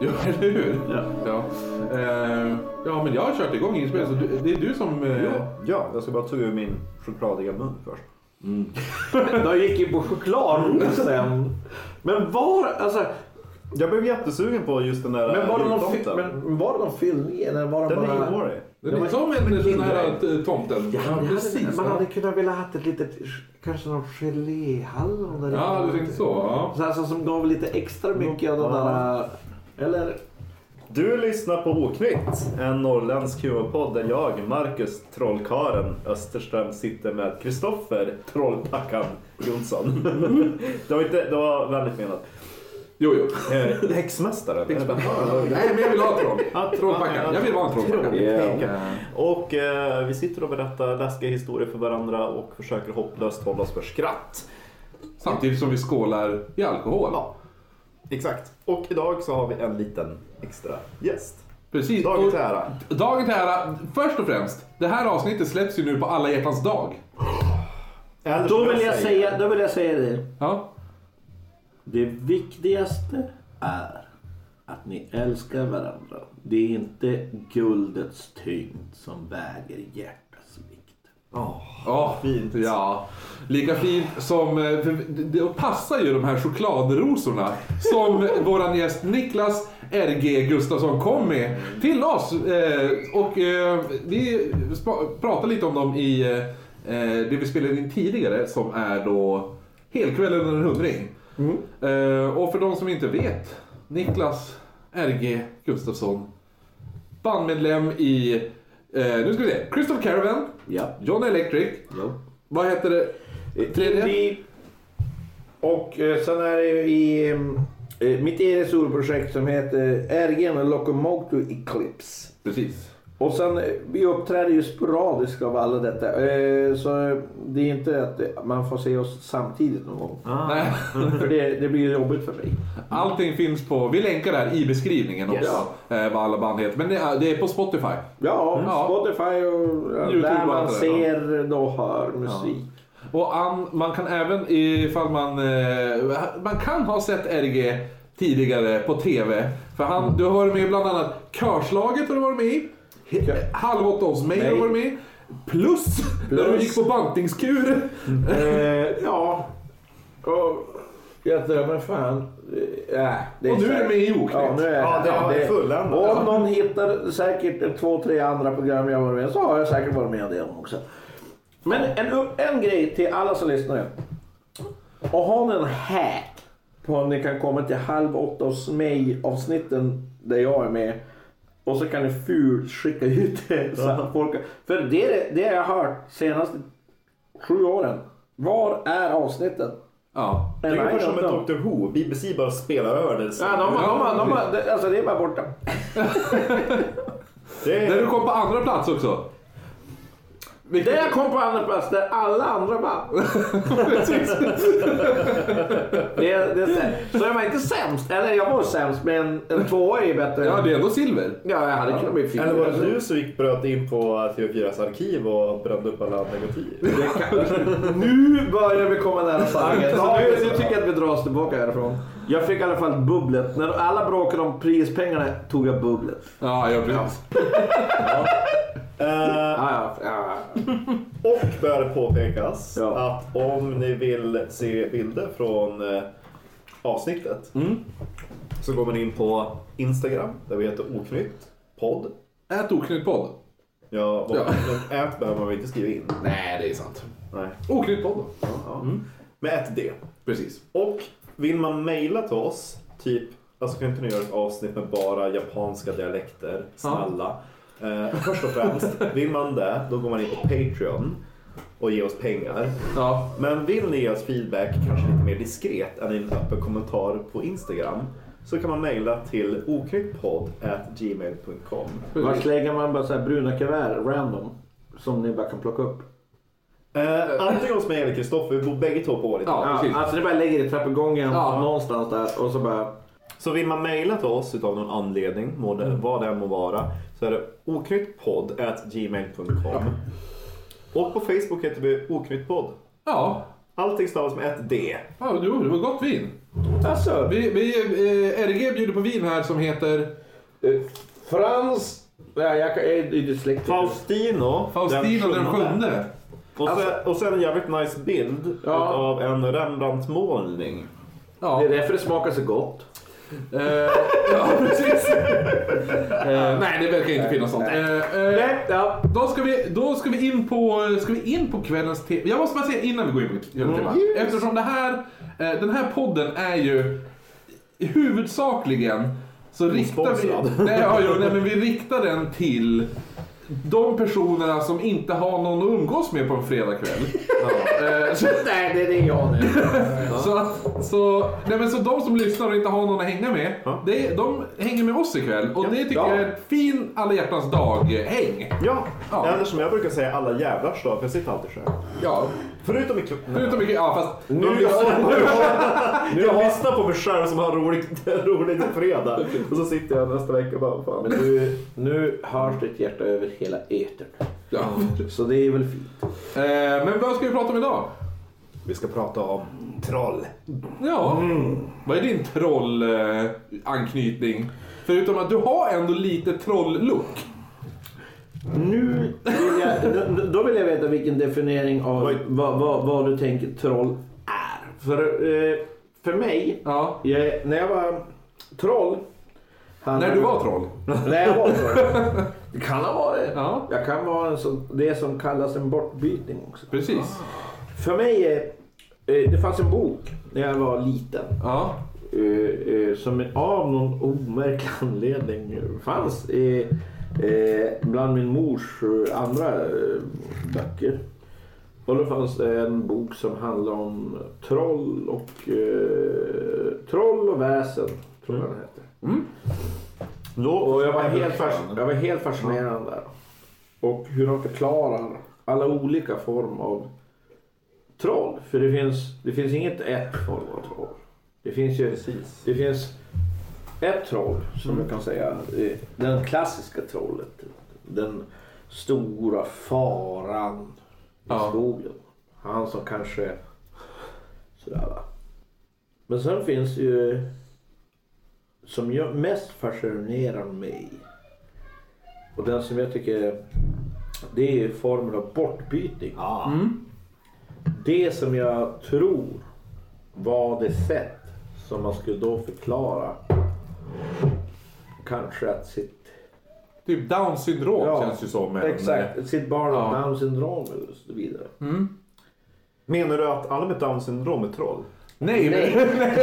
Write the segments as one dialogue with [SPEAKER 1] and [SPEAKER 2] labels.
[SPEAKER 1] Ja, eller hur?
[SPEAKER 2] Ja.
[SPEAKER 1] Ja. Eh, ja, men jag har kört igång inspelningen så du, det är du som... eh,
[SPEAKER 3] Ja, jag ska bara ta ur min chokladiga mun först.
[SPEAKER 2] De gick in på choklad och sen... Men var, alltså,
[SPEAKER 3] Jag blev jättesugen på just den där
[SPEAKER 2] men var, det någon, fi-
[SPEAKER 3] jultomten.
[SPEAKER 2] men var det någon fyllning i eller var det
[SPEAKER 3] Den är
[SPEAKER 2] bara...
[SPEAKER 3] ihålig.
[SPEAKER 1] Det är som en sån här eh, tomten. Ja, precis.
[SPEAKER 2] Man hade kunnat vilja ha ett litet, kanske någon geléhallon eller
[SPEAKER 1] Ja,
[SPEAKER 2] något.
[SPEAKER 1] du tänkte så. Ja.
[SPEAKER 2] Så här, så som gav lite extra mycket av den där... Eller?
[SPEAKER 3] Du lyssnar på Oknytt, en norrländsk humorpodd där jag, Marcus Trollkaren Österström sitter med Kristoffer Trollpackan Jonsson. det var inte, det var vänligt menat.
[SPEAKER 1] Jo, jo.
[SPEAKER 3] Eh, Häxmästaren. "Ah,
[SPEAKER 1] Nej, men jag vill ha troll.
[SPEAKER 3] Ja,
[SPEAKER 1] Trollpackare. Jag vill vara en trollpackare.
[SPEAKER 3] Trollpackare. Och eh, vi sitter och berättar läskiga historier för varandra och försöker hopplöst hålla oss för skratt.
[SPEAKER 1] Samtidigt som vi skålar i alkohol.
[SPEAKER 3] Ja, exakt. Och idag så har vi en liten extra gäst.
[SPEAKER 1] Precis.
[SPEAKER 3] Dagen till
[SPEAKER 1] Och-
[SPEAKER 3] ära.
[SPEAKER 1] Dagen till ära. Först och främst, det här avsnittet släpps ju nu på alla hjärtans dag.
[SPEAKER 2] Då
[SPEAKER 3] Eller som
[SPEAKER 2] vill jag säga, då vill jag säga det.
[SPEAKER 1] Ja.
[SPEAKER 2] Det viktigaste är att ni älskar varandra. Det är inte guldets tyngd som väger hjärtats vikt.
[SPEAKER 3] Ja.
[SPEAKER 1] Ja,
[SPEAKER 3] Fint.
[SPEAKER 1] Ja. Lika fint som... eh, för det- Det passar ju de här chokladrosorna som våran gäst Niklas RG Gustafsson kom med till oss. Eh, Och eh, vi spa- pratade lite om dem i eh, det vi spelade in tidigare som är då Helkvällen under en hundring. Eh, Och för de som inte vet, Niklas RG Gustafsson, bandmedlem i, eh, nu ska vi se, Crystal Caravan,
[SPEAKER 2] Ja.
[SPEAKER 1] John Electric,
[SPEAKER 2] ja.
[SPEAKER 1] vad heter det? Tredje?
[SPEAKER 4] Indie. Eh, Och eh, sen är det ju i eh, mitt eget solprojekt som heter RGN Locomotive Eclipse.
[SPEAKER 1] Precis.
[SPEAKER 4] Och sen, eh, vi uppträder ju sporadiskt av alla detta. Eh, Så eh, det är inte att eh, man får se oss samtidigt någon gång.
[SPEAKER 3] Ah.
[SPEAKER 1] Nej.
[SPEAKER 4] För det, det blir ju jobbigt för mig.
[SPEAKER 1] Allting finns på, vi länkar det här i beskrivningen
[SPEAKER 4] Yes.
[SPEAKER 1] också. eh, Vad alla band heter. Men det är, det är på Spotify.
[SPEAKER 4] Ja,
[SPEAKER 1] Ja.
[SPEAKER 4] Spotify och ja,
[SPEAKER 1] Mm. YouTube
[SPEAKER 4] där
[SPEAKER 1] och
[SPEAKER 4] man
[SPEAKER 1] allt det där,
[SPEAKER 4] ser då hör musik.
[SPEAKER 1] Och an, man kan även ifall man... eh, Man kan ha sett RG tidigare på TV. För han, du har varit med i bland annat Körslaget har du varit med i. He- Halv åtta hos mig har du
[SPEAKER 4] Nej.
[SPEAKER 1] varit med i. Plus, när du gick på bantningskur. Mm.
[SPEAKER 4] Eh, ja. Och jag drömmer fan. Eh, äh, det
[SPEAKER 1] Och nu är
[SPEAKER 4] säkert-
[SPEAKER 1] du med i Oknytt.
[SPEAKER 4] Ja, nu är
[SPEAKER 3] Ja, det
[SPEAKER 4] jag-
[SPEAKER 3] har vi fulländat.
[SPEAKER 4] Och Om någon hittar säkert två, tre andra program jag varit med i, så har jag säkert varit med i det också. Men en, upp- en grej till alla som lyssnar. Och har ni en hack på om ni kan komma till halv åtta hos mig avsnitten där jag är med. Och så kan ni fulskicka ut det. Så att folk, för det är det jag har hört senaste sju åren. Var är avsnitten?
[SPEAKER 1] Ja.
[SPEAKER 3] Det är ungefär som
[SPEAKER 4] Nej,
[SPEAKER 3] med Dr Who. BBC bara spelar över det.
[SPEAKER 4] Ja, de, de, de, de, de, alltså det är bara borta.
[SPEAKER 3] det
[SPEAKER 1] När du
[SPEAKER 3] är...
[SPEAKER 1] kom på andra plats också.
[SPEAKER 4] Det jag kom på andra plats där alla andra bara... det, är- det är sämst. så jag var inte sämst. Eller jag var sämst men en tvåa är ju bättre.
[SPEAKER 1] Ja, det är ändå silver.
[SPEAKER 4] Ja, jag hade kunnat bli fyra.
[SPEAKER 3] Eller var det du som gick bröt in på TV4s arkiv och brände upp alla negativ?
[SPEAKER 4] Det kan- Nu börjar vi komma nära sanningen. Ja, nu, nu tycker jag att vi drar oss tillbaka härifrån. Jag fick i alla fall bubblet. När alla bråkade om prispengarna tog jag bubblet.
[SPEAKER 1] Ja, jag precis.
[SPEAKER 3] Eh,
[SPEAKER 4] Ja, ja, ja.
[SPEAKER 3] och bör påpekas
[SPEAKER 4] Ja.
[SPEAKER 3] att om ni vill se bilder från eh, avsnittet så går man in på Instagram där vi heter Oknytt podd.
[SPEAKER 1] Ät oknytt podd.
[SPEAKER 3] Ja, vad,
[SPEAKER 1] Ja.
[SPEAKER 3] Men ät behöver man väl inte skriva in?
[SPEAKER 1] Nej, det är sant.
[SPEAKER 3] Nej.
[SPEAKER 1] Oknytt podd.
[SPEAKER 3] Ja. Med ett D.
[SPEAKER 1] Precis.
[SPEAKER 3] Och vill man mejla till oss, typ, alltså kan inte ni göra ett avsnitt med bara japanska dialekter? Snälla. Eh, först och främst, vill man det, då går man in på Patreon och ger oss pengar.
[SPEAKER 1] Ja.
[SPEAKER 3] Men vill ni ge oss feedback, kanske lite mer diskret än i en öppen kommentar på Instagram, så kan man mejla till oknyttpodd.gmail.com.
[SPEAKER 4] Var slänger man bara så här bruna kuvert random? Som ni bara kan plocka upp.
[SPEAKER 3] Eh, antingen hos mig eller Kristoffer, vi bor bägge två på vår
[SPEAKER 1] Ja,
[SPEAKER 4] Ja,
[SPEAKER 1] precis.
[SPEAKER 4] alltså det bara lägger i trappuppgången
[SPEAKER 1] Ja.
[SPEAKER 4] någonstans där och så bara...
[SPEAKER 3] Så vill man mejla till oss utav någon anledning, må det, vad det än må vara, så är det oknyttpodd.gmail.com. Och på Facebook heter vi oknyttpodd.
[SPEAKER 1] Ja.
[SPEAKER 5] Allting stavas med ett D.
[SPEAKER 1] Ja, jo, det var gott vin.
[SPEAKER 4] Alltså,
[SPEAKER 1] Vi, vi, eh, RG bjuder på vin här som heter
[SPEAKER 4] eh, Frans... Nej, jag kan- jag är dyslektiker.
[SPEAKER 5] Faustino,
[SPEAKER 1] Faustino den sjunde.
[SPEAKER 5] Och, så, och sen en jävligt nice bild
[SPEAKER 4] Ja.
[SPEAKER 5] av en Rembrandt-målning.
[SPEAKER 1] Ja,
[SPEAKER 4] Det är därför det smakar så gott.
[SPEAKER 1] eh, ja precis. eh, nej, det verkar inte finnas sånt. Eh, eh,
[SPEAKER 4] Nej, ja.
[SPEAKER 1] Då ska, vi, då ska vi in på, ska vi in på kvällens tema. Jag måste bara säga innan vi går in på kvällens tema. Eftersom det här, eh, den här podden är ju huvudsakligen så riktar
[SPEAKER 5] Osponsrad.
[SPEAKER 1] vi, nej, ja, jo, nej, men vi riktar den till de personerna som inte har någon att umgås med på en fredagkväll. Eh, så,
[SPEAKER 4] Nej, det är det jag nu.
[SPEAKER 1] så, att- så, nej, men så de som lyssnar och inte har någon att hänga med,
[SPEAKER 5] Ja.
[SPEAKER 1] det, de hänger med oss ikväll. Och det tycker
[SPEAKER 4] Ja.
[SPEAKER 1] jag är en fin alla hjärtans dag-häng.
[SPEAKER 5] Ja,
[SPEAKER 1] Ja.
[SPEAKER 5] eller som jag brukar säga alla jävlars dag, för jag sitter alltid själv.
[SPEAKER 1] Ja.
[SPEAKER 5] Förutom ikväll.
[SPEAKER 1] Förutom mycket, ja fast
[SPEAKER 4] Nu
[SPEAKER 5] Jag lyssnar på mig själv.
[SPEAKER 4] har-
[SPEAKER 5] Jag lyssnar på mig själv som har roligt, roligt på fredag. Och så sitter jag nästa vecka och bara, vad fan.
[SPEAKER 4] Men nu, nu hörs ditt hjärta över hela etern.
[SPEAKER 1] Ja.
[SPEAKER 4] Så det är väl fint.
[SPEAKER 1] Eh, men vad ska vi prata om idag?
[SPEAKER 5] Vi ska prata om troll.
[SPEAKER 1] Ja. Vad är din trollanknytning? Förutom att du har ändå lite troll-look.
[SPEAKER 4] Nu vill jag, då- då vill jag veta vilken definiering av
[SPEAKER 5] Oj.
[SPEAKER 4] vad, vad, vad du tänker troll är. För, eh, för mig,
[SPEAKER 1] Ja.
[SPEAKER 4] jag, när jag var troll. han-
[SPEAKER 1] När du var troll.
[SPEAKER 4] Nej, jag var troll. Det kan ha varit.
[SPEAKER 1] Ja.
[SPEAKER 4] Jag kan vara en sån, det som kallas en bortbytning också.
[SPEAKER 1] Precis.
[SPEAKER 4] För mig, eh, eh, det fanns en bok när jag var liten.
[SPEAKER 1] Ja.
[SPEAKER 4] eh, eh, som av någon omärklig anledning fanns eh, eh, bland min mors eh, andra eh, böcker. Och då fanns det en bok som handlade om troll och, eh, troll och väsen. Tror jag den hette. Och jag var helt, fas, jag var helt fascinerad där. Och hur de förklarar alla olika form av troll. För det finns, det finns inget ett form av troll. Det finns ju
[SPEAKER 5] Precis.
[SPEAKER 4] det finns ett troll som man kan säga. eh, Den klassiska trollet. Den stora faran i
[SPEAKER 1] Ja.
[SPEAKER 4] skogen. Han som kanske... Sådär va. Men sen finns det ju... Som jag mest fascinerar mig. Och den som jag tycker... Det är ju formen av bortbyting.
[SPEAKER 5] Ja.
[SPEAKER 4] Det som jag tror var det sätt som man skulle då förklara kanske att sitt,
[SPEAKER 1] Typ down syndrom
[SPEAKER 4] Ja,
[SPEAKER 1] känns ju som. men-
[SPEAKER 4] exakt, sitt barn har
[SPEAKER 1] Ja.
[SPEAKER 4] down syndrom eller så vidare.
[SPEAKER 5] Menar du att alla med down syndrom är troll?
[SPEAKER 1] Nej,
[SPEAKER 4] Nej.
[SPEAKER 1] men,
[SPEAKER 4] nej,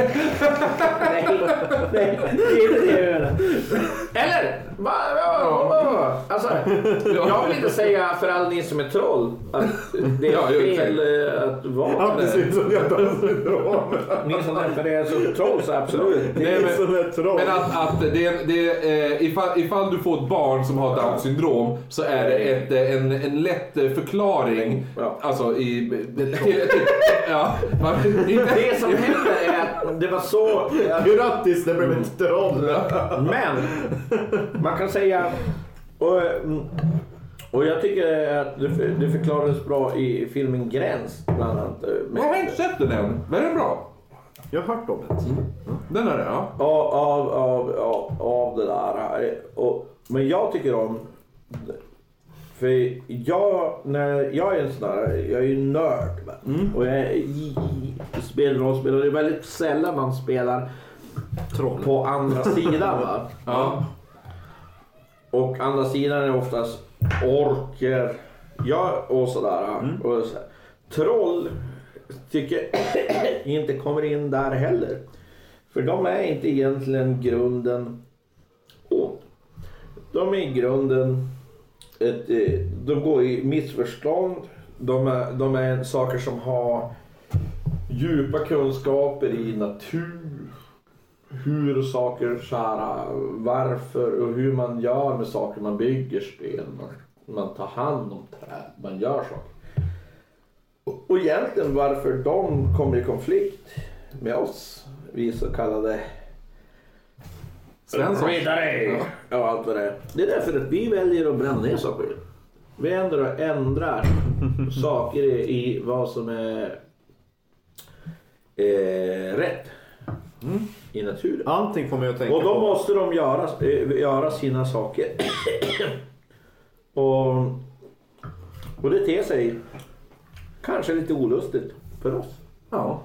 [SPEAKER 4] nej, det är inte det jag menar. Eller? Va, va, va, va, va. Alltså, jag vill inte säga för alla ni som är troll att det är
[SPEAKER 1] Ja, jo, exakt.
[SPEAKER 4] fel eh, att vara
[SPEAKER 5] precis som jag har down syndrom.
[SPEAKER 4] Ni som refererar som troll så absolut.
[SPEAKER 1] Nej,
[SPEAKER 5] Ni
[SPEAKER 1] men-
[SPEAKER 5] som är troll.
[SPEAKER 1] men att, att det, är- det, är, eh, ifall, ifall du får ett barn som har down syndrom så är det ett, eh, en, en lätt eh, förklaring.
[SPEAKER 4] Mm. Ja.
[SPEAKER 1] Alltså i... till- till- Ja, man, inte,
[SPEAKER 4] Det som hände är att det var så att Mm.
[SPEAKER 5] Grattis, det blev ett troll.
[SPEAKER 4] Men man kan säga... Och, mm, och jag tycker att det, för- det förklarades bra i filmen Gräns bland annat. eh,
[SPEAKER 1] jag har inte sett den än. Men den är bra.
[SPEAKER 5] Jag har hört om det.
[SPEAKER 4] Mm.
[SPEAKER 1] Den är det, ja.
[SPEAKER 4] Av, av, av, av, av det där. Eh, Och, men jag tycker om... För jag, när jag är en sån där, jag är ju nörd. va. Och jag är- i- i- spelar rollspel och det är väldigt sällan man spelar
[SPEAKER 5] Troll.
[SPEAKER 4] på andra sidan. Va?
[SPEAKER 1] ja.
[SPEAKER 4] Och andra sidan är oftast orker ja, och sådär. Och så här. Troll tycker inte kommer in där heller. För de är inte egentligen grunden ond. De är i grunden ett, eh, de går i missförstånd. De är, de är saker som har djupa kunskaper i natur. Hur saker så här, varför och hur man gör med saker. Man bygger spel, man, man tar hand om träd, man gör saker. Och- Och egentligen varför de kommer i konflikt med oss, vi så kallade
[SPEAKER 1] Svensson.
[SPEAKER 4] Riddare! Ja, allt vad det är. Det är därför att vi väljer att bränna ner saker. Vi ändrar och ändrar saker i i vad som är eh, rätt i naturen.
[SPEAKER 5] Allting får mig att tänka
[SPEAKER 4] Och då
[SPEAKER 5] på...
[SPEAKER 4] måste de göra, eh, göra sina saker. och, och det ter sig kanske lite olustigt för oss.
[SPEAKER 1] Ja.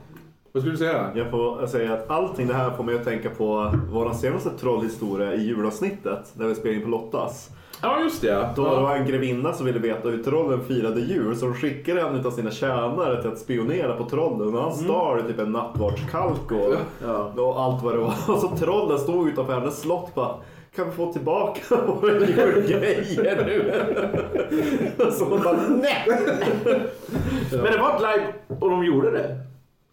[SPEAKER 1] Vad skulle du säga?
[SPEAKER 5] Jag får säga att allting det här får mig att tänka på vår senaste trollhistoria i julavsnittet när vi spelade in på Lottas.
[SPEAKER 1] Ja, just det.
[SPEAKER 5] Då
[SPEAKER 1] ja.
[SPEAKER 5] var det en grevinna som ville veta hur trollen firade jul så hon skickade en av sina tjänare till att spionera på trollen och han
[SPEAKER 4] Mm.
[SPEAKER 5] stal typ en nattvardskalk och, och allt vad det var. Och så trollen stod utanför hennes slott bara kan vi få tillbaka våra julgrejer nu? Så hon bara,
[SPEAKER 4] Nej! Men det var ett live och de gjorde det.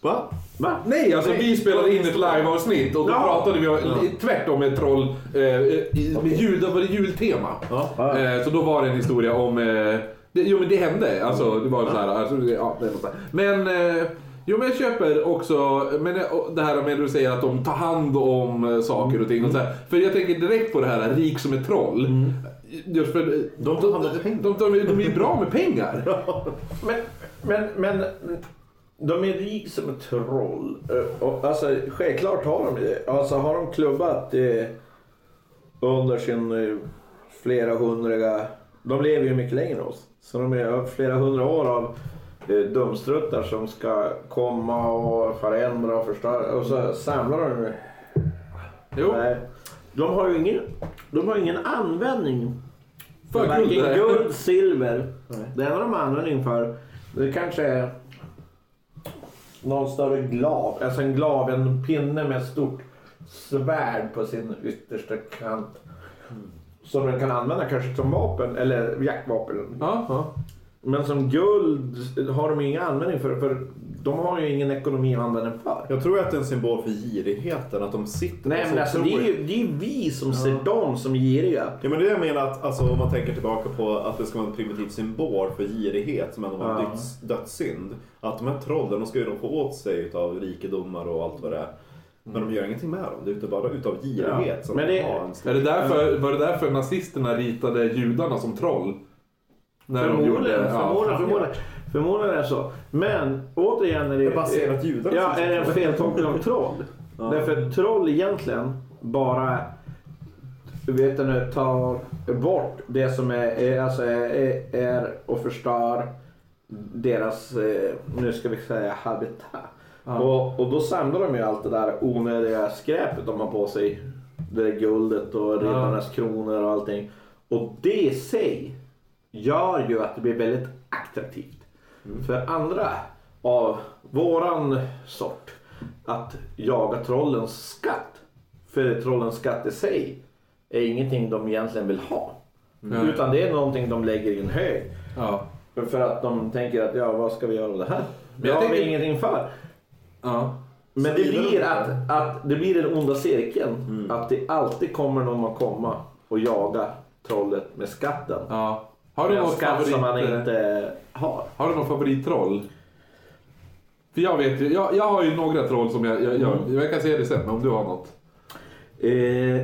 [SPEAKER 5] va?
[SPEAKER 4] Va?
[SPEAKER 1] Nej, alltså vi spelade in ett liveavsnitt och då
[SPEAKER 4] Ja.
[SPEAKER 1] pratade vi om- tvärtom med troll. Eh, i- med jul, då var det jultema.
[SPEAKER 4] Ja.
[SPEAKER 1] Eh, så då var det en historia om... Eh, det, jo men det hände. Alltså, det var så här, alltså, det- ja, det är något där. Men... Eh, Jo men jag köper också men eh, och det här med du säger att de tar hand om eh, saker och ting. Och så här. För jag tänker direkt på det här rik som ett troll.
[SPEAKER 4] Mm.
[SPEAKER 1] Just för, eh,
[SPEAKER 5] De tar hand om pengar.
[SPEAKER 1] De, de, de, är ju bra med pengar.
[SPEAKER 4] Men, men, men de är rik som ett troll. Eh, Och, alltså, självklart har de det. Alltså, har de klubbat eh, under sin eh, flera hundriga... De lever ju mycket längre än oss. Så de är- har flera hundra år av eh, dumstruttar som ska komma och förändra och förstöra. Och så samlar de ju
[SPEAKER 1] Jo,
[SPEAKER 4] Nej. De har ju ingen, de har ingen användning
[SPEAKER 1] För
[SPEAKER 4] för varken
[SPEAKER 1] guld.
[SPEAKER 4] guld, silver. Det enda de har användning för det kanske är någon större glav. Alltså en glav, en pinne med ett stort svärd på sin yttersta kant. Som den kan använda kanske som vapen eller jaktvapen.
[SPEAKER 1] ja, ja.
[SPEAKER 4] Men som guld har de ingen användning för. för de har ju ingen ekonomi att använda den för.
[SPEAKER 5] Jag tror att det är en symbol för girigheten att de sitter
[SPEAKER 4] Nej
[SPEAKER 5] på
[SPEAKER 4] men
[SPEAKER 5] så
[SPEAKER 4] alltså det är
[SPEAKER 5] otroligt-
[SPEAKER 4] ju det är ju vi som ser dem som giriga.
[SPEAKER 5] Ja men det är det jag menar att alltså, om man tänker tillbaka på att det ska vara en primitiv symbol för girighet som ändå var en
[SPEAKER 4] Ja.
[SPEAKER 5] döds, dödssynd. Att de här trollen, de ska ju då få åt sig utav rikedomar och allt vad det är. Men de gör ingenting med dem. Det är utav, bara utav girighet
[SPEAKER 4] Mm. Ja.
[SPEAKER 5] som
[SPEAKER 4] Men
[SPEAKER 5] de
[SPEAKER 4] det-
[SPEAKER 5] har en
[SPEAKER 1] Är
[SPEAKER 5] stor...
[SPEAKER 1] det därför, var det därför nazisterna ritade judarna som troll? När de gjorde
[SPEAKER 4] Förmodligen,
[SPEAKER 1] det?
[SPEAKER 4] förmodligen, förmodligen, förmodligen är det så. Men återigen är det,
[SPEAKER 5] Det är baserat judarna
[SPEAKER 4] ja,
[SPEAKER 5] som-
[SPEAKER 4] är det en feltolkning av troll. Därför att troll egentligen bara vet du, nu, tar bort det som är, är, alltså är, är- är och förstör deras, eh, nu ska vi säga habitat. Och, och då samlar de ju allt det där onödiga skräpet de har på sig. Det där guldet och riddarnas kronor och allting. Och det i sig gör ju att det blir väldigt attraktivt för andra av våran sort att jaga trollens skatt. För trollens skatt i sig är ingenting de egentligen vill ha.
[SPEAKER 1] Nej.
[SPEAKER 4] Utan det är någonting de lägger i en hög.
[SPEAKER 1] Ja.
[SPEAKER 4] För att de tänker att ja, vad ska vi göra av det här?
[SPEAKER 1] Men
[SPEAKER 4] Det
[SPEAKER 1] jag
[SPEAKER 4] har vi
[SPEAKER 1] tänker-
[SPEAKER 4] ingenting för.
[SPEAKER 1] Ja.
[SPEAKER 4] Men
[SPEAKER 5] Så
[SPEAKER 4] det
[SPEAKER 5] vidare
[SPEAKER 4] blir,
[SPEAKER 5] då?
[SPEAKER 4] att, att, det blir den onda cirkeln.
[SPEAKER 1] Mm.
[SPEAKER 4] Att det alltid kommer någon att komma och jaga trollet med skatten.
[SPEAKER 1] ja. Har, du
[SPEAKER 4] En
[SPEAKER 1] något
[SPEAKER 4] skatt
[SPEAKER 1] favorit, eh,
[SPEAKER 4] som man inte har.
[SPEAKER 1] har du någon favorittroll? För jag vet ju, jag, jag har ju några troll som jag, jag, jag,
[SPEAKER 4] Mm.
[SPEAKER 1] jag kan säga det sen, men om du har något.
[SPEAKER 4] Eh,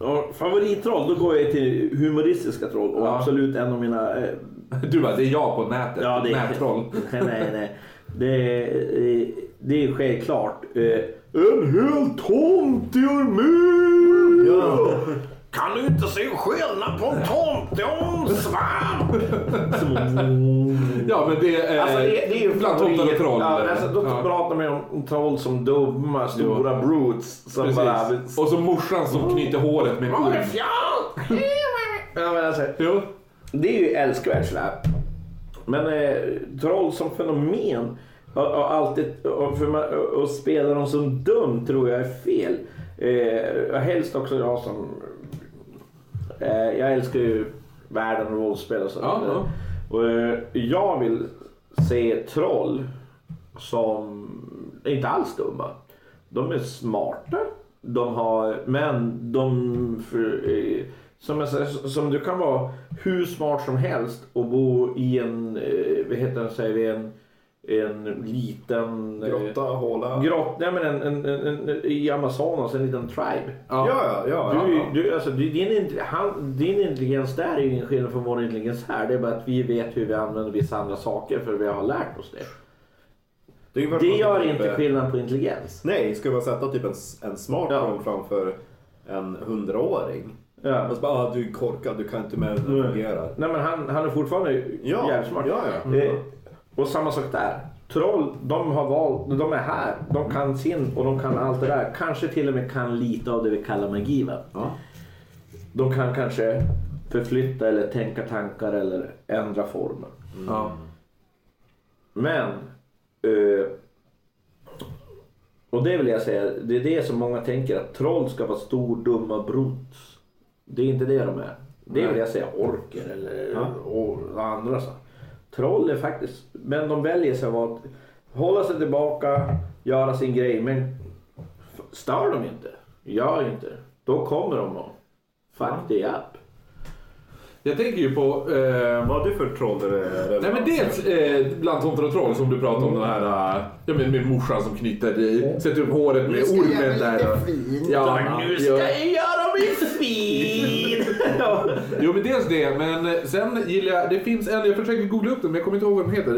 [SPEAKER 4] ja, favorittroll, då går jag till humoristiska troll. Och
[SPEAKER 1] Ja.
[SPEAKER 4] absolut en av mina... Eh,
[SPEAKER 1] Du bara, det är jag på nätet.
[SPEAKER 4] ja, det är,
[SPEAKER 1] Nättroll.
[SPEAKER 4] nej, nej, nej. Det är, eh, det är självklart. Eh, en hel tomt i Umeå! Kan du inte se skillnad på en tomte och en svamp?
[SPEAKER 1] Ja, men det är, eh,
[SPEAKER 4] Alltså, det, det är ju
[SPEAKER 1] bland tomtar och
[SPEAKER 4] favorit-
[SPEAKER 1] troll.
[SPEAKER 4] Ja, alltså, då
[SPEAKER 1] Ja.
[SPEAKER 4] pratar man ju om troll som dumma, stora brutes. Som bara... Mm.
[SPEAKER 1] Precis. Och så morsan som knyter håret med en
[SPEAKER 4] Vad är
[SPEAKER 1] orm.
[SPEAKER 4] det för fjall? Ja, men alltså,
[SPEAKER 1] Jo.
[SPEAKER 4] det är ju älskvärt sådär. Men eh, troll som fenomen och, och alltid och, för man, och, och spela dem som dum tror jag är fel. Eh, och helst också jag som... Eh, jag älskar ju världen och rollspel och så.
[SPEAKER 1] Ja,
[SPEAKER 4] vidare.
[SPEAKER 1] ja.
[SPEAKER 4] Och, eh, jag vill se troll som är inte alls dumma. De är smarta. De har, men de... För, eh, som, jag, säger, som du kan vara hur smart som helst och bo i en, eh, vad heter det, säger vi, en, en liten... eh,
[SPEAKER 5] Grotta, håla.
[SPEAKER 4] Grott, nej men en, en, en, en, i Amazonas, en liten tribe.
[SPEAKER 1] Ja.
[SPEAKER 5] Ja, ja, ja. ja,
[SPEAKER 4] Du,
[SPEAKER 5] ja.
[SPEAKER 4] du, alltså, du, din, inte- han, din intelligens där är ju ingen skillnad från vår intelligens här. Det är bara att vi vet hur vi använder vissa andra saker för vi har lärt oss det.
[SPEAKER 5] Det, är ju
[SPEAKER 4] Det
[SPEAKER 5] verkligen
[SPEAKER 4] gör
[SPEAKER 5] typ,
[SPEAKER 4] inte
[SPEAKER 5] eh,
[SPEAKER 4] skillnad på intelligens.
[SPEAKER 5] Nej, ska man sätta typ en, en smartphone framför en hundraåring.
[SPEAKER 4] Ja.
[SPEAKER 5] Och så bara, ah, du är korkad, du kan inte med hur det fungerar.
[SPEAKER 4] Nej men han, han är fortfarande
[SPEAKER 5] Ja,
[SPEAKER 4] jävligt smart.
[SPEAKER 5] ja, ja.
[SPEAKER 4] Eh, och samma sak där. Troll, de har valt, de är här. De kan sin och de kan allt det där. Kanske till och med kan lite av det vi kallar magi. Va?
[SPEAKER 5] Ja.
[SPEAKER 4] De kan kanske förflytta eller tänka tankar eller ändra formen.
[SPEAKER 1] Ja.
[SPEAKER 4] Men... Eh, och det vill jag säga, det är det som många tänker att troll ska vara stor, dumma brot. Det är inte det de är. Det vill jag säga orker eller
[SPEAKER 5] Ja.
[SPEAKER 4] och andra. Så. Troll är faktiskt, men de väljer sig att hålla sig tillbaka, göra sin grej. Men f- stör de inte, gör inte, då kommer de och fuck the up.
[SPEAKER 1] Jag tänker ju på... Eh,
[SPEAKER 5] Vad har du för troll? eller-
[SPEAKER 1] Nej men dels eh, bland tomtar och troll som du pratade om. Den här, eh, ja, men med morsan som knyter
[SPEAKER 4] Mm.
[SPEAKER 1] i, sätter upp håret med ormen där. Ja, ja.
[SPEAKER 4] jag göra mig fin!
[SPEAKER 1] Jo men dels det, men eh, sen gillar jag, det finns en, jag försöker googla upp den men jag kommer inte ihåg vad den heter.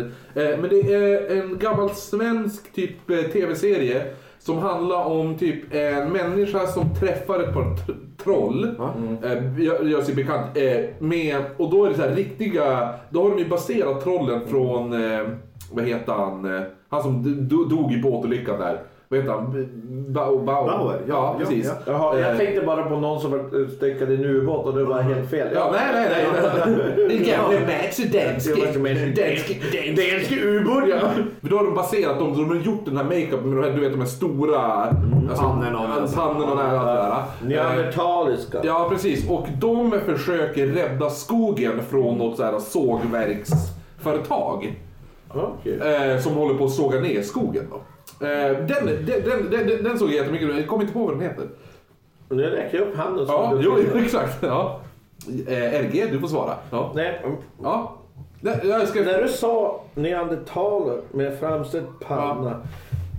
[SPEAKER 1] Eh, Men det är en gammal svensk typ eh, tv-serie som handlar om typ en människa som träffar ett par tr- troll. Eh, Jag, jag ser bekant. eh, Med, och då är det så här riktiga, då har de ju baserat trollen från, eh, vad heter han, Eh, han som do- dog i båtolyckan där. Vad heter han? B- Bau- Bauer.
[SPEAKER 5] Bauer, ja,
[SPEAKER 1] Ja,
[SPEAKER 5] ja,
[SPEAKER 1] precis.
[SPEAKER 5] ja.
[SPEAKER 4] Jaha, jag
[SPEAKER 1] Eh,
[SPEAKER 4] tänkte bara på någon som var styckad i en ubåt och det var helt fel.
[SPEAKER 1] Ja, nej, nej, nej. Den gamle Mats och
[SPEAKER 4] Det var inte meningen.
[SPEAKER 1] danske ubåt. ja. För Då har de baserat dem, så de har gjort den här makeupen med de här, du vet, de här stora alltså,
[SPEAKER 5] Pannorna och-
[SPEAKER 1] alltså, pannorna och det här, allt det där. Eh,
[SPEAKER 4] Neandertaliska.
[SPEAKER 1] Ja, precis. Och de försöker rädda skogen från något så här sågverksföretag
[SPEAKER 4] Okej.
[SPEAKER 1] eh, som håller på att såga ner skogen. Då. Eh, den, den, den, den, den såg jag jättemycket. Jag kommer inte på vad den heter.
[SPEAKER 4] Nu räcker jag upp handen. som
[SPEAKER 1] Ja,
[SPEAKER 4] du-
[SPEAKER 1] jo, exakt. Ja. Eh, RG, du får svara. Ja.
[SPEAKER 4] Nej, mm.
[SPEAKER 1] Ja. Nej, jag ska...
[SPEAKER 4] när du sa neandertaler med framställd panna.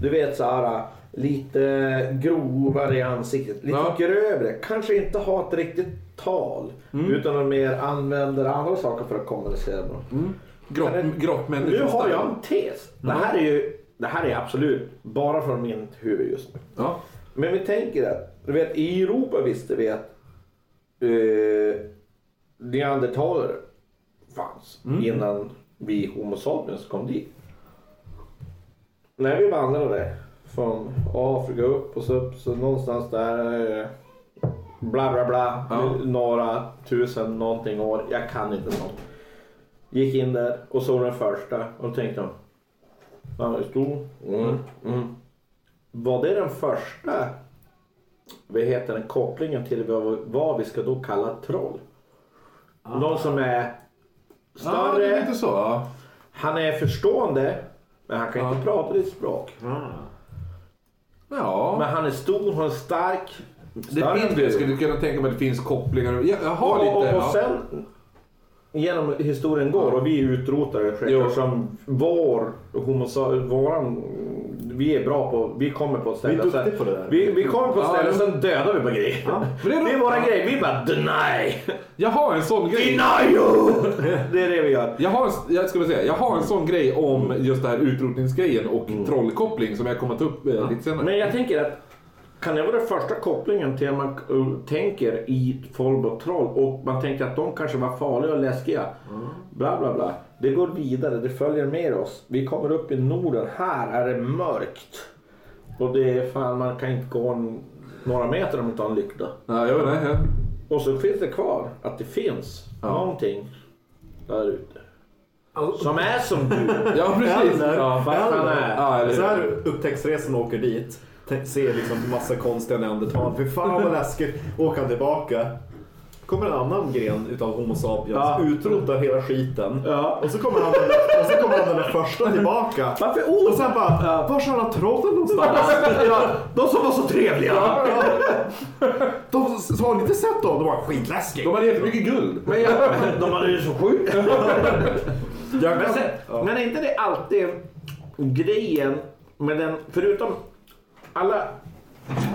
[SPEAKER 4] Du vet såhär lite grovare i ansiktet. Lite
[SPEAKER 1] Ja.
[SPEAKER 4] grövre. Kanske inte har ett riktigt tal.
[SPEAKER 1] Mm.
[SPEAKER 4] Utan att mer använder andra saker för att kommunicera med dem.
[SPEAKER 1] Mm. Grott,
[SPEAKER 4] Kan det-
[SPEAKER 1] grottmänniskor.
[SPEAKER 4] Nu har jag en tes.
[SPEAKER 1] Mm.
[SPEAKER 4] Det här är ju det här är absolut bara från min huvud just nu.
[SPEAKER 1] Ja.
[SPEAKER 4] Men vi tänker att, du vet i Europa visste vi att eh, neandertalare fanns innan vi homo sapiens kom dit. När vi vandrade från Afrika upp och så upp så någonstans där eh, bla bla bla
[SPEAKER 1] Ja.
[SPEAKER 4] några tusen någonting år, jag kan inte något. Gick in där och såg den första och då tänkte de, han är stor. Mm. Mm. Var det den första vad heter den, kopplingen till vad, vad vi ska då kalla troll?
[SPEAKER 1] Ah.
[SPEAKER 4] Någon som är
[SPEAKER 1] ja, det är
[SPEAKER 4] större,
[SPEAKER 1] lite så. Ja.
[SPEAKER 4] han är förstående, men han kan inte prata ditt språk.
[SPEAKER 1] ja.
[SPEAKER 4] Men han är stor, han är stark.
[SPEAKER 1] Det
[SPEAKER 4] större än
[SPEAKER 1] finns,
[SPEAKER 4] du.
[SPEAKER 1] jag skulle kunna tänka mig att det finns kopplingar. Jag, jag har
[SPEAKER 4] och,
[SPEAKER 1] lite...
[SPEAKER 4] och, och
[SPEAKER 1] ja.
[SPEAKER 4] sen genom historien går och vi utrotar det
[SPEAKER 1] Jo.
[SPEAKER 4] självklart som vår homo, våran, vi är bra på, vi kommer på ett ställe.
[SPEAKER 5] Vi är duktiga
[SPEAKER 4] sen-
[SPEAKER 5] på det där.
[SPEAKER 4] Vi, vi kommer på ett
[SPEAKER 1] Ja,
[SPEAKER 4] ställe och
[SPEAKER 1] jo.
[SPEAKER 4] sen dödar vi bara grejer.
[SPEAKER 1] Men det
[SPEAKER 4] Det
[SPEAKER 1] är
[SPEAKER 4] är
[SPEAKER 1] roligt.
[SPEAKER 4] våra
[SPEAKER 1] Ja.
[SPEAKER 4] grejer, vi bara deny.
[SPEAKER 1] Jag har en sån grej.
[SPEAKER 4] Deny you! Det är det vi gör.
[SPEAKER 1] Jag har, en- jag, ska väl säga, jag har en sån grej om just det här utrotningsgrejen och trollkoppling som jag kommer ta upp eh, lite senare.
[SPEAKER 4] Mm. Men jag tänker att kan det vara den första kopplingen till att man eh, tänker i folk och troll och man tänker att de kanske var farliga och läskiga. Bla bla bla. Det går vidare, det följer med oss. Vi kommer upp i Norden, här är det mörkt. Och det är fan, man kan inte gå en, några meter om man inte har en lykta.
[SPEAKER 1] Ja, jag vet inte. ja.
[SPEAKER 4] Och så finns det kvar att det finns någonting där ute. Som är som du.
[SPEAKER 1] Ja, precis.
[SPEAKER 5] Eller,
[SPEAKER 1] Ja.
[SPEAKER 4] fan är-
[SPEAKER 5] eller,
[SPEAKER 1] Ja, eller-
[SPEAKER 5] så här upptäcktsresan åker dit, te- ser liksom massa konstiga neandertal. Fy fan vad läskigt. Åker han tillbaka. Kommer en annan gren utav Homo sapiens,
[SPEAKER 4] Ja.
[SPEAKER 5] utrotar hela skiten.
[SPEAKER 4] Ja.
[SPEAKER 5] Och så kommer han den där, och så kommer han den där första tillbaka.
[SPEAKER 4] Varför
[SPEAKER 5] Och sen bara,
[SPEAKER 4] Ja.
[SPEAKER 5] var är alla trollen någonstans?
[SPEAKER 4] Ja, de som var så trevliga.
[SPEAKER 5] De, så har ni inte sett dem? De var skitläskiga.
[SPEAKER 1] De hade jättemycket guld.
[SPEAKER 4] Men jag, de hade ju så sjukt.
[SPEAKER 5] Jag
[SPEAKER 4] Men,
[SPEAKER 5] kan-
[SPEAKER 4] sen,
[SPEAKER 5] Ja.
[SPEAKER 4] men är inte det alltid grejen med den, förutom alla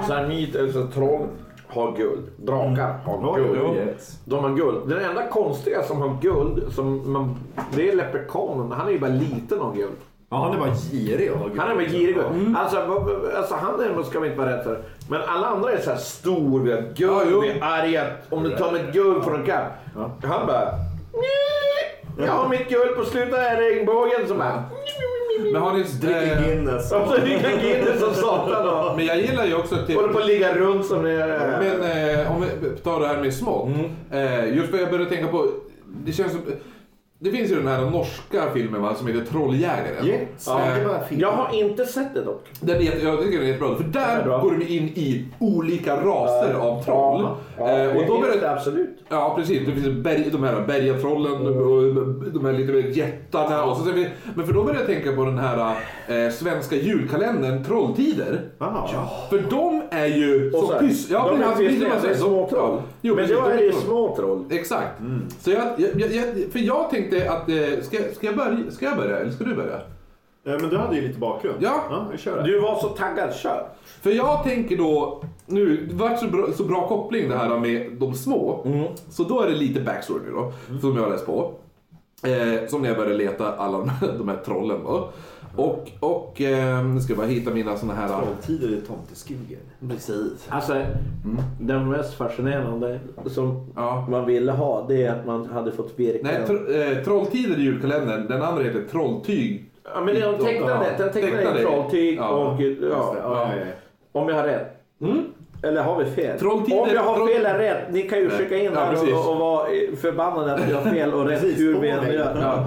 [SPEAKER 4] så här myter, eller så här troll har guld, drakar har
[SPEAKER 5] Ja,
[SPEAKER 4] guld.
[SPEAKER 5] jo, yes.
[SPEAKER 4] De har guld. Den enda konstiga som har guld, som man, det är leprekanen. Han är ju bara liten av guld.
[SPEAKER 5] Ja, han är bara girig. och-
[SPEAKER 4] Han är med girig. Alltså, vad- vad- alltså han är, ska vi inte vara rädd för. Men alla andra är så här stor, vi har ett
[SPEAKER 1] Ja, jo.
[SPEAKER 4] guld, vi är arga. Om du tar mitt guld från en katt. Han bara... "Nej, Jag har mitt guld på slutet av regnbågen. Så bara...
[SPEAKER 1] Men har ni...
[SPEAKER 5] Dricker
[SPEAKER 1] eh,
[SPEAKER 5] Guinness.
[SPEAKER 4] Och så ligger han inne som satan och
[SPEAKER 1] men jag gillar ju också typ...
[SPEAKER 4] håller på att ligga runt som det är.
[SPEAKER 1] Men eh, om vi tar det här med smått.
[SPEAKER 4] Mm.
[SPEAKER 1] Eh, just för jag började tänka på, det känns som... Det finns ju den här norska filmen va, som heter Trolljägaren. Eh,
[SPEAKER 5] Jättesnackig film.
[SPEAKER 4] Jag har inte sett det dock.
[SPEAKER 1] Den är, jätte- jag tycker den är jättebra. För där
[SPEAKER 4] är bra.
[SPEAKER 1] går de in i olika raser av troll.
[SPEAKER 4] Ja,
[SPEAKER 1] Eh, och
[SPEAKER 4] det
[SPEAKER 1] då
[SPEAKER 4] finns
[SPEAKER 1] börjar,
[SPEAKER 4] det absolut.
[SPEAKER 1] Ja, precis. Det finns berg, de här bergatrollen
[SPEAKER 4] Mm.
[SPEAKER 1] och de här lite mer jättarna. Och så ser vi, men för då började jag tänka på den här eh, svenska julkalendern Trolltider.
[SPEAKER 5] Ah.
[SPEAKER 1] För de är ju
[SPEAKER 4] Och
[SPEAKER 1] så,
[SPEAKER 4] här,
[SPEAKER 1] pyss... Ja,
[SPEAKER 4] de
[SPEAKER 1] men
[SPEAKER 4] är
[SPEAKER 1] alltså, precis,
[SPEAKER 4] precis-
[SPEAKER 1] man
[SPEAKER 4] det
[SPEAKER 1] säger,
[SPEAKER 4] är
[SPEAKER 1] de-
[SPEAKER 4] små troll.
[SPEAKER 1] Jo,
[SPEAKER 4] men
[SPEAKER 1] precis,
[SPEAKER 4] jag
[SPEAKER 1] de
[SPEAKER 4] är ju Mm.
[SPEAKER 1] troll.
[SPEAKER 4] små troll.
[SPEAKER 1] Exakt. Så jag, jag, jag, jag, för jag tänkte att, eh, ska, ska, jag börja, ska jag börja eller ska du börja?
[SPEAKER 5] Eh, Men du hade ju lite bakgrund.
[SPEAKER 1] Ja.
[SPEAKER 5] ja vi kör det.
[SPEAKER 4] Du var så taggad, kör.
[SPEAKER 1] För jag tänker då, nu, det vart så bra, så bra koppling det här med de små.
[SPEAKER 4] Mm.
[SPEAKER 1] Så då är det lite backstory nu då, som jag har läst på. Eh, som när jag började leta alla de här, de här trollen då. Och, och eh, nu ska jag bara hitta mina såna här...
[SPEAKER 5] Trolltider i tomteskugen.
[SPEAKER 4] Precis. Alltså, den mest fascinerande som
[SPEAKER 1] Ja.
[SPEAKER 4] man ville ha, det är att man hade fått virka.
[SPEAKER 1] Nej, tro, eh, Trolltider i julkalendern, den andra heter Trolltyg.
[SPEAKER 4] ja, men de tecknade,
[SPEAKER 1] Ja,
[SPEAKER 4] den tecknade
[SPEAKER 1] tecknade.
[SPEAKER 4] i trolltyg
[SPEAKER 1] Ja.
[SPEAKER 4] och... Ja,
[SPEAKER 5] Ja, ja, ja.
[SPEAKER 4] Om jag har rätt. Eller har vi fel?
[SPEAKER 1] Trolltider-
[SPEAKER 4] Om jag har
[SPEAKER 1] Mm. troll-
[SPEAKER 4] fel eller rätt, ni kan ju skicka in
[SPEAKER 1] Ja,
[SPEAKER 4] här
[SPEAKER 1] precis.
[SPEAKER 4] och, och vara eh, förbannade att jag har fel och rätt
[SPEAKER 5] Precis,
[SPEAKER 4] hur
[SPEAKER 5] på
[SPEAKER 4] vi än
[SPEAKER 5] mig.
[SPEAKER 4] gör. Ja.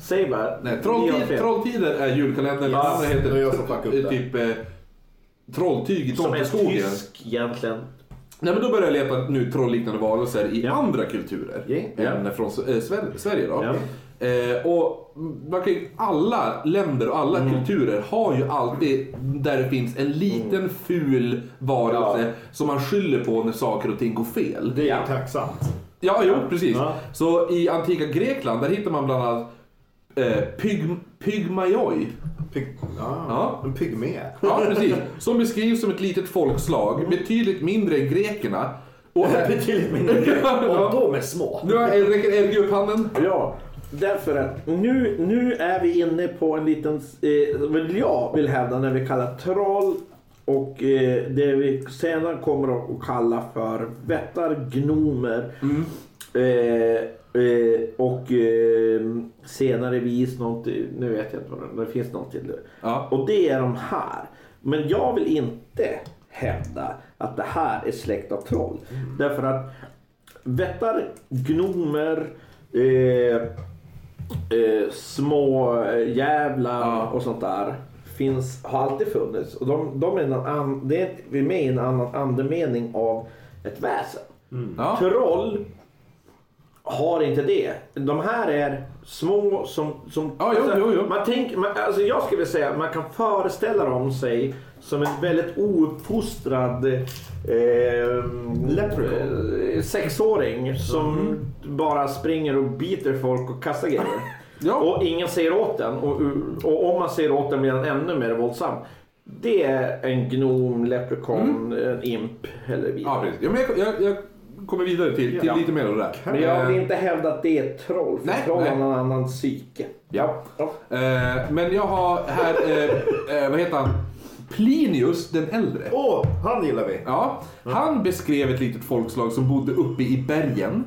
[SPEAKER 4] Säg bara.
[SPEAKER 1] Nej,
[SPEAKER 4] ni har
[SPEAKER 1] trolltid,
[SPEAKER 4] fel.
[SPEAKER 1] trolltider är julkalendern, den andra
[SPEAKER 5] det är
[SPEAKER 1] heter
[SPEAKER 5] jag som fuckar upp
[SPEAKER 1] eh,
[SPEAKER 5] det.
[SPEAKER 1] typ eh, Trolltyg i
[SPEAKER 4] Som en
[SPEAKER 1] tomteskogen.
[SPEAKER 4] tysk egentligen.
[SPEAKER 1] Nej men då börjar jag leta nu trollliknande varelser i andra kulturer
[SPEAKER 4] Ja.
[SPEAKER 1] än från S- eh, Sver- Sverige då.
[SPEAKER 4] Ja.
[SPEAKER 1] Eh, och man kan ju, alla länder och alla
[SPEAKER 5] Mm.
[SPEAKER 1] kulturer har ju alltid där det finns en liten
[SPEAKER 5] Mm.
[SPEAKER 1] ful varelse som man skyller på när saker och ting går fel.
[SPEAKER 5] Det är
[SPEAKER 4] Ja.
[SPEAKER 5] ju tacksamt.
[SPEAKER 1] Ja, jo precis.
[SPEAKER 5] Ja.
[SPEAKER 1] Så i antika Grekland där hittar man bland annat eh, pyg, Pygmaioi.
[SPEAKER 5] Pygg... Ah,
[SPEAKER 1] Ja.
[SPEAKER 5] En pygmé.
[SPEAKER 1] Ja, precis. Som beskrivs som ett litet folkslag, betydligt mindre än grekerna. Och,
[SPEAKER 5] Betydligt mindre.
[SPEAKER 1] Ja.
[SPEAKER 5] Och de är små.
[SPEAKER 1] Nu har jag räcker Elgi upp handen.
[SPEAKER 4] Ja, därför att nu, nu är vi inne på en liten, eh, vad jag vill hävda när vi kallar troll och eh, det vi senare kommer att- att kalla för vättar, gnomer eh, eh, och eh, senare vis något, nu vet jag inte vad det, det finns något till det.
[SPEAKER 1] Ja.
[SPEAKER 4] Och det är de här. Men jag vill inte hävda att det här är släkt av troll. Därför att vättar, gnomer, eh, eh, små eh, jävlar
[SPEAKER 1] Ja.
[SPEAKER 4] och sånt där finns, har alltid funnits. Och de, de är, en an, det är vi är med i en annan andemening av ett väsen.
[SPEAKER 1] Ja.
[SPEAKER 4] Troll har inte det. De här är små som... som
[SPEAKER 1] Ja, jo,
[SPEAKER 4] alltså,
[SPEAKER 1] jo, jo.
[SPEAKER 4] Man tänker, man, alltså jag skulle vilja säga att man kan föreställa dem sig som en väldigt ouppfostrad eh,
[SPEAKER 5] Leprechaun.
[SPEAKER 4] eh, sexåring som bara springer och biter folk och kastar grejer.
[SPEAKER 1] Mhm. Ja.
[SPEAKER 4] Och ingen säger åt den. Och, och om man säger åt den blir den ännu mer våldsam. Det är en gnom, leprechaun,
[SPEAKER 1] Mm.
[SPEAKER 4] en imp eller vidare.
[SPEAKER 1] Ja, precis. Ja, men jag, jag, jag kommer vidare till, till
[SPEAKER 4] Ja.
[SPEAKER 1] lite mer av det där.
[SPEAKER 4] Men jag vill
[SPEAKER 1] Eh,
[SPEAKER 4] inte hävda att det är ett troll, för
[SPEAKER 1] Nej,
[SPEAKER 4] troll
[SPEAKER 1] nej.
[SPEAKER 4] har någon annan psyke.
[SPEAKER 1] Ja.
[SPEAKER 4] Ja.
[SPEAKER 1] Eh, men jag har här, eh, eh, vad heter han? Plinius den äldre.
[SPEAKER 5] Åh, han gillar vi.
[SPEAKER 1] Ja, han beskrev ett litet folkslag som bodde uppe i bergen.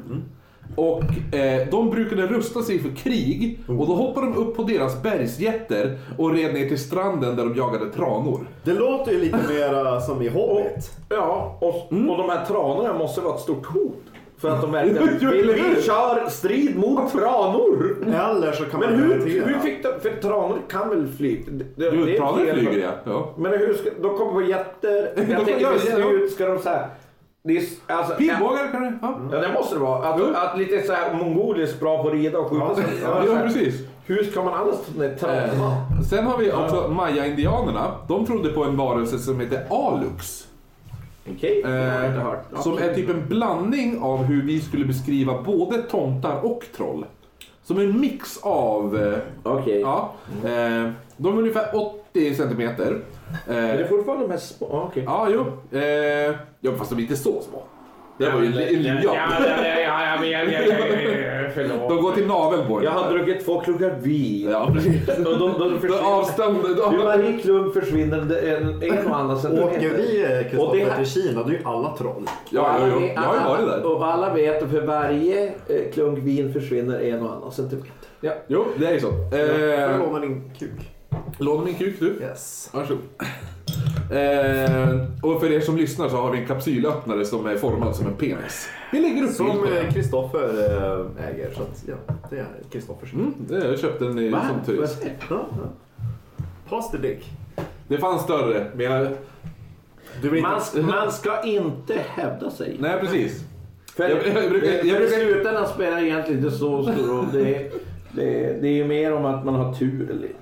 [SPEAKER 1] Och eh, de brukade rusta sig för krig och då hoppade de upp på deras bergsjätter och red ner till stranden där de jagade tranor.
[SPEAKER 5] Det låter ju lite mera som i Hobbit.
[SPEAKER 4] Ja, och,
[SPEAKER 1] Mm.
[SPEAKER 4] och de här tranorna måste vara ett stort hot. För att de verkligen...
[SPEAKER 1] Jo,
[SPEAKER 4] vi,
[SPEAKER 1] eller hur?
[SPEAKER 4] vi kör strid mot tranor!
[SPEAKER 5] Eller så kan
[SPEAKER 4] Men
[SPEAKER 5] man
[SPEAKER 4] hur,
[SPEAKER 5] garantera.
[SPEAKER 4] hur fick de... För tranor kan väl flyga? Det- det- det
[SPEAKER 1] Du,
[SPEAKER 4] är
[SPEAKER 1] tranor
[SPEAKER 4] fel.
[SPEAKER 1] flyger ja. ja.
[SPEAKER 4] Men hur ska... De kommer på jätter.
[SPEAKER 1] De
[SPEAKER 4] Jag
[SPEAKER 1] får-
[SPEAKER 4] tänker
[SPEAKER 1] ja,
[SPEAKER 4] till
[SPEAKER 1] ja.
[SPEAKER 4] slut ska de så här... Det är, s- alltså,
[SPEAKER 1] Pilbågar kan du? Ja.
[SPEAKER 4] Ja, det måste det vara. Att,
[SPEAKER 1] Jo.
[SPEAKER 4] att lite så här mongoliskt bra på att rida och skjuta.
[SPEAKER 5] Ja,
[SPEAKER 4] sig.
[SPEAKER 5] ja,
[SPEAKER 4] så
[SPEAKER 1] Ja,
[SPEAKER 4] här,
[SPEAKER 1] precis.
[SPEAKER 4] Hur ska man annars... Nej, tranor.
[SPEAKER 1] Eh, Sen har vi också maya-indianerna. De trodde på en varelse som heter Alux.
[SPEAKER 4] Okej, det har jag inte
[SPEAKER 1] Eh,
[SPEAKER 4] hört.
[SPEAKER 1] som är typ en blandning av hur vi skulle beskriva både tomtar och troll. Som en mix av... eh,
[SPEAKER 4] Okej.
[SPEAKER 1] Ja, eh, de är ungefär 80 centimeter. Eh,
[SPEAKER 4] Är det fortfarande de här små? Ah, okej.
[SPEAKER 1] Ja, jo. Eh, ja, fast de är inte så små. Det var ju en en
[SPEAKER 6] Ja,
[SPEAKER 1] luja.
[SPEAKER 6] ja, ja, ja, ja, ja, ja, ja, ja, förlåt.
[SPEAKER 1] De går till naveln på
[SPEAKER 4] Jag
[SPEAKER 1] den.
[SPEAKER 4] har druckit två klunkar vin.
[SPEAKER 1] Ja, precis.
[SPEAKER 4] Och de, de, de
[SPEAKER 1] Den
[SPEAKER 4] försvinner.
[SPEAKER 1] avstämde...
[SPEAKER 4] Ur varje klunk försvinner det en, en och annan centimeter.
[SPEAKER 5] Åker vi eh,
[SPEAKER 4] Och
[SPEAKER 5] Kristoffer
[SPEAKER 4] det här-
[SPEAKER 5] till Kina, då är ju alla troll.
[SPEAKER 4] Och
[SPEAKER 1] Ja,
[SPEAKER 4] alla
[SPEAKER 1] jo, jo.
[SPEAKER 4] vet-
[SPEAKER 1] Jag har ju
[SPEAKER 4] alla-
[SPEAKER 1] varit där.
[SPEAKER 4] Och alla vet att för varje eh, klunk vin försvinner en och annan typ- centimeter.
[SPEAKER 1] Jo, det är ju så.
[SPEAKER 5] Får jag
[SPEAKER 1] Eh,
[SPEAKER 5] låna din kuk?
[SPEAKER 1] låna min kuk du.
[SPEAKER 5] Yes.
[SPEAKER 1] Varsågod. Eh, och för er som lyssnar så har vi en kapsylöppnare som är formad som en penis. Vi lägger upp bild
[SPEAKER 5] Som
[SPEAKER 1] på
[SPEAKER 5] eh,
[SPEAKER 1] den.
[SPEAKER 5] Kristoffer eh, äger. Så att, ja, det är Kristoffers.
[SPEAKER 1] Mm, det- jag köpte den i,
[SPEAKER 4] Va?
[SPEAKER 1] som turist.
[SPEAKER 5] Ja, ja. Pass the dick.
[SPEAKER 1] Det fanns större, men jag...
[SPEAKER 5] Du vill
[SPEAKER 4] Man,
[SPEAKER 5] inte...
[SPEAKER 4] man ska inte hävda sig.
[SPEAKER 1] Nej, precis.
[SPEAKER 4] För,
[SPEAKER 1] Jag- jag brukar- jag
[SPEAKER 4] för i
[SPEAKER 1] brukar-
[SPEAKER 4] slutändan spelar det egentligen inte så stor roll. Det, är- det, är- det är ju mer om att man har tur eller inte.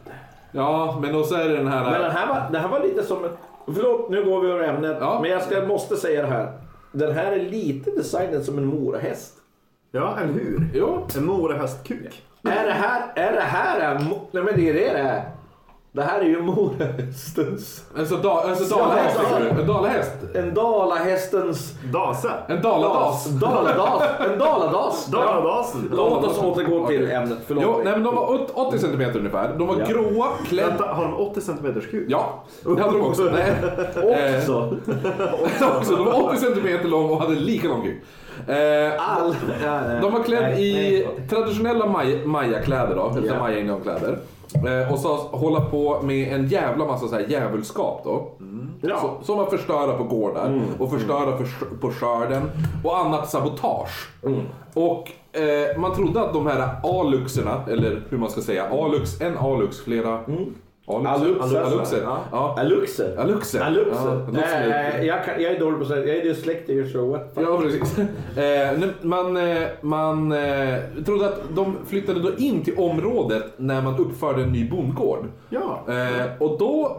[SPEAKER 1] Ja, men och så är det den
[SPEAKER 4] Men
[SPEAKER 1] här...
[SPEAKER 4] den här var, den här var lite som ett... Förlåt, nu går vi över ämnet.
[SPEAKER 1] Ja.
[SPEAKER 4] Men jag ska, måste säga det här. Den här är lite designad som en morahäst.
[SPEAKER 5] Ja, eller hur?
[SPEAKER 1] Jo,
[SPEAKER 5] En morahästkuk.
[SPEAKER 4] Är det här... Är det här... en mo- Nej men det är det det är. Det här är ju morahästens...
[SPEAKER 1] alltså, da, alltså dalahäst.
[SPEAKER 4] Ja,
[SPEAKER 1] tycker du? En dalahäst.
[SPEAKER 4] En dalahästens...
[SPEAKER 5] Dase.
[SPEAKER 1] En daladas.
[SPEAKER 4] Daladas. En daladas.
[SPEAKER 5] Daladasen.
[SPEAKER 4] Låt oss återgå till ämnet. Förlåt.
[SPEAKER 1] Jo, nej, men de var åt- 80 centimeter ungefär. De var
[SPEAKER 4] Ja.
[SPEAKER 1] gråa, klädda...
[SPEAKER 5] Vänta, har de 80 centimeters kuk?
[SPEAKER 1] Ja, det hade de också. Nej. Eh,
[SPEAKER 4] Också.
[SPEAKER 1] också. Alltså, De var 80 centimeter lång och hade lika lång kuk. Eh,
[SPEAKER 4] All... Ja, nej.
[SPEAKER 1] de var klädda
[SPEAKER 4] Ah, Nej,
[SPEAKER 1] i
[SPEAKER 4] nej.
[SPEAKER 1] traditionella maj- mayakläder då, eller
[SPEAKER 4] Ja.
[SPEAKER 1] maya-indiankläder. Eh, och så hålla på med en jävla massa så här djävulskap då.
[SPEAKER 4] Ja. Mm.
[SPEAKER 1] Så, som att förstöra på gårdar och förstöra för, på skörden och annat sabotage.
[SPEAKER 4] Mm.
[SPEAKER 1] Och eh, man trodde att de här aluxerna, eller hur man ska säga, alux, en alux, flera... Alux,
[SPEAKER 4] Aluxer.
[SPEAKER 1] aluxer.
[SPEAKER 4] Mm. alltså, Ja.
[SPEAKER 1] Ja.
[SPEAKER 4] Aluxer.
[SPEAKER 1] Aluxer.
[SPEAKER 4] Aluxer.
[SPEAKER 1] Ja,
[SPEAKER 4] Nej, nej, jag, kan, jag är dålig på sånt. Jag är dyslektiker så what the fuck.
[SPEAKER 1] Ja, precis. Eh, nu- man eh, man eh, trodde att de flyttade då in till området när man uppförde en ny bondgård.
[SPEAKER 5] Ja.
[SPEAKER 1] Eh, och då...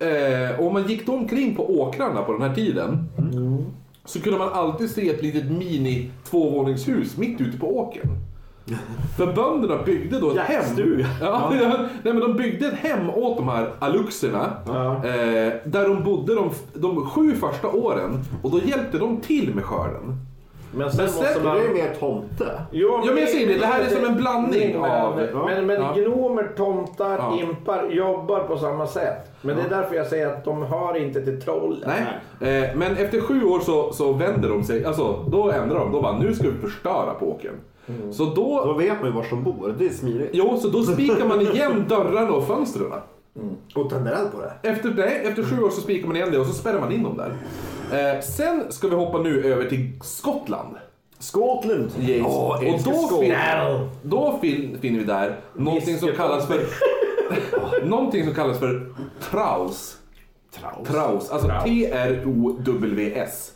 [SPEAKER 1] Eh, om man gick då omkring på åkrarna på den här tiden så kunde man alltid se ett litet mini tvåvåningshus mitt ute på åkern. För bönderna byggde då ett hem.
[SPEAKER 4] Jaktstuga.
[SPEAKER 1] Ja, ja. Nej, men de byggde ett hem åt de här aluxerna.
[SPEAKER 4] Ja.
[SPEAKER 1] Eh, där de bodde de, de sju första åren. Och då hjälpte de till med skörden.
[SPEAKER 4] Men sen
[SPEAKER 1] Men sen-
[SPEAKER 4] måste
[SPEAKER 5] Det är ju
[SPEAKER 4] Eh, man...
[SPEAKER 5] mer tomte.
[SPEAKER 4] Jo,
[SPEAKER 1] Ja, men jag säger det, det här är som en blandning
[SPEAKER 4] men,
[SPEAKER 1] av-
[SPEAKER 4] Men,
[SPEAKER 1] Ja.
[SPEAKER 4] men,
[SPEAKER 1] Ja.
[SPEAKER 4] gnomer, tomtar,
[SPEAKER 1] Ja.
[SPEAKER 4] impar jobbar på samma sätt. Men det är därför jag säger att de hör inte till trollen.
[SPEAKER 1] Nej. Eh, men efter sju år så, så vänder de sig. Alltså, då ändrar de. Då bara, nu ska vi förstöra på åkern. Så då
[SPEAKER 5] Då vet man ju var som bor. Det är smidigt.
[SPEAKER 1] Jo, så då spikar man igen dörrarna och fönstren.
[SPEAKER 5] Och tänder eld på det.
[SPEAKER 1] Efter, nej, efter sju år så spikar man igen det och så spärrar man in dem där. Eh, sen ska vi hoppa nu över till Skottland.
[SPEAKER 5] Skotlund.
[SPEAKER 1] Yes. och då, fin, då fin, finner vi där någonting som
[SPEAKER 4] Fisketomter.
[SPEAKER 1] kallas för någonting som kallas för traus.
[SPEAKER 5] Traus.
[SPEAKER 1] Traus, alltså T-R-O-W-S.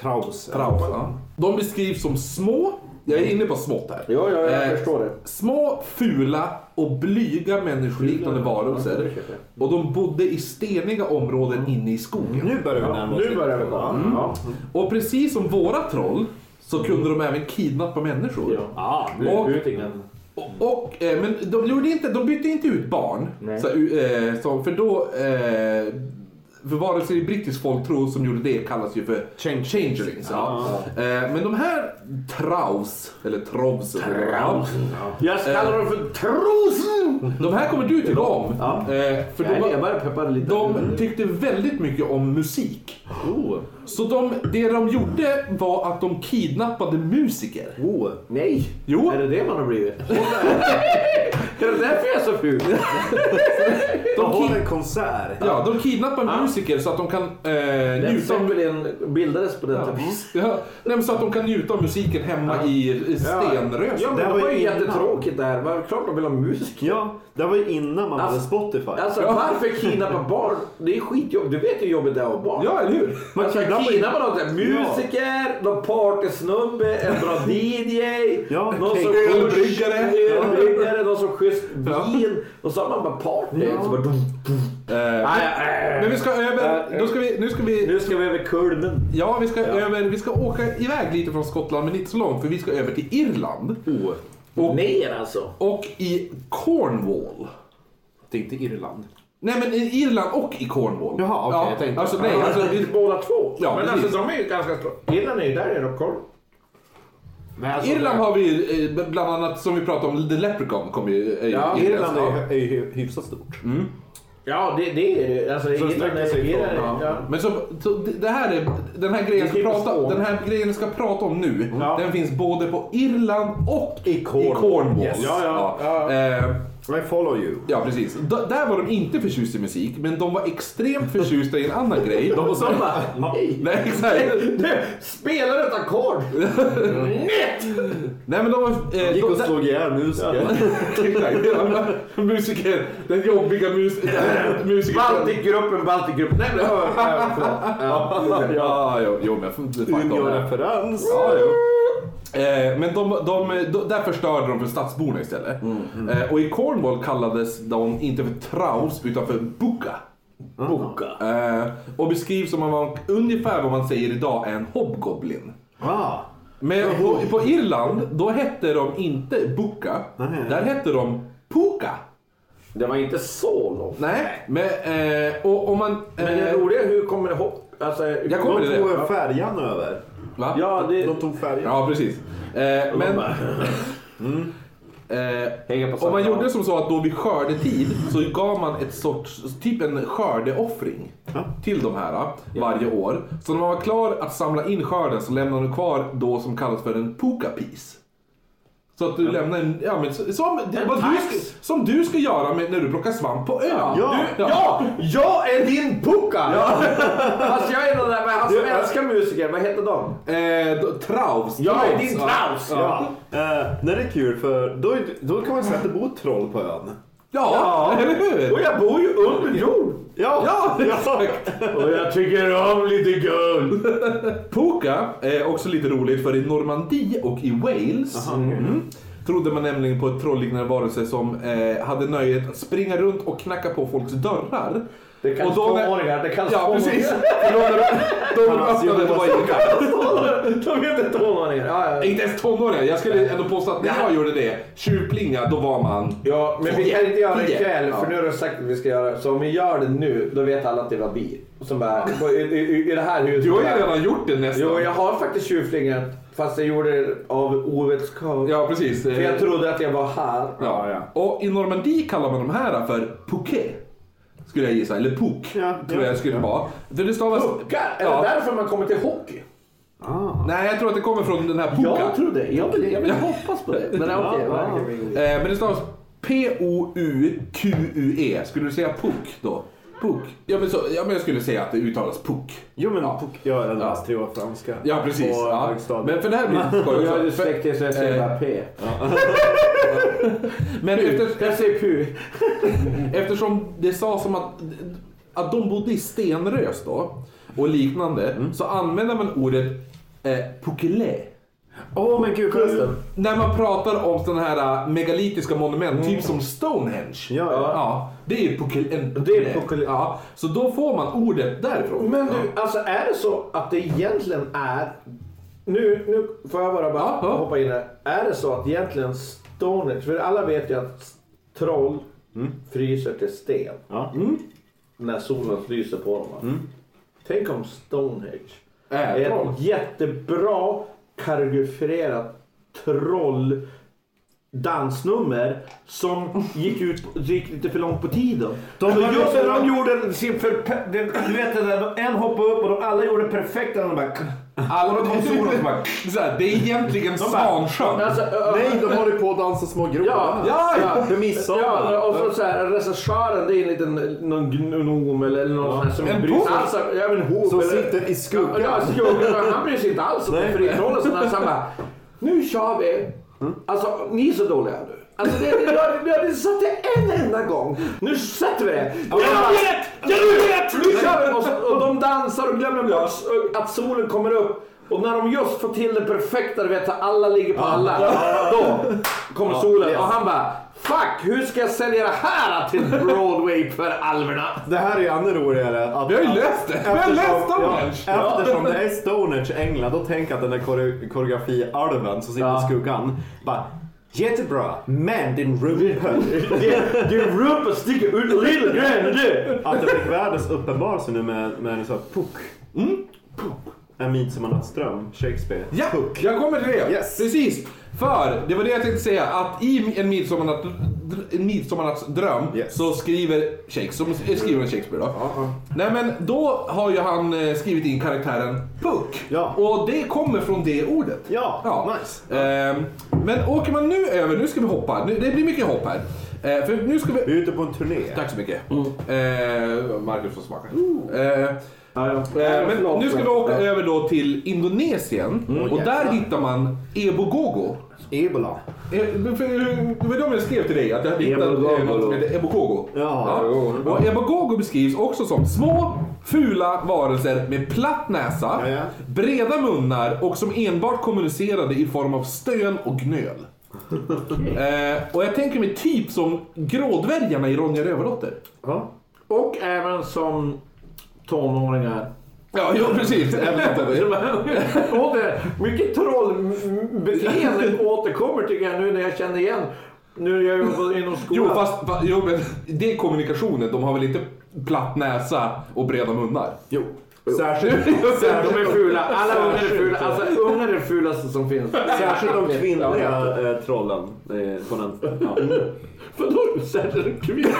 [SPEAKER 5] Traus.
[SPEAKER 1] Traus. Ja. De beskrivs som små, jag är inne på smått här.
[SPEAKER 4] Jo, ja, jag
[SPEAKER 1] Eh,
[SPEAKER 4] förstår det.
[SPEAKER 1] Små, fula och blyga människoliknande varelser. Och de bodde i steniga områden inne i skogen.
[SPEAKER 5] Nu börjar vi närma oss.
[SPEAKER 4] Nu börjar vi komma. Ja.
[SPEAKER 1] Och precis som våra troll så kunde de även kidnappa människor.
[SPEAKER 6] Ja, nu
[SPEAKER 1] Och-
[SPEAKER 6] ut igen.
[SPEAKER 1] Och, och, eh, men de, gjorde inte, de bytte inte ut barn.
[SPEAKER 6] Nej.
[SPEAKER 1] Så, eh, så, för då... Eh, för varelser i brittisk folktro som gjorde det kallas ju för changelings. Ja. Eh, men de här traus, eller trovs. Traus.
[SPEAKER 4] Jag kallar dem för trosen!
[SPEAKER 1] De här kommer du tycka om.
[SPEAKER 4] Ja.
[SPEAKER 1] Eh, för
[SPEAKER 4] Jag,
[SPEAKER 1] de,
[SPEAKER 4] är- jag
[SPEAKER 1] var,
[SPEAKER 4] börjar peppa lite.
[SPEAKER 1] de tyckte väldigt mycket om musik.
[SPEAKER 4] Oh,
[SPEAKER 1] Så de, det de gjorde var att de kidnappade musiker.
[SPEAKER 4] Oh, nej!
[SPEAKER 1] Jo.
[SPEAKER 4] Är det det man har blivit? är det därför jag är så ful?
[SPEAKER 5] De
[SPEAKER 1] De,
[SPEAKER 5] håller
[SPEAKER 1] ki-
[SPEAKER 5] en konsert.
[SPEAKER 1] ja, de kidnappar musiker så att de kan eh,
[SPEAKER 4] Den
[SPEAKER 1] njuta av
[SPEAKER 4] Zeppelin bildades på detta vis.
[SPEAKER 1] Ja, nej, men så att de kan njuta av musiken hemma i i stenröset.
[SPEAKER 4] Ja, men det
[SPEAKER 5] Det var
[SPEAKER 4] var ju
[SPEAKER 5] ju innan.
[SPEAKER 4] jättetråkigt där. Var klart de vill ha musik.
[SPEAKER 5] Ja, det var ju innan man hade
[SPEAKER 4] Alltså-
[SPEAKER 5] Spotify.
[SPEAKER 4] Alltså varför kidnappa barn? Det är skitjobb. Du vet hur jobbigt det är att ha barn.
[SPEAKER 1] Ja, eller hur?
[SPEAKER 4] Man alltså,
[SPEAKER 5] kidnappar ju-
[SPEAKER 4] kidnappa någon sån här musiker, någon partysnubbe, en bra DJ,
[SPEAKER 5] Ja,
[SPEAKER 4] någon
[SPEAKER 5] okej.
[SPEAKER 4] som
[SPEAKER 1] Ölbryggare.
[SPEAKER 4] ölbryggare, någon som schysst
[SPEAKER 1] Ja.
[SPEAKER 4] vin. Och så har man bara party. Så bara, dum, dum.
[SPEAKER 1] Eh, men vi ska över... Då ska vi, nu ska vi...
[SPEAKER 4] Nu ska vi över kulmen.
[SPEAKER 1] Ja, vi ska, Över, vi ska åka iväg lite från Skottland, men inte så långt, för vi ska över till Irland.
[SPEAKER 4] Ner alltså.
[SPEAKER 1] Och i Cornwall.
[SPEAKER 6] Det är inte Irland.
[SPEAKER 1] Nej men i Irland och i Cornwall.
[SPEAKER 3] Jaha, okej, jag tänkte-
[SPEAKER 1] Alltså nej, alltså... vi-
[SPEAKER 4] Båda två.
[SPEAKER 1] Ja,
[SPEAKER 4] men
[SPEAKER 1] precis.
[SPEAKER 4] alltså de är ju ganska... Irland är ju där nere och koll.
[SPEAKER 3] Men alltså,
[SPEAKER 1] Irland har vi eh, bland annat, som vi pratade om, The Leprechaun kom ju... eh, är ju
[SPEAKER 4] Ja,
[SPEAKER 1] irländskt.
[SPEAKER 5] Irland är, är ju hyfsat stort.
[SPEAKER 4] Ja, det, det är det. Alltså, Irland
[SPEAKER 5] sträcker
[SPEAKER 4] är...
[SPEAKER 5] sig
[SPEAKER 4] Irland
[SPEAKER 5] ifrån,
[SPEAKER 4] är ja.
[SPEAKER 1] Men så, så det- det här är, den här grejen
[SPEAKER 4] Det
[SPEAKER 1] ska
[SPEAKER 4] är
[SPEAKER 1] prata,
[SPEAKER 4] Skåne.
[SPEAKER 1] den här grejen ska prata om nu,
[SPEAKER 4] Ja.
[SPEAKER 1] den finns både på Irland och i
[SPEAKER 5] Cornwall. Yes.
[SPEAKER 1] Ja,
[SPEAKER 5] Ja,
[SPEAKER 1] ja.
[SPEAKER 5] ja.
[SPEAKER 1] Eh,
[SPEAKER 5] I follow you.
[SPEAKER 1] ja, precis. D- där var de inte förtjusta i musik, men de var extremt förtjusta i en annan grej. De
[SPEAKER 4] Och så bara... Nej!
[SPEAKER 1] Nej, exakt.
[SPEAKER 4] Du, spelar ett ackord!
[SPEAKER 1] Nej, men de var... eh,
[SPEAKER 5] Gick
[SPEAKER 1] de-
[SPEAKER 5] och slog ihjäl musiker.
[SPEAKER 1] Exakt. musiker, den jobbiga mus, musikern.
[SPEAKER 4] Baltikgruppen, Baltikgruppen. Nej, men hör, hör, förlåt.
[SPEAKER 1] Ja, jo, jo men fuck dem.
[SPEAKER 5] Umeå-referens.
[SPEAKER 1] Ja, jo. Eh, men de, de, de, där förstörde de för stadsborna istället.
[SPEAKER 4] Mm,
[SPEAKER 1] Eh, och i Cornwall kallades de inte för traus utan för buka.
[SPEAKER 7] Boka.
[SPEAKER 1] Eh, och beskrivs som om man, ungefär vad man säger idag är en hobgoblin.
[SPEAKER 7] Ah.
[SPEAKER 1] Men på, på Irland, då hette de inte buka. Där hette de puka.
[SPEAKER 4] Det var inte så långt.
[SPEAKER 1] Nej, men eh, och om man... Eh,
[SPEAKER 4] Men det roliga är hur kommer det hopp... Alltså,
[SPEAKER 1] jag kommer
[SPEAKER 5] De
[SPEAKER 1] till det.
[SPEAKER 5] tog färjan över.
[SPEAKER 1] Va?
[SPEAKER 4] Ja, det...
[SPEAKER 5] De tog färjan.
[SPEAKER 1] Ja, precis. Eh, men... Eh, om man gjorde som så att då vid skördetid så gav man ett sorts, typ en skördeoffring till de här eh, varje år. Så när man var klar att samla in skörden så lämnade man kvar då som kallas för en pokapis. Så att du lämnar en, ja men så- som, det- vad du ska, som du ska göra med, när du plockar svamp på ön.
[SPEAKER 4] Ja,
[SPEAKER 1] Du,
[SPEAKER 4] ja, jag är din pucka! Fast Alltså, jag är den där med han som älskar musiker. Vad heter de?
[SPEAKER 1] Eh, då- traus.
[SPEAKER 4] Jag är
[SPEAKER 1] traus,
[SPEAKER 4] din
[SPEAKER 1] ja.
[SPEAKER 4] Klaus!
[SPEAKER 5] Ja. Eh, nej, det är kul för då, är- då kan man säga att det bor ett troll på ön.
[SPEAKER 1] Ja,
[SPEAKER 4] Ja.
[SPEAKER 1] eller hur?
[SPEAKER 4] Och jag bor ju under jord.
[SPEAKER 1] Ja,
[SPEAKER 5] exakt.
[SPEAKER 4] Och jag tycker om lite guld.
[SPEAKER 1] Poka är också lite roligt för i Normandie och i Wales mm, trodde man nämligen på ett trolliknande varelse som eh, hade nöjet att springa runt och knacka på folks dörrar.
[SPEAKER 4] Det kan
[SPEAKER 1] Och då när-
[SPEAKER 4] tvååringar, det kan
[SPEAKER 1] Ja, precis. För då när de, de öppnade det var inga.
[SPEAKER 4] De heter tvååringar. Ja, ja.
[SPEAKER 1] Inte ens tonåringar. Jag skulle ändå påstå att när jag gjorde det, tjuvplinga, då var man...
[SPEAKER 4] ja, men vi kan inte göra det
[SPEAKER 1] Tio.
[SPEAKER 4] ikväll
[SPEAKER 1] Ja.
[SPEAKER 4] för nu har du sagt att vi ska göra det. Så om vi gör det nu, då vet alla att det var vi. Som bara, i, i, i- i det här huset.
[SPEAKER 1] Du har ju redan gjort det nästan.
[SPEAKER 4] Jo, jag har faktiskt tjuvflingat. Fast jag gjorde det av ovetskap.
[SPEAKER 1] Ja, precis. Eh,
[SPEAKER 4] För jag trodde att jag var här.
[SPEAKER 1] Ja. Och i Normandie kallar man de här för pouquet. Skulle jag gissa. Eller pok. tror jag skulle vara. För det stavas...
[SPEAKER 4] Puckar! Är
[SPEAKER 1] Ja.
[SPEAKER 4] det därför man kommer till hockey?
[SPEAKER 1] Nej, jag tror att det kommer från den här puka.
[SPEAKER 4] trodde Jag vill, jag vill hoppas på det. Men okej. verkligen.
[SPEAKER 1] Eh, men det stavas P-O-U-Q-U-E. E. Skulle du säga puk då? Puk? Ja men, så, ja, men jag skulle säga att det uttalas puk.
[SPEAKER 5] Jo men
[SPEAKER 1] Ja.
[SPEAKER 5] jag har läst tre år franska.
[SPEAKER 1] Ja, precis.
[SPEAKER 5] På
[SPEAKER 1] Ja.
[SPEAKER 5] högstadiet.
[SPEAKER 1] Men för det här blir lite skoj
[SPEAKER 4] Jag är
[SPEAKER 1] också. För-
[SPEAKER 4] dyslektiker så jag säger bara P.
[SPEAKER 1] Men efter,
[SPEAKER 4] Jag säger Pu.
[SPEAKER 1] Eftersom det sa som att, att de bodde i Stenrös då och liknande så använder man ordet eh, pukele.
[SPEAKER 5] Åh men gud, kolla den.
[SPEAKER 1] När man pratar om sådana här eh, megalitiska monument, typ som Stonehenge.
[SPEAKER 5] Ja, ja.
[SPEAKER 1] det är ju pukel, en
[SPEAKER 4] Det är
[SPEAKER 1] pukele.
[SPEAKER 4] pukele.
[SPEAKER 1] Ja, så då får man ordet därifrån.
[SPEAKER 4] Men du, alltså är det så att det egentligen är... Nu, nu får jag bara, bara
[SPEAKER 1] Ja, ja.
[SPEAKER 4] hoppa in här. Är det så att egentligen Stonehenge... För alla vet ju att troll
[SPEAKER 1] Mm.
[SPEAKER 4] fryser till sten.
[SPEAKER 5] Ja.
[SPEAKER 4] När solen lyser på dem. va?
[SPEAKER 1] Mm.
[SPEAKER 4] Tänk om Stonehenge
[SPEAKER 1] Är
[SPEAKER 4] är
[SPEAKER 1] troll.
[SPEAKER 4] ett jättebra koreograferat troll dansnummer som gick ut gick lite för långt på tiden.
[SPEAKER 7] De
[SPEAKER 4] så
[SPEAKER 7] var
[SPEAKER 4] just
[SPEAKER 7] lite-
[SPEAKER 4] när de gjorde sin för, den, du vet det där, en hoppade upp och de alla gjorde perfekta och de bara...
[SPEAKER 1] Alla de kom solen och bara, så här, det är egentligen Svansjön.
[SPEAKER 4] Alltså, ö-
[SPEAKER 5] Nej, de håller på att dansa små grodor.
[SPEAKER 4] Ja.
[SPEAKER 1] Ja, ja.
[SPEAKER 5] För midsommar.
[SPEAKER 4] Ja, och så, så här, regissören det är en liten någon gnom eller, eller någon sån här som
[SPEAKER 1] En
[SPEAKER 4] bryr sig
[SPEAKER 1] bov.
[SPEAKER 4] alls om- ja, men hov
[SPEAKER 5] Som
[SPEAKER 4] eller-
[SPEAKER 5] sitter i skuggan.
[SPEAKER 4] Ja, alltså, jag, han bryr sig inte alls om
[SPEAKER 5] Nej.
[SPEAKER 4] fritrollen. Så han bara, nu kör vi. Alltså, ni är så dåliga nu. Alltså, det, det, jag, jag hade satt det en enda gång. Nu sätter vi det. Jag vet! Jag vet! Nu kör vi! Och, så, och de dansar och glömmer bort s- att solen kommer upp. Och när de just får till det perfekta, du vet, att alla ligger på alla. Då kommer solen och han bara, fuck, hur ska jag sälja det här till Broadway för alverna?
[SPEAKER 5] Det här är ju ännu roligare. Att,
[SPEAKER 1] Vi har ju löst det. Vi har löst Stonehenge.
[SPEAKER 5] Ja, eftersom det är Stonehenge i England, då tänker jag att den där kore- koreografi-alven som sitter i skuggan bara
[SPEAKER 3] Jättebra, men din rumpa.
[SPEAKER 4] Din rumpa sticker ut lite grann du!
[SPEAKER 5] Att jag fick världens uppenbarelse nu med, med så här, puck.
[SPEAKER 1] Mm.
[SPEAKER 5] En midsommarnattsdröm, Shakespeare.
[SPEAKER 1] Ja, jag kommer till det.
[SPEAKER 3] Yes.
[SPEAKER 1] Precis. För, det var det jag tänkte säga, att i en, midsommarnatt, en midsommarnattsdröm
[SPEAKER 5] Yes.
[SPEAKER 1] så skriver Shakespeare, som skriver en Shakespeare då. Nej men då har ju han eh, skrivit in karaktären Puck.
[SPEAKER 5] Ja.
[SPEAKER 1] Och det kommer från det ordet.
[SPEAKER 5] Ja, nice.
[SPEAKER 1] Ehm, men åker man nu över, nu ska vi hoppa, nu, det blir mycket hopp här. Eh, för nu ska vi...
[SPEAKER 5] Vi är ute på en turné.
[SPEAKER 1] Tack så mycket. Eh, Marcus får smaka. Eh, Eh, Men nu ska vi åka över då till Indonesien och där hittar man Ebogogo.
[SPEAKER 3] Ebola.
[SPEAKER 1] Eh, för- Det var de jag skrev till dig, att jag hade hittat eh, något som heter Ebogogo.
[SPEAKER 5] Ja,
[SPEAKER 1] Ja. Och Ebogogo beskrivs också som små, fula varelser med platt näsa,
[SPEAKER 5] Ja, ja.
[SPEAKER 1] breda munnar och som enbart kommunicerade i form av stön och gnöl. eh, och jag tänker mig typ som grådvärgarna i Ronja Rövardotter.
[SPEAKER 5] Ja.
[SPEAKER 4] Och även som tonåringar.
[SPEAKER 1] Ja, jo, precis. Även
[SPEAKER 4] Åter, mycket trollbeteende återkommer tycker jag nu när jag känner igen. Nu är jag ju inom
[SPEAKER 1] Jo,
[SPEAKER 4] skolan.
[SPEAKER 1] fast, fa- jo, men det är kommunikationen. De har väl inte platt näsa och breda munnar?
[SPEAKER 5] Jo. Särskilt,
[SPEAKER 4] De är
[SPEAKER 5] särskilt,
[SPEAKER 4] fula. Alla ungar är fula. Alltså ungar är det fulaste som finns.
[SPEAKER 5] särskilt de kvinnliga eh, trollen. eh, På den. Mm. Ja.
[SPEAKER 4] Vadå särskilt kvinnor?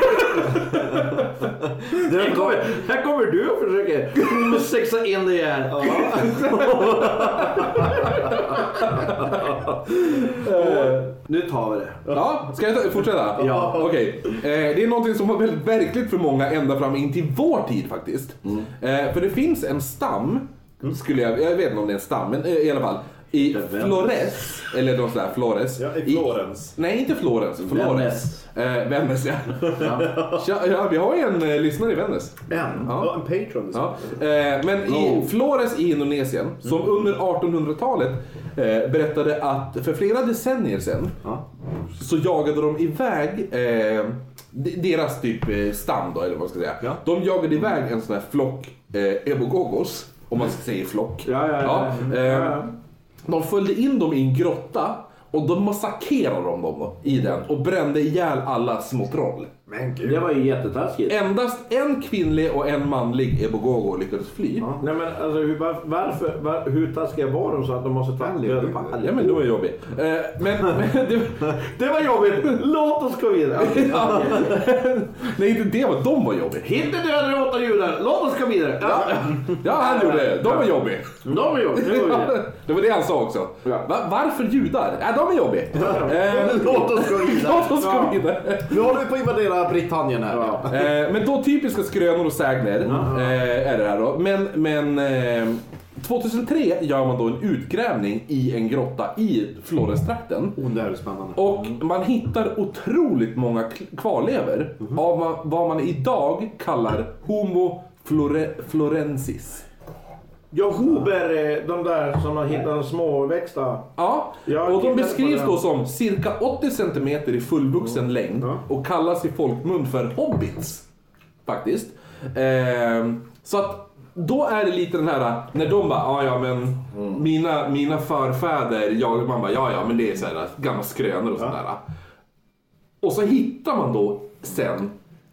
[SPEAKER 4] Här kommer, här kommer du och försöker sexa in det här. Eh, nu tar vi det.
[SPEAKER 1] Ja, ska jag ta, fortsätta?
[SPEAKER 4] Ja.
[SPEAKER 1] Okej. Eh, det är någonting som var väldigt verkligt för många ända fram in till vår tid faktiskt. Eh, för det finns en stam, skulle jag, jag vet inte om det är en stam, men eh, i alla fall. I Flores, eller någon sån där Flores.
[SPEAKER 5] Ja, i Florens.
[SPEAKER 1] nej, inte Florens. Flores. Eh, Vännäs, ja. ja. ja. Vi har ju en eh, lyssnare i Vännäs.
[SPEAKER 5] En.
[SPEAKER 1] Ja.
[SPEAKER 5] Ja, en liksom. patron.
[SPEAKER 1] Ja. Eh, men
[SPEAKER 4] Oh.
[SPEAKER 1] i Flores i Indonesien, som
[SPEAKER 4] Mm.
[SPEAKER 1] under 1800-talet eh, berättade att för flera decennier sedan så jagade de iväg eh, d- deras typ eh, stam då, eller vad man ska säga. De jagade iväg en sån här flock eh, ebogogos, om man ska säga flock.
[SPEAKER 4] Ja, ja, ja.
[SPEAKER 1] Ja, eh, De följde in dem i en grotta och de massakrerade dem då, i den och brände ihjäl alla små troll.
[SPEAKER 5] Men gud.
[SPEAKER 4] Det var ju jättetaskigt.
[SPEAKER 1] Endast en kvinnlig och en manlig ebogogo lyckades fly.
[SPEAKER 4] Nej men alltså hur, var, varför, var, hur taskiga var de så att de måste ta död på alla?
[SPEAKER 1] Ja men det var jobbigt. Eh, men, men det,
[SPEAKER 4] Det var jobbigt! Låt oss gå vidare.
[SPEAKER 1] ja. Nej inte det var, de var jobbiga.
[SPEAKER 4] Hitler dödade åtta judar. Låt oss gå vidare. Ja.
[SPEAKER 1] Ja han gjorde det, de var jobbiga.
[SPEAKER 4] De var jobbigt. Nu går vi vidare.
[SPEAKER 1] Det var det han sa också. Va, varför judar? Ja de är jobbiga. Eh,
[SPEAKER 3] Låt oss gå vidare.
[SPEAKER 1] låt oss gå vidare.
[SPEAKER 3] Nu håller vi på att invadera Britannien här.
[SPEAKER 1] Eh, men då typiska skrönor och sägner eh, är det här då. Men, men eh, 2003 gör man då en utgrävning i en grotta i Florestrakten.
[SPEAKER 3] Oh, det här är spännande.
[SPEAKER 1] Och man hittar otroligt många k- kvarlevor av ma- vad man idag kallar Homo flore, florensis.
[SPEAKER 4] Ja, Huber, eh, de där som har hittat de småväxta.
[SPEAKER 1] Ja,
[SPEAKER 4] Jag
[SPEAKER 1] och de
[SPEAKER 4] gillar
[SPEAKER 1] beskrivs
[SPEAKER 4] den.
[SPEAKER 1] då som cirka 80 cm i fullvuxen längd och kallas i folkmun för hobbits. Faktiskt. Ehm, så att då är det lite den här när de bara, "Ah, ja ja men mina, mina förfäder, jag, man bara, ja ja men det är så här gamla skrönor och sådär. Och så hittar man då sen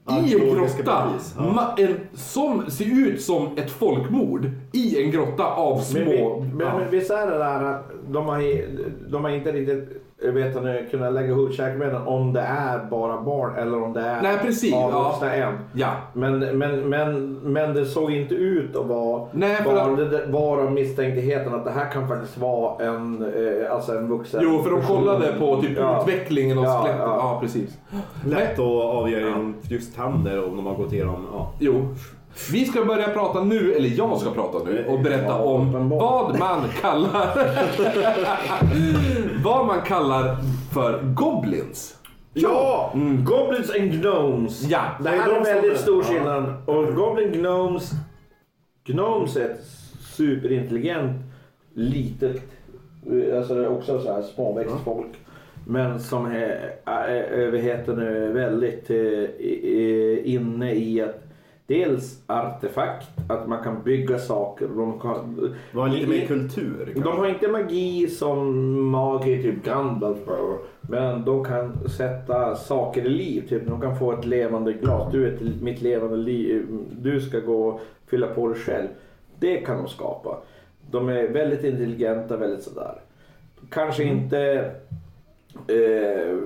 [SPEAKER 1] i en
[SPEAKER 5] Arkeologiska
[SPEAKER 1] grotta,
[SPEAKER 5] bevis, ja.
[SPEAKER 1] ma- en, som ser ut som ett folkmord i en grotta av små...
[SPEAKER 4] Men, vi, men,
[SPEAKER 1] ja.
[SPEAKER 4] men visst är det där att de har, de har inte riktigt eh, vet ni, kunnat lägga ihop käkbenen om det är bara barn eller om det är
[SPEAKER 1] Nej, precis,
[SPEAKER 4] avvuxna än.
[SPEAKER 1] ja.
[SPEAKER 4] Men, men, men, men det såg inte ut att vara
[SPEAKER 1] Nej, för
[SPEAKER 4] bara,
[SPEAKER 1] att-
[SPEAKER 4] det där- bara misstänktheten att det här kan faktiskt vara en, eh, alltså en vuxen.
[SPEAKER 1] Jo, för de kollade på typ
[SPEAKER 4] Ja.
[SPEAKER 1] utvecklingen av
[SPEAKER 4] Ja,
[SPEAKER 1] skelettet. Ja,
[SPEAKER 4] ja.
[SPEAKER 1] precis.
[SPEAKER 5] Lätt
[SPEAKER 1] Men,
[SPEAKER 5] att avgöra genom just tänder om de har gått igenom. Ja.
[SPEAKER 1] jo. Vi ska börja prata nu, eller jag ska prata nu och berätta
[SPEAKER 4] Ja,
[SPEAKER 1] om
[SPEAKER 4] uppenbart.
[SPEAKER 1] vad man kallar vad man kallar för goblins.
[SPEAKER 4] Ja! Goblins and Gnomes.
[SPEAKER 1] Mm. Ja,
[SPEAKER 4] det
[SPEAKER 5] det
[SPEAKER 4] här
[SPEAKER 5] är
[SPEAKER 4] är
[SPEAKER 5] de som-
[SPEAKER 4] väldigt
[SPEAKER 5] ja.
[SPEAKER 4] stor skillnad. Och Goblin Gnomes... Gnomes är ett superintelligent litet... eh, Alltså det är också så här småväxt folk. Men som är, är, är, heter nu väldigt eh, i- i- inne i att Dels artefakt, att man kan bygga saker. De, kan,
[SPEAKER 5] Det var lite mer kultur. kanske.
[SPEAKER 4] de har inte magi som magiker, typ Gandalf. bara, Men de kan sätta saker i liv. Typ, de kan få ett levande glas. Du är ett, mitt levande liv. Du ska gå och fylla på dig själv. Det kan de skapa. De är väldigt intelligenta, väldigt sådär. Kanske inte eh,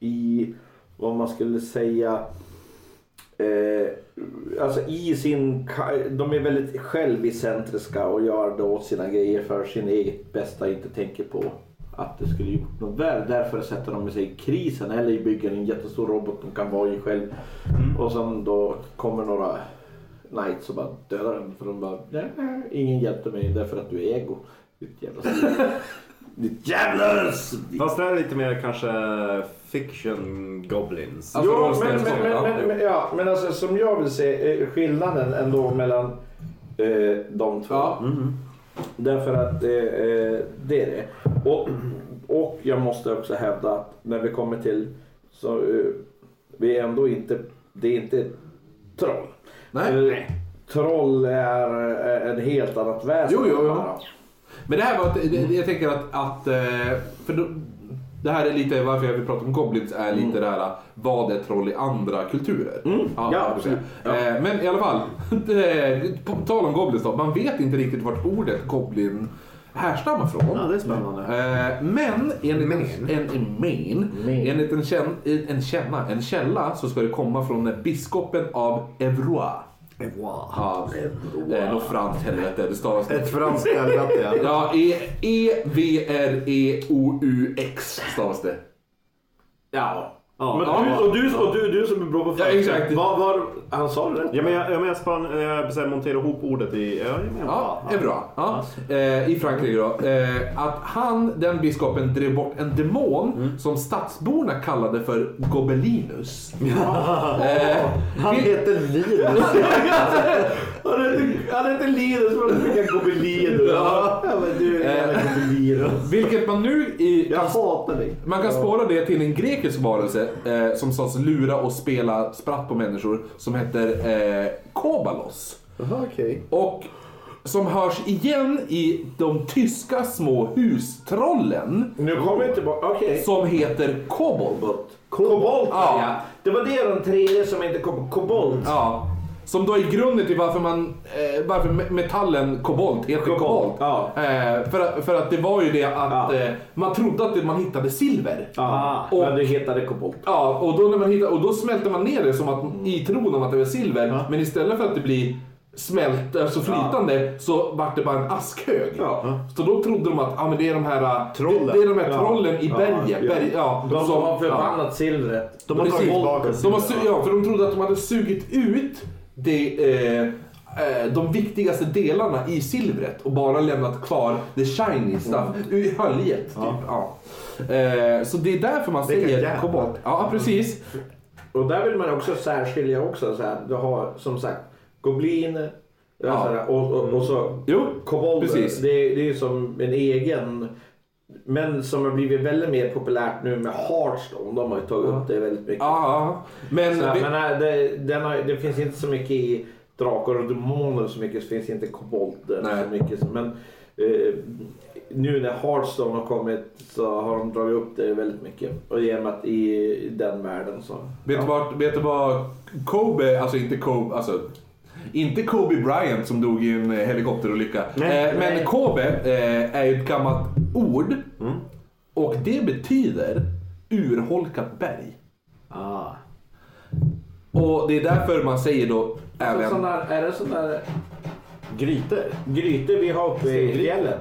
[SPEAKER 4] i vad man skulle säga Eh, alltså i sin, ka- de är väldigt självicentriska och gör då sina grejer för sin eget bästa. Inte tänker på att det skulle gjort något väl. Därför sätter de sig i krisen eller bygger en jättestor robot de kan vara i själv. Och sen då kommer några knights och bara dödar dem. För de bara, nej, nej, ingen hjälpte mig därför att du är ego. Ditt jävla Ditt jävla svin.
[SPEAKER 5] Fast det här är lite mer kanske fiction goblins.
[SPEAKER 1] Alltså,
[SPEAKER 4] Jo, men,
[SPEAKER 1] rollspel-
[SPEAKER 4] men, men, men, men, ja, men alltså, som jag vill se eh, skillnaden ändå mellan eh, de två. Mm-hmm.
[SPEAKER 1] Ja.
[SPEAKER 4] Därför att eh, eh, det är det. Och, och jag måste också hävda att när vi kommer till så eh, vi är ändå inte, det är inte troll.
[SPEAKER 1] Nej.
[SPEAKER 4] Eh, troll är eh, ett helt annat väsen.
[SPEAKER 1] Jo, jo, jo. Men det här var, att- det- det- jag tänker att, att eh, för då, det här är lite varför jag vill prata om goblins är lite det här vad är troll i andra kulturer?
[SPEAKER 4] ja,
[SPEAKER 1] det är det.
[SPEAKER 4] absolut. Ja.
[SPEAKER 1] Eh, Men i alla fall, det- på tal om goblins då, man vet inte riktigt vart ordet goblin härstammar från.
[SPEAKER 3] Ja, det är spännande.
[SPEAKER 1] Eh, Men enligt en, en, en, main,
[SPEAKER 4] Main.
[SPEAKER 1] enligt en, kän, en, en, känna, en källa så ska det komma från biskopen av Evrois.
[SPEAKER 3] Wow.
[SPEAKER 1] Ja, eh, något franskt helvete, det stavas
[SPEAKER 3] Ett franskt helvete. ja.
[SPEAKER 1] Ja, E- E-V-R-E-O-U-X stavas det. Ja.
[SPEAKER 4] Men
[SPEAKER 3] Ja.
[SPEAKER 4] du, och, du, och du, du som är bra på
[SPEAKER 1] Ja, exakt.
[SPEAKER 4] Vad var, han sa det rätt?
[SPEAKER 5] Ja, men jag, jag, men jag, span, jag så här, monterade ihop ordet i... Ja, jag menar.
[SPEAKER 1] Ja, är bra. Ja. Eh, I Frankrike då. Eh, att han, den biskopen, drev bort en demon som stadsborna kallade för Gobelinus. Eh,
[SPEAKER 3] Han
[SPEAKER 1] vil-
[SPEAKER 3] heter Linus.
[SPEAKER 4] Han heter- Han heter Linus, men han fick Gobelin.
[SPEAKER 1] Ja.
[SPEAKER 4] Ja, men du är en jävla Gobelin.
[SPEAKER 1] vilket man nu i,
[SPEAKER 4] Jag hatar dig.
[SPEAKER 1] Man kan spåra det till en grekisk varelse eh, som sades lura och spela spratt på människor som heter eh, Kobalos.
[SPEAKER 3] Jaha, okej.
[SPEAKER 1] Och som hörs igen i de tyska små hustrollen
[SPEAKER 4] Nu kommer vi tillbaka. Okej.
[SPEAKER 1] som heter Kobold.
[SPEAKER 4] Kobolt.
[SPEAKER 1] Ja.
[SPEAKER 4] Ja. Det var det den tredje som inte kom. Kobolt.
[SPEAKER 1] Ja. Som då är grunden till varför, man, eh, varför me- metallen kobolt heter kobolt.
[SPEAKER 4] Kobolt, ja.
[SPEAKER 1] Eh, för, att- för att det var ju det att
[SPEAKER 4] Ja.
[SPEAKER 1] eh, man trodde att det- man hittade silver.
[SPEAKER 4] Ja.
[SPEAKER 1] Och-
[SPEAKER 4] Men det hetade kobolt.
[SPEAKER 1] Ja, och då, när man hittar, och då smälter man ner det som att, i tron om att det var silver. Men istället för att det blir smält, alltså flytande, så vart det bara en askhög.
[SPEAKER 4] Ja.
[SPEAKER 1] Så då trodde de att ah, men det är de här äh,
[SPEAKER 5] Trollen.
[SPEAKER 1] Det, det är de här
[SPEAKER 4] Ja.
[SPEAKER 1] trollen i
[SPEAKER 4] Ja,
[SPEAKER 1] berget.
[SPEAKER 4] ja.
[SPEAKER 1] Berg, ja,
[SPEAKER 4] De som har
[SPEAKER 1] ja.
[SPEAKER 4] förvandlat silvret.
[SPEAKER 5] De har
[SPEAKER 1] Precis.
[SPEAKER 5] tagit tillbaka
[SPEAKER 1] De har,
[SPEAKER 5] sina-
[SPEAKER 1] su- ja, för de trodde att de hade sugit ut det, eh, eh, de viktigaste delarna i silvret och bara lämnat kvar the shiny stuff, i höljet. Typ. Ja. Eh, så det är därför man
[SPEAKER 5] Vilka
[SPEAKER 1] säger
[SPEAKER 5] jävla-
[SPEAKER 1] kobolt. Ja, precis.
[SPEAKER 4] Och där vill man också särskilja också. Så här, du har som sagt gobliner
[SPEAKER 1] Ja.
[SPEAKER 4] ja. så här, och, och, och så
[SPEAKER 1] Jo, precis.
[SPEAKER 4] kobolder. Det, det är ju som en egen. Men som har blivit väldigt mer populärt nu med Hearthstone. De har ju tagit upp det väldigt mycket.
[SPEAKER 1] Ja, ja. men,
[SPEAKER 4] Så här,
[SPEAKER 1] vi-
[SPEAKER 4] men nej, det, den har, det finns inte så mycket i drakar och demoner så mycket. Så finns inte kobolder
[SPEAKER 1] Nej.
[SPEAKER 4] så mycket. Men eh, nu när Hearthstone har kommit så har de dragit upp det väldigt mycket. Och genom att i, i den världen så.
[SPEAKER 1] vet, du vart, vet du vad Kobe, alltså inte Kobe, alltså inte Kobe Bryant som dog i en eh, helikopterolycka. eh, men
[SPEAKER 4] nej. Mm.
[SPEAKER 1] Kobe eh, är ju ett gammalt ord och det betyder urholkat berg.
[SPEAKER 3] Ah.
[SPEAKER 1] Och det är därför man säger då
[SPEAKER 4] Så
[SPEAKER 1] även...
[SPEAKER 4] sån där, är det sådana där
[SPEAKER 3] Grytor?
[SPEAKER 4] grytor vi har uppe i fjällen?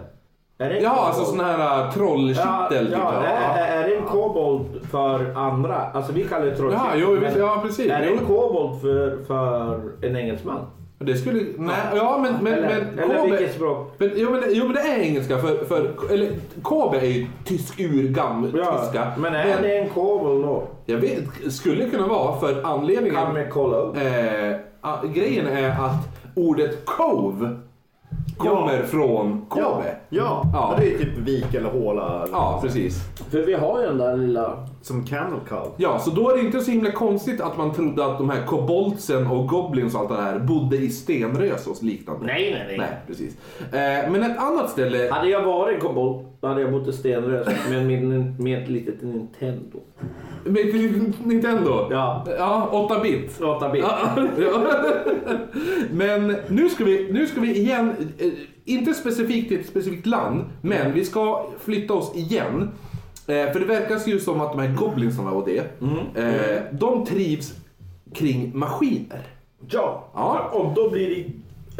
[SPEAKER 4] Är det en
[SPEAKER 1] Ja,
[SPEAKER 4] kobold?
[SPEAKER 1] alltså sån här äh, trollkittel.
[SPEAKER 4] Ja, ja,
[SPEAKER 1] typ.
[SPEAKER 4] är, är- är det en kobold för andra? Alltså vi kallar det trollkittel.
[SPEAKER 1] Ja, jo, visst,
[SPEAKER 4] men
[SPEAKER 1] ja precis.
[SPEAKER 4] Är det en
[SPEAKER 1] Jo.
[SPEAKER 4] kobold för, för en engelsman?
[SPEAKER 1] Det skulle... Nej, ja men... men,
[SPEAKER 4] eller
[SPEAKER 1] men
[SPEAKER 4] eller
[SPEAKER 1] Kobe-
[SPEAKER 4] vilket språk?
[SPEAKER 1] Men, jo, men, jo men det är engelska för, för eller, KB är ju tysk urgammal
[SPEAKER 4] Ja,
[SPEAKER 1] tyska.
[SPEAKER 4] Men är det en kobold då?
[SPEAKER 1] jag vet, skulle kunna vara för anledningen.
[SPEAKER 4] Kan vi kolla upp?
[SPEAKER 1] Eh, a, grejen är att ordet cove kommer från KB.
[SPEAKER 5] Ja, ja.
[SPEAKER 1] Ja.
[SPEAKER 5] ja, det är typ vik eller håla.
[SPEAKER 1] Ja, precis.
[SPEAKER 4] För vi har ju den där lilla
[SPEAKER 5] Som Candle Cow.
[SPEAKER 1] Ja, så då är det inte så himla konstigt att man trodde att de här koboltsen och goblins och allt det här bodde i stenrös och liknande.
[SPEAKER 4] Nej, nej, nej.
[SPEAKER 1] Nej, precis. Eh, men ett annat ställe...
[SPEAKER 4] Hade jag varit kobolt då hade jag bott i Stenrös med, min, med ett litet Nintendo.
[SPEAKER 1] Med till Nintendo?
[SPEAKER 4] Ja.
[SPEAKER 1] Ja, 8-bit.
[SPEAKER 4] Databit.
[SPEAKER 1] Ja. men nu ska vi, nu ska vi igen, eh, inte specifikt till ett specifikt land, men vi ska flytta oss igen. Eh, För det verkar ju som att de här goblinsarna och det, eh, de trivs kring maskiner.
[SPEAKER 4] Ja.
[SPEAKER 1] Ja.
[SPEAKER 4] och då blir det...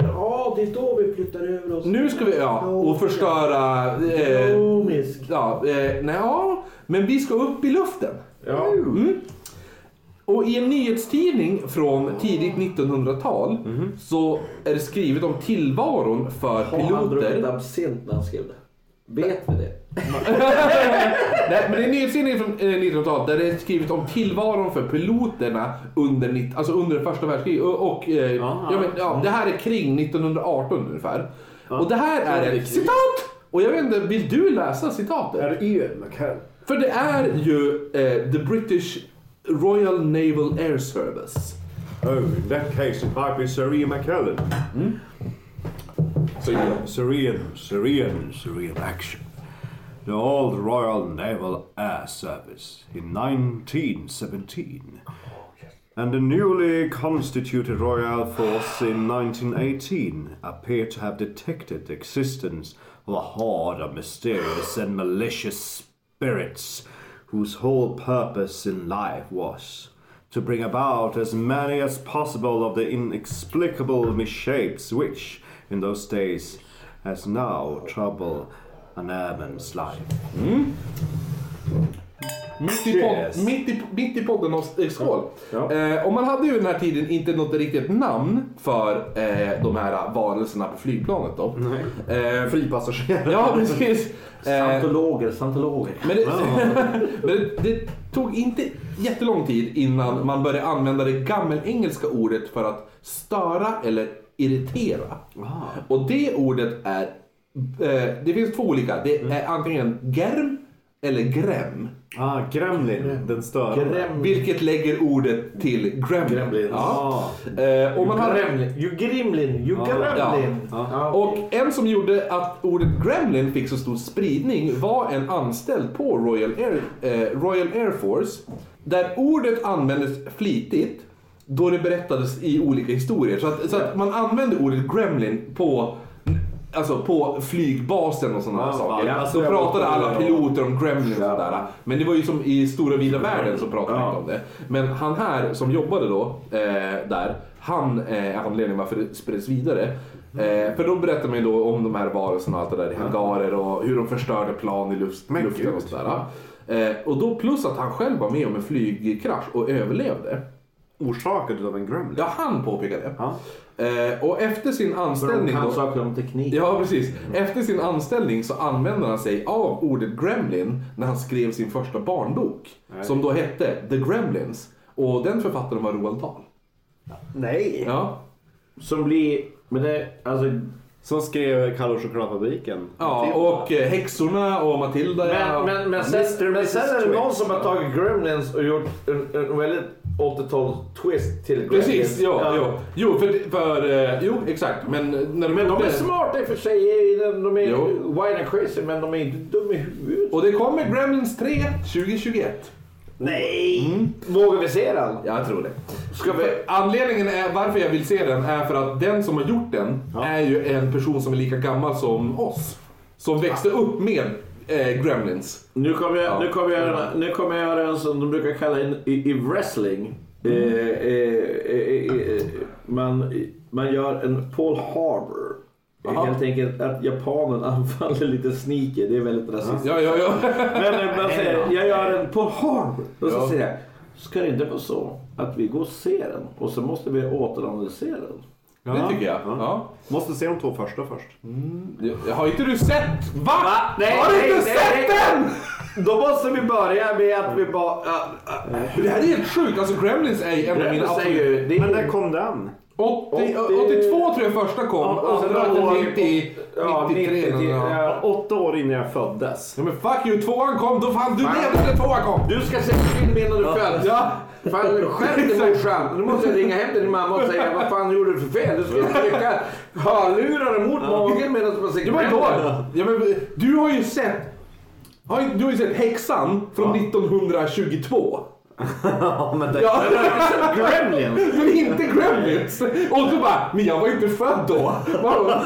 [SPEAKER 4] Ja, det är då vi flyttar över oss.
[SPEAKER 1] Nu ska vi, ja, och förstöra... Eh,
[SPEAKER 4] Komisk.
[SPEAKER 1] ja, eh, nej, ja, men vi ska upp i luften.
[SPEAKER 4] Ja.
[SPEAKER 1] Mm. Och i en nyhetstidning från tidigt 1900-tal så är det skrivet om tillvaron för
[SPEAKER 4] Har han druckit
[SPEAKER 1] piloter.
[SPEAKER 4] absint när han skrev det? Vet vi det?
[SPEAKER 1] Nej, men det är en nyhetstidning från eh, 1900-talet där det är skrivet om tillvaron för piloterna under, nitt- alltså under första världskriget. Och, och, eh, ja, men, ja, det här är kring 1918 ungefär. Och det här är ett citat! Och jag vet inte, vill du läsa citatet?
[SPEAKER 3] Är Ian McCall?
[SPEAKER 1] För det är ju eh, The British Royal Naval Air Service.
[SPEAKER 5] Oh, in that case it might be Serene McKellen. Serene, Serene, Serene, Serene action. The old Royal Naval Air Service in 1917. And the newly constituted Royal Force in 1918 appear to have detected the existence of a horde of mysterious and malicious spirits whose whole purpose in life was to bring about as many as possible of the inexplicable misshapes which, in those days, as now trouble an airman's life.
[SPEAKER 1] Mitt i, podd,
[SPEAKER 5] Cheers.
[SPEAKER 1] mitt i, mitt i podden och eh, skål. Eh, och man hade ju den här tiden inte något riktigt namn för eh, de här varelserna på flygplanet då. Eh,
[SPEAKER 3] Fripassagerare.
[SPEAKER 1] ja, precis. Eh,
[SPEAKER 4] Santologer, santologer.
[SPEAKER 1] men det, men det, det tog inte jättelång tid innan man började använda det gammelengelska ordet för att störa eller irritera.
[SPEAKER 5] Ah,
[SPEAKER 1] Och det ordet är... Eh, det finns två olika. Det är antingen germ eller gräm.
[SPEAKER 5] Ah, Gremlin, den störande.
[SPEAKER 4] Gremlin.
[SPEAKER 1] Vilket lägger ordet till gremlin.
[SPEAKER 5] Ah.
[SPEAKER 1] Ja. Eh, och, man hade,
[SPEAKER 4] Gremlin. You Gremlin. You
[SPEAKER 1] ja.
[SPEAKER 4] Gremlin. Ja.
[SPEAKER 1] och en som gjorde att ordet gremlin fick så stor spridning var en anställd på Royal Air, eh, Royal Air Force. Där ordet användes flitigt då det berättades i olika historier. Så att, så att man använde ordet gremlin på Alltså på flygbasen och sådana här saker.
[SPEAKER 5] ja, alltså,
[SPEAKER 1] Då
[SPEAKER 5] jag
[SPEAKER 1] pratade
[SPEAKER 5] var-
[SPEAKER 1] alla piloter om Gremlin och sådär. Men det var ju som i stora vida världen så pratade man inte om det. Men han här som jobbade då eh, där, han eh, är anledningen varför det spreds vidare. Eh, för då berättade man ju då om de här varelserna och allt det där i hangarer och hur de förstörde plan i luft,
[SPEAKER 5] Men
[SPEAKER 1] luften
[SPEAKER 5] gud.
[SPEAKER 1] och sådär. Eh, och då plus att han själv var med om en flygkrasch och överlevde.
[SPEAKER 5] Orsakad av en Gremlin.
[SPEAKER 1] Ja, han påpekade det. Eh, och efter sin
[SPEAKER 4] De
[SPEAKER 1] anställning
[SPEAKER 4] kan
[SPEAKER 1] då...
[SPEAKER 4] saker om teknik.
[SPEAKER 1] Ja, precis. Efter sin anställning så använde han sig av ordet gremlin när han skrev sin första barnbok. Som då hette The Gremlins. Och den författaren var Roald Dahl.
[SPEAKER 3] Nej.
[SPEAKER 1] Ja.
[SPEAKER 4] Som blir... Men det, alltså,
[SPEAKER 3] Som skrev Kalle och chokladfabriken.
[SPEAKER 1] Ja, och eh, häxorna och Matilda. ja.
[SPEAKER 4] men, men, men, sen, men sen är det någon som har tagit Gremlins och gjort en, en väldigt 80-tals-twist till Gremlins.
[SPEAKER 1] Precis, ja. Jo, jo, för, för, eh, jo exakt. Men, när
[SPEAKER 4] Men de
[SPEAKER 1] gjorde-
[SPEAKER 4] är smarta i och för sig. i den- De är
[SPEAKER 1] Jo.
[SPEAKER 4] wild and crazy, men de är inte dumma i huvudet.
[SPEAKER 1] Och det kommer Gremlins 3 2021.
[SPEAKER 4] Nej! Vågar vi se den?
[SPEAKER 1] Jag tror det. Ska vi... Anledningen är, varför jag vill se den är för att den som har gjort den är ju en person som är lika gammal som oss. Som växte upp med eh, Gremlins.
[SPEAKER 4] Nu kommer jag,
[SPEAKER 1] Ja.
[SPEAKER 4] nu kommer jag, göra- nu kommer jag göra en som de brukar kalla in, i, i wrestling. Eh, eh, eh, eh, man, man gör en Paul Harbour.
[SPEAKER 1] Aha.
[SPEAKER 4] Helt enkelt att japanen anfaller lite sneaky. Det är väldigt rasistiskt.
[SPEAKER 1] Ja, ja, ja.
[SPEAKER 4] Men eh, man säger, jag gör en Paul Harbour. Och så
[SPEAKER 1] Ja.
[SPEAKER 4] säger jag, ska det inte vara så att vi går och ser den och så måste vi återanalysera den?
[SPEAKER 1] Det tycker jag. Ja.
[SPEAKER 5] Måste se de två första först.
[SPEAKER 1] Ja. Har inte du sett? Va?
[SPEAKER 4] Va? Nej,
[SPEAKER 1] har du
[SPEAKER 4] nej,
[SPEAKER 1] inte
[SPEAKER 4] nej,
[SPEAKER 1] sett
[SPEAKER 4] nej.
[SPEAKER 1] den?
[SPEAKER 4] Då måste vi börja med att vi bara... Uh,
[SPEAKER 1] Det här är helt sjukt. Alltså Gremlins är ju en av mina
[SPEAKER 4] Gremlins är
[SPEAKER 1] absolut...
[SPEAKER 4] ju... Det är
[SPEAKER 5] Men där kom den.
[SPEAKER 1] 80, 82 tror jag första kom,
[SPEAKER 3] och sen
[SPEAKER 1] andra
[SPEAKER 3] var det
[SPEAKER 1] 90,
[SPEAKER 4] Ja,
[SPEAKER 1] 93 eller
[SPEAKER 4] 90,
[SPEAKER 1] något.
[SPEAKER 4] ja.
[SPEAKER 3] Ja, Åtta år innan jag föddes.
[SPEAKER 1] Ja men fuck you, tvåan kom, då fan du levde när tvåan kom!
[SPEAKER 4] Du ska se film innan du föds.
[SPEAKER 1] Ja.
[SPEAKER 4] Fan, skärp dig morsan. Nu måste jag ringa hem till din mamma och säga vad fan gjorde du för fel? Du skulle trycka hörlurar mot magen medan man ser
[SPEAKER 1] Ja men då, ja, men, du har ju sett, har ju- du har ju sett Häxan från 1922.
[SPEAKER 3] Ja, men det...
[SPEAKER 1] Ja,
[SPEAKER 3] Gremlins!
[SPEAKER 1] men inte Gremlins! Och så bara, men jag var inte född då. Bara-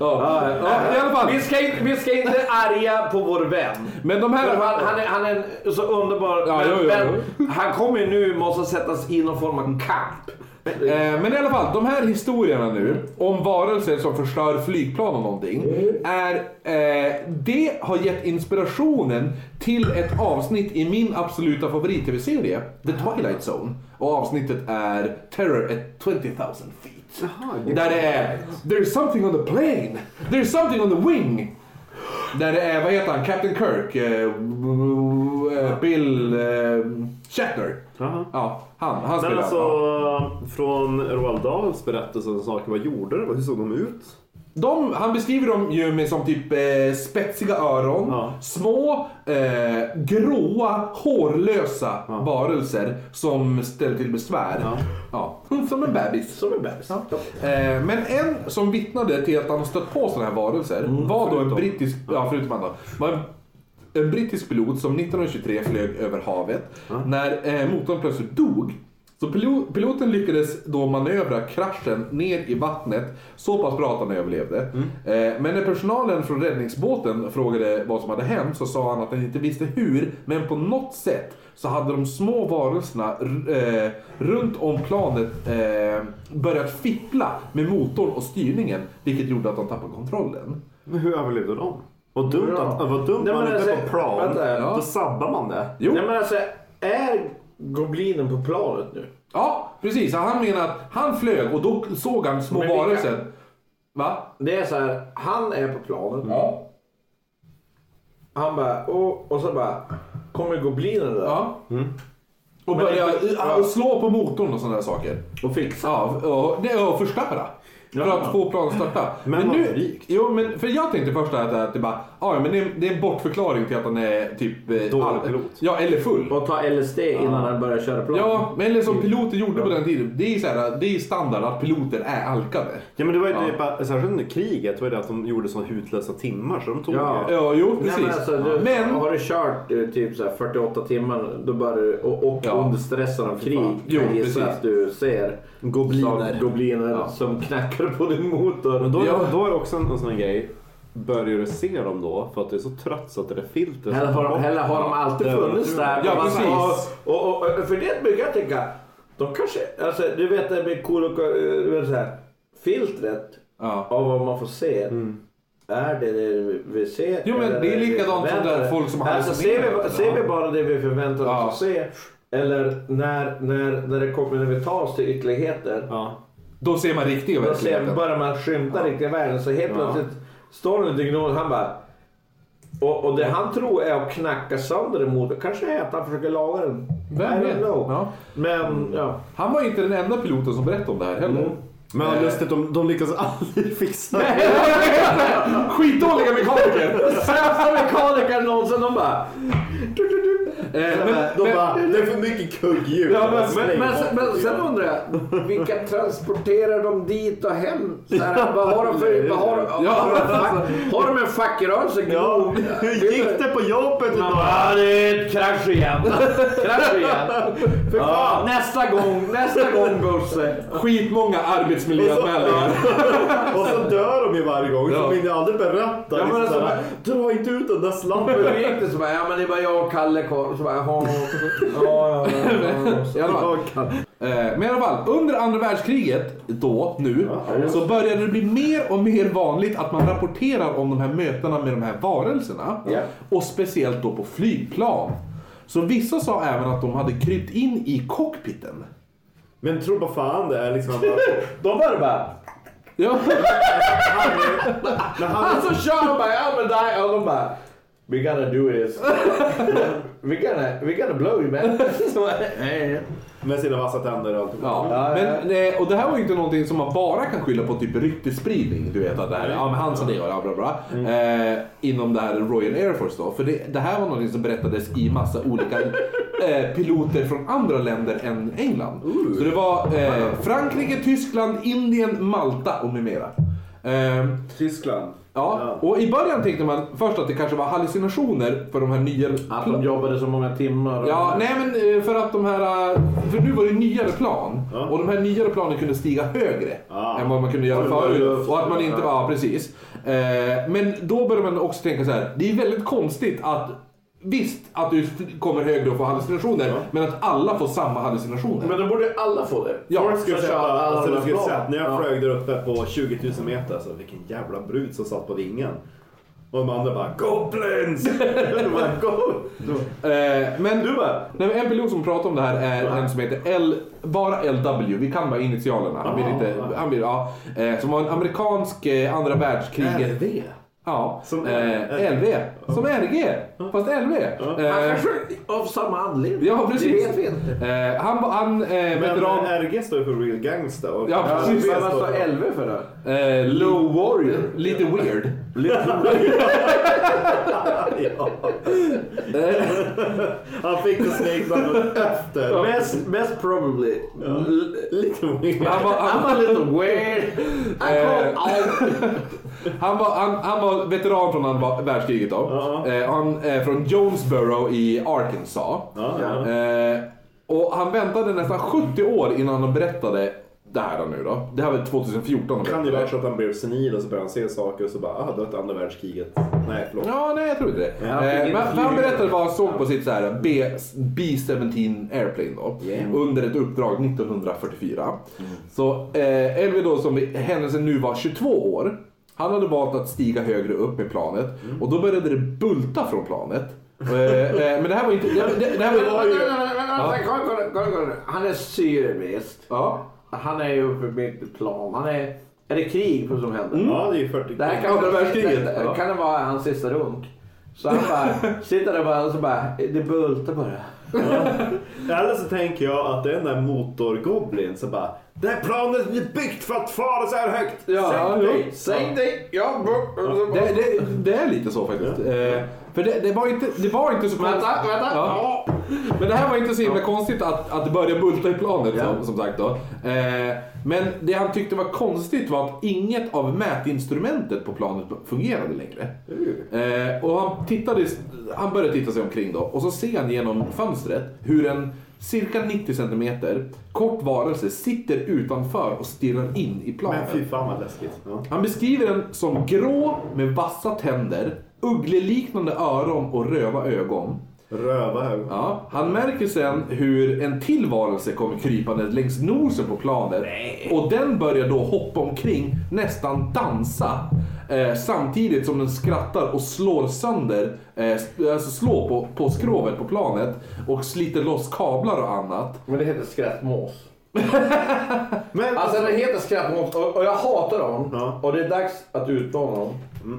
[SPEAKER 1] ja. Ja, i alla fall.
[SPEAKER 4] Vi ska, inte, vi ska inte arga på vår vän.
[SPEAKER 1] Men de
[SPEAKER 4] För
[SPEAKER 1] här...
[SPEAKER 4] Han, han, är, han är en så underbar
[SPEAKER 1] Ja,
[SPEAKER 4] men,
[SPEAKER 1] jo, jo,
[SPEAKER 4] men han kommer ju nu måste sättas i någon form av kamp.
[SPEAKER 1] Eh, men i alla fall, de här historierna nu om varelser som förstör flygplan och någonting. Är, eh, det har gett inspirationen till ett avsnitt i min absoluta favorit-tv-serie, The Twilight Zone. Och avsnittet är Terror at 20,000 feet. Där det är There's something on the plane, there's something on the wing. Där det är, vad heter han, Captain Kirk, eh, eh, Bill eh, Shatner. Ja, han, han spelar.
[SPEAKER 3] Men alltså,
[SPEAKER 1] ja.
[SPEAKER 3] från Roald Dahls berättelse om saker, vad gjorde de? Hur såg de ut?
[SPEAKER 1] De, han beskriver dem ju med som typ eh, spetsiga öron,
[SPEAKER 3] Ja.
[SPEAKER 1] små, eh, gråa, hårlösa varelser som ställer till besvär. Ja. Som en bebis.
[SPEAKER 4] Som en bebis.
[SPEAKER 1] Eh, men en som vittnade till att han har stött på sådana här varelser var då en brittisk, ja förutom han då, var en, en brittisk pilot som 1923 flög över havet. När eh, motorn plötsligt dog så pilo- piloten lyckades då manövra kraschen ner i vattnet så pass bra att han överlevde. Eh, Men när personalen från räddningsbåten frågade vad som hade hänt så sa han att han inte visste hur, men på något sätt så hade de små varelserna r- eh, runt om planet eh, börjat fippla med motorn och styrningen, vilket gjorde att de tappade kontrollen.
[SPEAKER 3] Men hur överlevde de? Vad dumt
[SPEAKER 4] Bra.
[SPEAKER 3] att... Vad dumt
[SPEAKER 4] Nej,
[SPEAKER 3] man
[SPEAKER 4] men
[SPEAKER 3] inte är
[SPEAKER 4] alltså,
[SPEAKER 3] på plan.
[SPEAKER 4] vänta.
[SPEAKER 3] Då sabbar man det.
[SPEAKER 1] Jo.
[SPEAKER 4] Nej, men alltså, är goblinen på planet nu?
[SPEAKER 1] Ja, precis. Han menar att han flög och då såg han små
[SPEAKER 4] Men vilka-
[SPEAKER 1] varelser. Va?
[SPEAKER 4] Det är så här, han är på planet.
[SPEAKER 1] Ja.
[SPEAKER 4] Han bara, och, och så bara, kommer goblinen där
[SPEAKER 1] ja. Och
[SPEAKER 4] Men
[SPEAKER 1] börja
[SPEAKER 4] det-
[SPEAKER 1] ja. slå på motorn och sådana där saker.
[SPEAKER 4] och fixar.
[SPEAKER 1] Ja, och, nej, och förstöra. För att få planen att starta.
[SPEAKER 3] Men vad
[SPEAKER 1] nu,
[SPEAKER 3] drygt.
[SPEAKER 1] jo, men för jag tänkte först att, att det bara, ja, ja, men det, är, det är en bortförklaring till att han är typ... eh,
[SPEAKER 3] Dålig
[SPEAKER 1] all-
[SPEAKER 3] pilot.
[SPEAKER 1] Ja, eller full.
[SPEAKER 4] Och ta LSD innan han börjar köra plan.
[SPEAKER 1] Ja, men eller som piloter gjorde på den tiden. Det är, så här, det är standard att piloter är alkade.
[SPEAKER 3] Ja men det var ju
[SPEAKER 1] Ja.
[SPEAKER 3] det, bara- särskilt under kriget var det att de gjorde sådana hutlösa timmar så de tog
[SPEAKER 4] Ja.
[SPEAKER 3] det.
[SPEAKER 1] Ja, jo
[SPEAKER 4] Nej,
[SPEAKER 1] precis.
[SPEAKER 4] men alltså, du,
[SPEAKER 1] Men-
[SPEAKER 4] Har du kört eh, typ så här 48 timmar då börjar du, och, och
[SPEAKER 1] Ja.
[SPEAKER 4] under stressen av krig
[SPEAKER 1] Jo,
[SPEAKER 4] jag gissar
[SPEAKER 1] precis.
[SPEAKER 4] att du ser
[SPEAKER 3] Gobliner.
[SPEAKER 4] som, gobliner
[SPEAKER 1] Ja.
[SPEAKER 4] som knackar på din motor.
[SPEAKER 3] Men då,
[SPEAKER 1] Ja.
[SPEAKER 3] då är det också en, en sån här grej. Börjar du se dem då för att du är så trött så att det där filtret...
[SPEAKER 4] Eller har, de, eller har de alltid funnits där?
[SPEAKER 1] Ja,
[SPEAKER 4] Och man-
[SPEAKER 1] precis.
[SPEAKER 4] Och, och, och, för det brukar jag tänka, de kanske, alltså, du vet det med eh, Kolok, du vet så här, filtret
[SPEAKER 1] Ja.
[SPEAKER 4] av vad man får se. Är det det vi- vi ser?
[SPEAKER 1] Jo, men
[SPEAKER 4] eller
[SPEAKER 1] det är
[SPEAKER 4] vi
[SPEAKER 1] likadant som
[SPEAKER 4] förväntar
[SPEAKER 1] där folk som
[SPEAKER 4] alltså, ser,
[SPEAKER 1] hallucinerar.
[SPEAKER 4] vi, ser vi bara det vi förväntar oss
[SPEAKER 1] Ja.
[SPEAKER 4] att se? Eller när, när, när, det kommer, när vi tar oss till ytterligheter.
[SPEAKER 3] Ja.
[SPEAKER 1] Då ser man riktiga
[SPEAKER 4] Då ser
[SPEAKER 1] verkligheten.
[SPEAKER 4] börjar man skymta riktiga världen. Så helt
[SPEAKER 3] Ja.
[SPEAKER 4] plötsligt står den inte gnål. Han bara... Och, och det han tror är att knacka sönder en motor. Kanske är att han försöker laga den. I
[SPEAKER 1] Vem
[SPEAKER 4] don't
[SPEAKER 1] vet?
[SPEAKER 4] know.
[SPEAKER 1] Ja.
[SPEAKER 4] Men ja.
[SPEAKER 1] Han var ju inte den enda piloten som berättade om det här heller.
[SPEAKER 3] Men vad lustigt, de, de lyckas aldrig fixa det.
[SPEAKER 1] Skitdåliga mekaniker!
[SPEAKER 4] Sämsta mekanikern någonsin. De bara...
[SPEAKER 1] Eh, men,
[SPEAKER 3] De
[SPEAKER 1] men,
[SPEAKER 3] bara, det är för mycket kugghjul.
[SPEAKER 4] Ja, men,
[SPEAKER 3] Släng
[SPEAKER 4] men, men,
[SPEAKER 3] bort
[SPEAKER 4] sen- men
[SPEAKER 3] Alltså, det.
[SPEAKER 4] sen undrar jag, vilka transporterar de dit och hem? Så här, vad har de för... Vad har,
[SPEAKER 1] Ja.
[SPEAKER 4] har, de, fack- har de en fackrörelse?
[SPEAKER 3] Ja,
[SPEAKER 4] Gnog?
[SPEAKER 3] hur gick det på jobbet
[SPEAKER 4] Man
[SPEAKER 3] idag?
[SPEAKER 4] bara, det är ett krasch igen. Krasch igen. För fan, nästa gång, nästa gång Bosse.
[SPEAKER 1] skitmånga arbetsmiljöanmälningar.
[SPEAKER 3] Och så dör de ju varje gång
[SPEAKER 1] Ja.
[SPEAKER 3] så de hinner aldrig berätta.
[SPEAKER 4] Ja, men
[SPEAKER 3] liksom,
[SPEAKER 4] alltså,
[SPEAKER 3] såhär, Dra inte ut den där slampen.
[SPEAKER 4] Hur gick det? Så bara, ja men det är bara jag och Kalle kvar. Så bara, jaha. Ja, ja, ja,
[SPEAKER 1] I alla fall. Eh, Men i alla fall, under andra världskriget, då, nu, så började det bli mer och mer vanligt att man rapporterar om de här mötena med de här varelserna.
[SPEAKER 4] Ja.
[SPEAKER 1] Och speciellt då på flygplan. Så vissa sa även att de hade krypt in i cockpiten.
[SPEAKER 3] Men tro på fan det är liksom att man-
[SPEAKER 4] De var det bara.
[SPEAKER 1] Ja,
[SPEAKER 3] Men han
[SPEAKER 4] Alltså kör de bara, ja men där. Och de bara, we gotta do this. We're gonna, we're gonna blow you man. Så bara, "Nej, nej."
[SPEAKER 3] Med sina vassa tänder och allt.
[SPEAKER 1] Ja.
[SPEAKER 4] Ja, ja.
[SPEAKER 1] Men, nej, och det här var ju inte någonting som man bara kan skylla på typ ryktesspridning. Du vet att det här, ja men han sa det och bla bla bla.
[SPEAKER 4] Mm.
[SPEAKER 1] Eh, inom det här Royal Air Force då. För det, det här var någonting som berättades i massa olika eh, piloter från andra länder än England. Så det var eh, Frankrike, Tyskland, Indien, Malta och med mera. Eh,
[SPEAKER 8] Tyskland.
[SPEAKER 1] Ja, och i början tänkte man först att det kanske var hallucinationer för de här nya...
[SPEAKER 4] Att de jobbade så många timmar. och-
[SPEAKER 1] Ja, nej men eh, för att de här... eh, För nu var det nyare plan. Och de här nyare planen kunde stiga högre
[SPEAKER 3] Ah.
[SPEAKER 1] än vad man kunde göra
[SPEAKER 3] Oj, vad
[SPEAKER 1] förut.
[SPEAKER 3] luft.
[SPEAKER 1] Och att man inte var... Ja, precis. Eh, Men då började man också tänka så här. Det är väldigt konstigt att... Visst att du kommer högre och får hallucinationer, men att alla får samma hallucinationer.
[SPEAKER 4] Men då borde ju alla få det.
[SPEAKER 1] Ja,
[SPEAKER 4] Folk
[SPEAKER 3] Ska
[SPEAKER 4] ska
[SPEAKER 3] jag
[SPEAKER 4] köra
[SPEAKER 3] köpa,
[SPEAKER 4] alla
[SPEAKER 3] alltså,
[SPEAKER 4] de
[SPEAKER 3] du
[SPEAKER 4] här
[SPEAKER 3] skulle
[SPEAKER 4] planen.
[SPEAKER 3] sett när jag
[SPEAKER 4] Ja.
[SPEAKER 3] flög där uppe på 20 000 meter. Så, vilken jävla brud som satt på vingen. Och de andra bara Goblins! du bara, Go!
[SPEAKER 1] Eh, Men...
[SPEAKER 3] du bara
[SPEAKER 1] Nej, men en pilot som pratar om det här är en som heter L, bara LW, vi kan bara initialerna. Han vill inte, han vill, ja, eh, som var en amerikansk eh, andra världskriget.
[SPEAKER 3] LV.
[SPEAKER 4] Eh.
[SPEAKER 1] Ja,
[SPEAKER 3] Som-
[SPEAKER 1] eh, LV. Som RG, fast LV.
[SPEAKER 4] Han
[SPEAKER 1] Eh,
[SPEAKER 4] kanske- Av samma anledning.
[SPEAKER 1] ja, precis.
[SPEAKER 4] Det vet vi inte.
[SPEAKER 1] Eh, han var- han eh,
[SPEAKER 3] Men
[SPEAKER 1] veteran...
[SPEAKER 3] RG står ju för Real Gangsta. Och
[SPEAKER 1] Ja,
[SPEAKER 4] Ja,
[SPEAKER 1] precis.
[SPEAKER 3] LV
[SPEAKER 4] Vad
[SPEAKER 3] står
[SPEAKER 4] sa
[SPEAKER 3] för-
[SPEAKER 4] LV för det?
[SPEAKER 1] Eh, Low Warrior. Lite weird.
[SPEAKER 3] Ja.
[SPEAKER 1] Eh,
[SPEAKER 3] Han fick det smeknamnet efter. Men
[SPEAKER 4] Mest, mest probably.
[SPEAKER 3] lite weird.
[SPEAKER 1] han var, han,
[SPEAKER 4] I'm a little weird. I
[SPEAKER 1] Eh.
[SPEAKER 4] call out.
[SPEAKER 1] Han var, han, han var veteran från andra världskriget då.
[SPEAKER 3] Ja.
[SPEAKER 1] Eh, han är från Jonesboro i Arkansas.
[SPEAKER 3] Ja, ja.
[SPEAKER 1] Eh, och han väntade nästan 70 år innan han berättade det här då nu då. Det här var 2014 han
[SPEAKER 3] Kan ju
[SPEAKER 1] berättade.
[SPEAKER 3] vara så att han blev senil och så började han se saker och så bara ah, det var ett andra världskriget. Nej, förlåt.
[SPEAKER 1] Ja, nej jag tror inte det.
[SPEAKER 4] han fick
[SPEAKER 1] Eh, men
[SPEAKER 4] ingen
[SPEAKER 1] men han
[SPEAKER 4] flyg.
[SPEAKER 1] berättade vad han såg på sitt så här B, B-17 Airplane då. Under ett uppdrag 1944. Så eh, Elvi då som i händelsen nu var 22 år. Han hade valt att stiga högre upp med planet. Och då började det bulta från planet. Eh, eh, men det här var inte... Det, det, det här var ju...
[SPEAKER 4] Kolla, kolla, kolla, kolla. Han är syrebrist.
[SPEAKER 1] Ja.
[SPEAKER 4] Han är ju uppe mitt i plan. Han är... Är det krig på som händer?
[SPEAKER 3] Ja, det är ju 40
[SPEAKER 4] Det här
[SPEAKER 1] Andra
[SPEAKER 4] kan,
[SPEAKER 1] världskriget,
[SPEAKER 4] det,
[SPEAKER 1] ja.
[SPEAKER 4] kan det vara hans sista runk. Så han bara sitter där bara, och så bara, det bultar bara.
[SPEAKER 3] Eller så tänker jag att det är den där motorgoblin som bara Det här planet är byggt för att fara så här högt!
[SPEAKER 1] Ja,
[SPEAKER 3] Sänk
[SPEAKER 1] jo.
[SPEAKER 3] dig!
[SPEAKER 4] Säg dig! Ja, bu- och så bara-
[SPEAKER 1] Det, det, det är lite så faktiskt. Eh, för det, det, var inte, det var inte så
[SPEAKER 4] Vänta,
[SPEAKER 1] konstigt.
[SPEAKER 4] vänta!
[SPEAKER 1] Ja.
[SPEAKER 4] Ja.
[SPEAKER 1] Men det här var inte så himla konstigt att, att det började bulta i planet som, som sagt då. Eh, men det han tyckte var konstigt var att inget av mätinstrumentet på planet fungerade längre. Eh, och han, tittade, han började titta sig omkring då och så ser han genom fönstret hur en cirka 90 centimeter kort varelse sitter utanför och stirrar in i planet.
[SPEAKER 3] Men fy fan vad läskigt. Ja.
[SPEAKER 1] Han beskriver den som grå med vassa tänder, uggleliknande öron och röda ögon.
[SPEAKER 3] Röva ögon.
[SPEAKER 1] Ja, han märker sen hur en till varelse kommer krypande längs nosen på planet. Och den börjar då hoppa omkring, nästan dansa. Eh, samtidigt som den skrattar och slår sönder, eh, s- alltså slår på, på skrovet på planet. Och sliter loss kablar och annat.
[SPEAKER 4] Men det heter skrattmås.
[SPEAKER 3] Men,
[SPEAKER 4] Alltså den heter skrattmås och, och jag hatar dem.
[SPEAKER 3] Ja.
[SPEAKER 4] Och det är dags att utmana dem.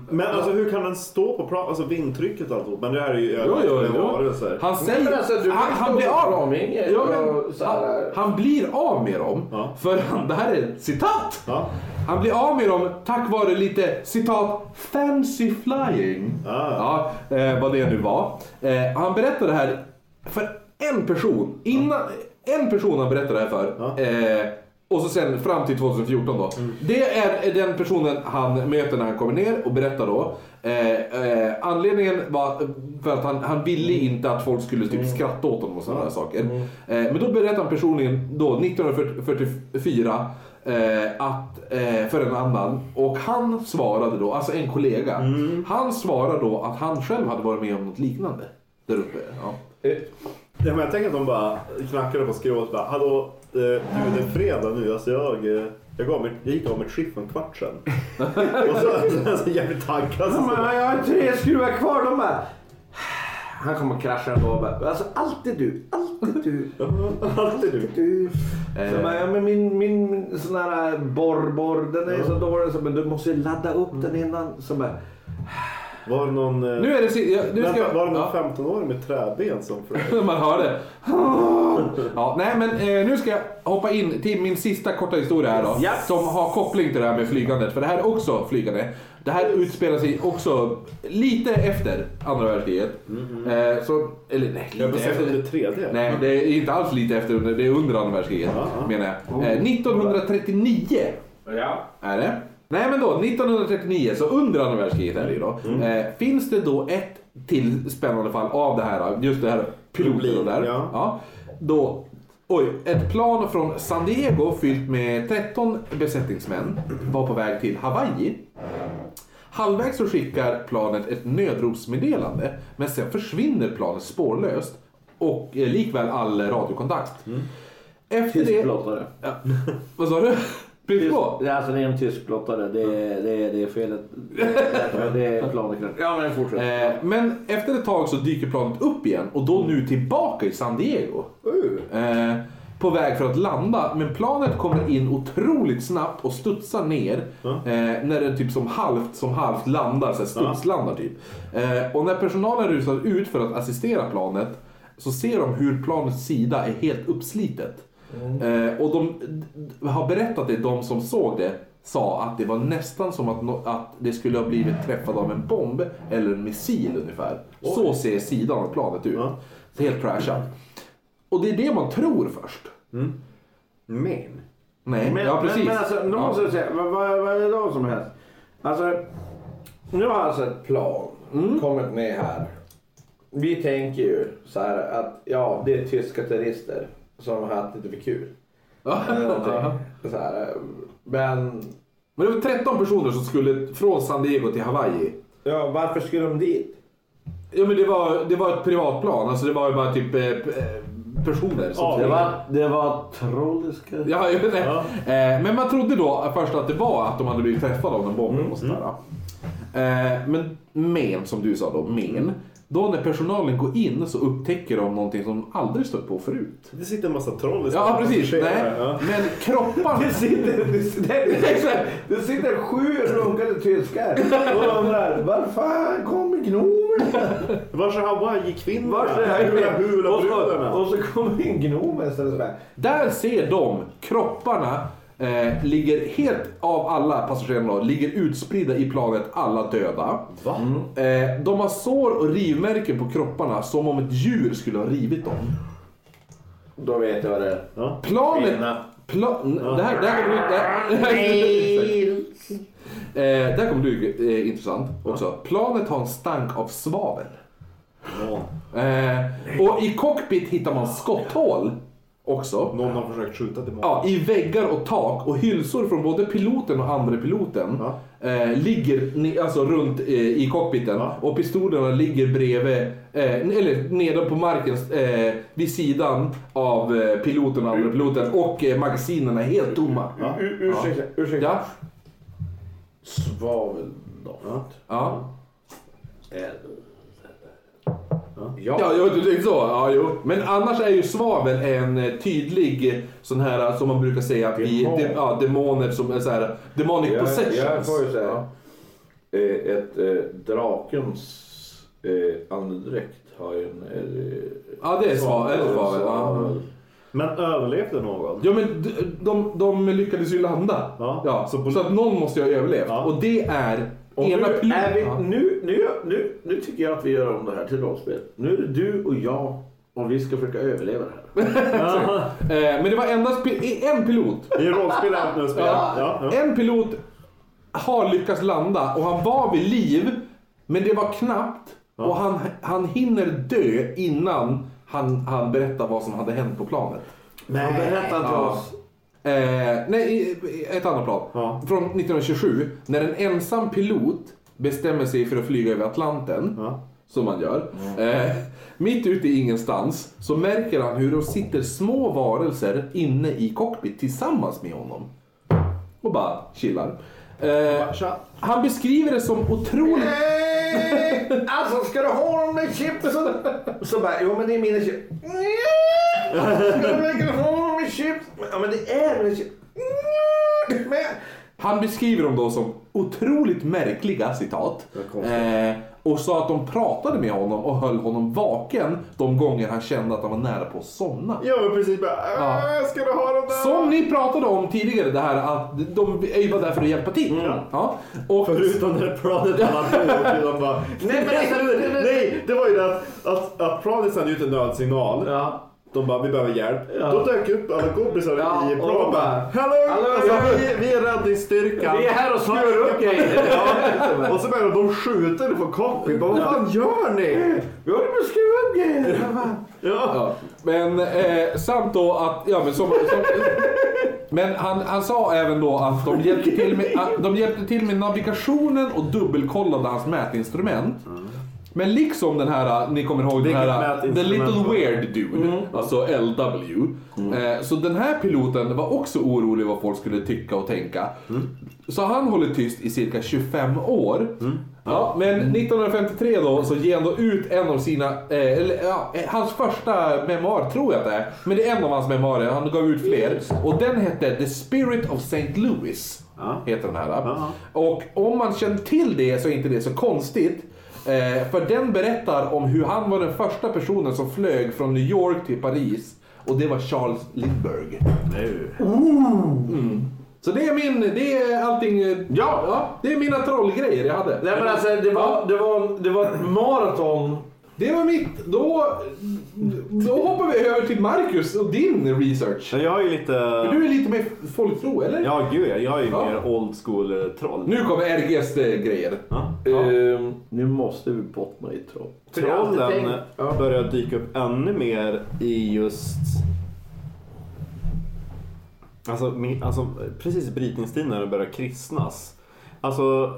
[SPEAKER 3] men alltså hur kan den stå på plan? Alltså vindtrycket och alltihop. Men det här är ju övernaturliga varelser.
[SPEAKER 1] Han säger...
[SPEAKER 4] Men alltså, du
[SPEAKER 1] han,
[SPEAKER 4] kan
[SPEAKER 1] han
[SPEAKER 4] stå
[SPEAKER 1] blir
[SPEAKER 4] på
[SPEAKER 1] av
[SPEAKER 4] ramvinge
[SPEAKER 1] ja, men,
[SPEAKER 4] och så här.
[SPEAKER 1] han, han blir av med dem.
[SPEAKER 3] Ja.
[SPEAKER 1] För han, det här är ett citat!
[SPEAKER 3] Ja.
[SPEAKER 1] Han blir av med dem tack vare lite citat fancy flying.
[SPEAKER 3] Ah.
[SPEAKER 1] Ja, eh, vad det nu var. Eh, han berättar det här för en person. Innan, En person han berättar det här för.
[SPEAKER 3] Ja. Mm.
[SPEAKER 1] Eh, och så sen fram till 2014 då. Det är den personen han möter när han kommer ner och berättar då. Eh, eh, anledningen var för att han, han ville
[SPEAKER 3] Mm.
[SPEAKER 1] inte att folk skulle typ skratta åt honom och sådana där saker. Eh, men då berättar han personligen då 1944 eh, att, eh, för en annan och han svarade då, alltså en kollega.
[SPEAKER 5] Mm.
[SPEAKER 1] Han svarade då att han själv hade varit med om något liknande där uppe. Ja.
[SPEAKER 4] Eh.
[SPEAKER 3] Ja, men jag tänker att de bara knackade på skrovet och bara Hallå, eh, du det är fredag nu. Alltså jag, eh, jag, gav mitt, jag gick av mitt skift för en kvart sedan. och så är jag så jävligt taggad. Så,
[SPEAKER 4] Men jag har tre skruvar kvar. De bara... Han kommer krascha ändå. och bara, Alltså alltid du. Alltid du.
[SPEAKER 3] alltid du.
[SPEAKER 4] du. Så bara, ja, men min, min, min sån eh, Mm. här borr, borr, den är så dålig. Så, men du måste ju ladda upp den innan. Så bara,
[SPEAKER 5] Var det någon... eh,
[SPEAKER 1] Nu är det si- ja, nu ska
[SPEAKER 5] vänta,
[SPEAKER 1] jag...
[SPEAKER 5] var det någon
[SPEAKER 1] ja,
[SPEAKER 5] 15-åring med träben som frös?
[SPEAKER 1] man hör det. Ja, nej, men eh, nu ska jag hoppa in till min sista korta historia här då.
[SPEAKER 4] Ja.
[SPEAKER 1] Som har koppling till det här med flygandet. För det här är också flygande. Det här utspelar sig också lite efter andra världskriget. Eh, så, eller nej,
[SPEAKER 5] Mm-hmm. Jag
[SPEAKER 1] lite
[SPEAKER 5] bestämde
[SPEAKER 1] efter.
[SPEAKER 5] det tredje.
[SPEAKER 1] Nej, det är inte alls lite efter. under- Det är under andra världskriget
[SPEAKER 5] ja.
[SPEAKER 1] menar jag. Eh, 1939
[SPEAKER 6] Ja.
[SPEAKER 1] är det. Nej men då, 1939, så under andra världskriget är det ju då.
[SPEAKER 5] Mm.
[SPEAKER 1] Eh, finns det då ett till spännande fall av det här, just det här piloten och där.
[SPEAKER 5] Ja.
[SPEAKER 1] Då, oj, ett plan från San Diego fyllt med 13 besättningsmän var på väg till Hawaii. Halvvägs så skickar planet ett nödropsmeddelande men sen försvinner planet spårlöst och eh, likväl all radiokontakt. Efter
[SPEAKER 4] Tysk
[SPEAKER 1] det...
[SPEAKER 4] blottare.
[SPEAKER 1] Ja. Vad sa du? Prins
[SPEAKER 4] Tysk,
[SPEAKER 1] på?
[SPEAKER 4] det är alltså det är en tysk blottare. Det är, det är, det är felet. Det är planet. Ja men fortsätt.
[SPEAKER 1] Eh, men efter ett tag så dyker planet upp igen och då nu tillbaka i San Diego. Eh, på väg för att landa, men planet kommer in otroligt snabbt och studsar ner. Eh, när det typ som halvt, som halvt landar, så här studslandar typ. Eh, och när personalen rusar ut för att assistera planet så ser de hur planets sida är helt uppslitet. Eh, och de d- d- har berättat det, de som såg det sa att det var nästan som att, nå- att det skulle ha blivit träffad av en bomb eller en missil ungefär. Så ser sidan av planet ut.
[SPEAKER 5] Ja.
[SPEAKER 1] Helt crashat. Och det är det man tror först.
[SPEAKER 5] Men.
[SPEAKER 1] Nej,
[SPEAKER 4] Men,
[SPEAKER 1] ja precis.
[SPEAKER 4] men, men alltså, nu
[SPEAKER 1] Ja.
[SPEAKER 4] måste jag säga, vad, vad, vad är det då som helst? Alltså, nu har alltså ett plan kommit med här. Vi tänker ju så här att ja, det är tyska terrorister som har haft lite för kul. Eller någonting. så här, eh, men
[SPEAKER 1] Men det var 13 personer som skulle från San Diego till Hawaii.
[SPEAKER 4] ja, varför skulle de dit?
[SPEAKER 1] Ja men det var, det var ett privatplan, alltså det var ju bara typ eh, eh, personer som
[SPEAKER 4] Det var, det var trolliska.
[SPEAKER 1] Ja, jag vet inte. Eh, men man trodde då först att det var att de hade blivit träffade av den bomben
[SPEAKER 4] Mm.
[SPEAKER 1] och sådär. Eh, men men, som du sa då, men. Då när personalen går in så upptäcker de någonting som de aldrig stött på förut.
[SPEAKER 5] Det sitter en massa troll i
[SPEAKER 1] Ja
[SPEAKER 5] stan.
[SPEAKER 1] precis,
[SPEAKER 5] Det
[SPEAKER 1] nej.
[SPEAKER 5] sker, ja.
[SPEAKER 1] Men kropparna...
[SPEAKER 4] Det sitter, det, sitter, det, sitter, det sitter sju runkade tyskar och undrar var fan kommer gnomen?
[SPEAKER 5] Vars är Hawaii-kvinnorna?
[SPEAKER 4] Vars är
[SPEAKER 5] Hula
[SPEAKER 4] Hawaii?
[SPEAKER 5] hula-brudarna?
[SPEAKER 4] Och så kommer en gnom istället. sådär.
[SPEAKER 1] Där ser de kropparna eh, ligger helt av alla passagerarna då, ligger utspridda i planet, alla döda.
[SPEAKER 5] Va?
[SPEAKER 1] Eh, de har sår och rivmärken på kropparna som om ett djur skulle ha rivit dem.
[SPEAKER 4] Då vet jag vad det är.
[SPEAKER 1] Planet...
[SPEAKER 4] Kvinna.
[SPEAKER 1] Plan, det här, det här kommer du... Det här, Eh, det här kommer du eh, intressant också. Planet har en stank av svavel. Eh, och i cockpit hittar man skotthål också.
[SPEAKER 5] Någon har försökt skjuta till
[SPEAKER 1] Ja, I väggar och tak och hylsor från både piloten och andre piloten eh, ligger ni, alltså runt eh, i cockpiten.
[SPEAKER 5] Ja.
[SPEAKER 1] Och pistolerna ligger bredvid, eh, eller nedan på marken eh, vid sidan av eh, piloten och andre piloten. Och eh, magasinerna är helt tomma. Ja.
[SPEAKER 4] U- Ursäkta, ursäkta.
[SPEAKER 1] Ja.
[SPEAKER 4] Svaveldoft.
[SPEAKER 1] Ja.
[SPEAKER 4] Ja.
[SPEAKER 1] Ja, jo, du tänkte så. Ja, jo. Men annars är ju svavel en eh, tydlig eh, sån här eh, som man brukar säga att vi,
[SPEAKER 4] Demon.
[SPEAKER 1] de, ja, demoner som är så här demonic
[SPEAKER 4] Jag, jag
[SPEAKER 1] possessions.
[SPEAKER 4] får ju säga.
[SPEAKER 1] Ja.
[SPEAKER 4] eh, Ett eh, drakens eh, andedräkt har ju en... eh,
[SPEAKER 1] ja, det är svavel. Eller svavel ja.
[SPEAKER 4] svavel.
[SPEAKER 5] Men överlevde någon?
[SPEAKER 1] Ja men d- de, de lyckades ju landa.
[SPEAKER 5] Ja.
[SPEAKER 1] så,
[SPEAKER 5] Så på-
[SPEAKER 1] att någon måste ju ha överlevt.
[SPEAKER 5] Ja.
[SPEAKER 1] Och det är
[SPEAKER 4] Och nu,
[SPEAKER 1] ena piloten.
[SPEAKER 4] är
[SPEAKER 1] Ja.
[SPEAKER 4] vi, nu, nu, nu, nu tycker jag att vi gör om det här till rollspel. Nu är det du och jag och vi ska försöka överleva det här.
[SPEAKER 1] Eh, men det var endast pi- en pilot.
[SPEAKER 5] I rollspel är allt nu spel. Ja. Ja,
[SPEAKER 1] En pilot har lyckats landa och han var vid liv. Men det var knappt. Och han, han hinner dö innan han, han berättar vad som hade hänt på planet.
[SPEAKER 4] Nej. Berätta inte
[SPEAKER 1] Ja.
[SPEAKER 4] oss.
[SPEAKER 1] Eh, nej, i- i- ett annat plan.
[SPEAKER 5] Ja.
[SPEAKER 1] Från 1927, när en ensam pilot bestämmer sig för att flyga över Atlanten,
[SPEAKER 5] Ja.
[SPEAKER 1] som man gör, eh, mitt ute i ingenstans, så märker han hur det sitter små varelser inne i cockpit tillsammans med honom. Och bara chillar. Eh,
[SPEAKER 5] Tja.
[SPEAKER 1] han beskriver det som otroligt...
[SPEAKER 4] Nej, Alltså ska du ha de där chipsen? Så bara, jo men det är mina chips. Nej, Ska du verkligen ha dem i chips? Ja men det är mina chips. Nej, Men
[SPEAKER 1] Han beskriver dem då som otroligt märkliga citat.
[SPEAKER 5] Det var konstigt.
[SPEAKER 1] Eh, och sa att de pratade med honom och höll honom vaken de gånger han kände att han var nära på att somna.
[SPEAKER 5] Jag var precis bara, "Ah, ska du ha den där?
[SPEAKER 1] Som ni pratade om tidigare, det här att de är ju bara där för att hjälpa till.
[SPEAKER 5] Mm.
[SPEAKER 1] Ja. Och
[SPEAKER 5] Förutom det här planet han hade åkt till. Han bara, nej, men alltså, nej, nej, det var ju det att, att, att planet sände ut en nödsignal.
[SPEAKER 7] Ja.
[SPEAKER 5] De bara, vi behöver hjälp. Då dök upp alla kompisar
[SPEAKER 7] Ja,
[SPEAKER 5] i
[SPEAKER 7] och de
[SPEAKER 5] planet.
[SPEAKER 7] bara,
[SPEAKER 5] Hello!
[SPEAKER 7] "Hallå,
[SPEAKER 5] alltså,
[SPEAKER 7] ja."
[SPEAKER 5] vi, vi är räddningsstyrkan.
[SPEAKER 7] Vi är här och snurrar upp grejer.
[SPEAKER 5] Ja, och så började de skjuta från cockpit. Bara, Vad fan gör ni?
[SPEAKER 7] Vi håller på att skruva upp grejer.
[SPEAKER 5] Ja.
[SPEAKER 1] Ja. Men eh, samt då att... Ja, men, som, som, men han, han sa även då att de hjälpte, till med, att de hjälpte till med navigationen och dubbelkollade hans mätinstrument. Men liksom den här, eh, ni kommer ihåg den
[SPEAKER 5] Vilket
[SPEAKER 1] här eh, The
[SPEAKER 5] mätinstrument Mm.
[SPEAKER 1] Little
[SPEAKER 5] var det?
[SPEAKER 1] Weird Dude, alltså LW.
[SPEAKER 5] Mm.
[SPEAKER 1] Eh, så den här piloten var också orolig vad folk skulle tycka och tänka.
[SPEAKER 5] Mm.
[SPEAKER 1] Så han håller tyst i cirka 25 år.
[SPEAKER 5] Mm.
[SPEAKER 1] Ja, men 1953 då så ger han då ut en av sina, eh, eller, ja, eh, hans första memoar tror jag att det är. Men det är en av hans memoarer, han gav ut fler. Och den hette The Spirit of St. Louis. Heter den här. Och om man känner till det så är inte det så konstigt. Eh, för den berättar om hur han var den första personen som flög från New York till Paris. Och det var Charles Lindbergh. Så det är min, det är allting. eh,
[SPEAKER 4] Ja.
[SPEAKER 1] det är mina trollgrejer jag hade.
[SPEAKER 4] Nej men alltså det var, det var, det var ett maraton.
[SPEAKER 1] Det var mitt. Då, då hoppar vi över till Marcus och din research.
[SPEAKER 3] Jag har ju lite...
[SPEAKER 1] För du är lite mer folktro, eller?
[SPEAKER 3] Ja, gud ja. Jag är ju
[SPEAKER 1] Ja.
[SPEAKER 3] mer old school-troll.
[SPEAKER 1] Nu kommer RGs eh, grejer. Eh,
[SPEAKER 3] Ja.
[SPEAKER 4] Ehm, nu måste vi bottna i troll.
[SPEAKER 3] Trollen börjar dyka upp ännu mer i just... Alltså, min, alltså precis i brytningstiden när det börjar kristnas. Alltså,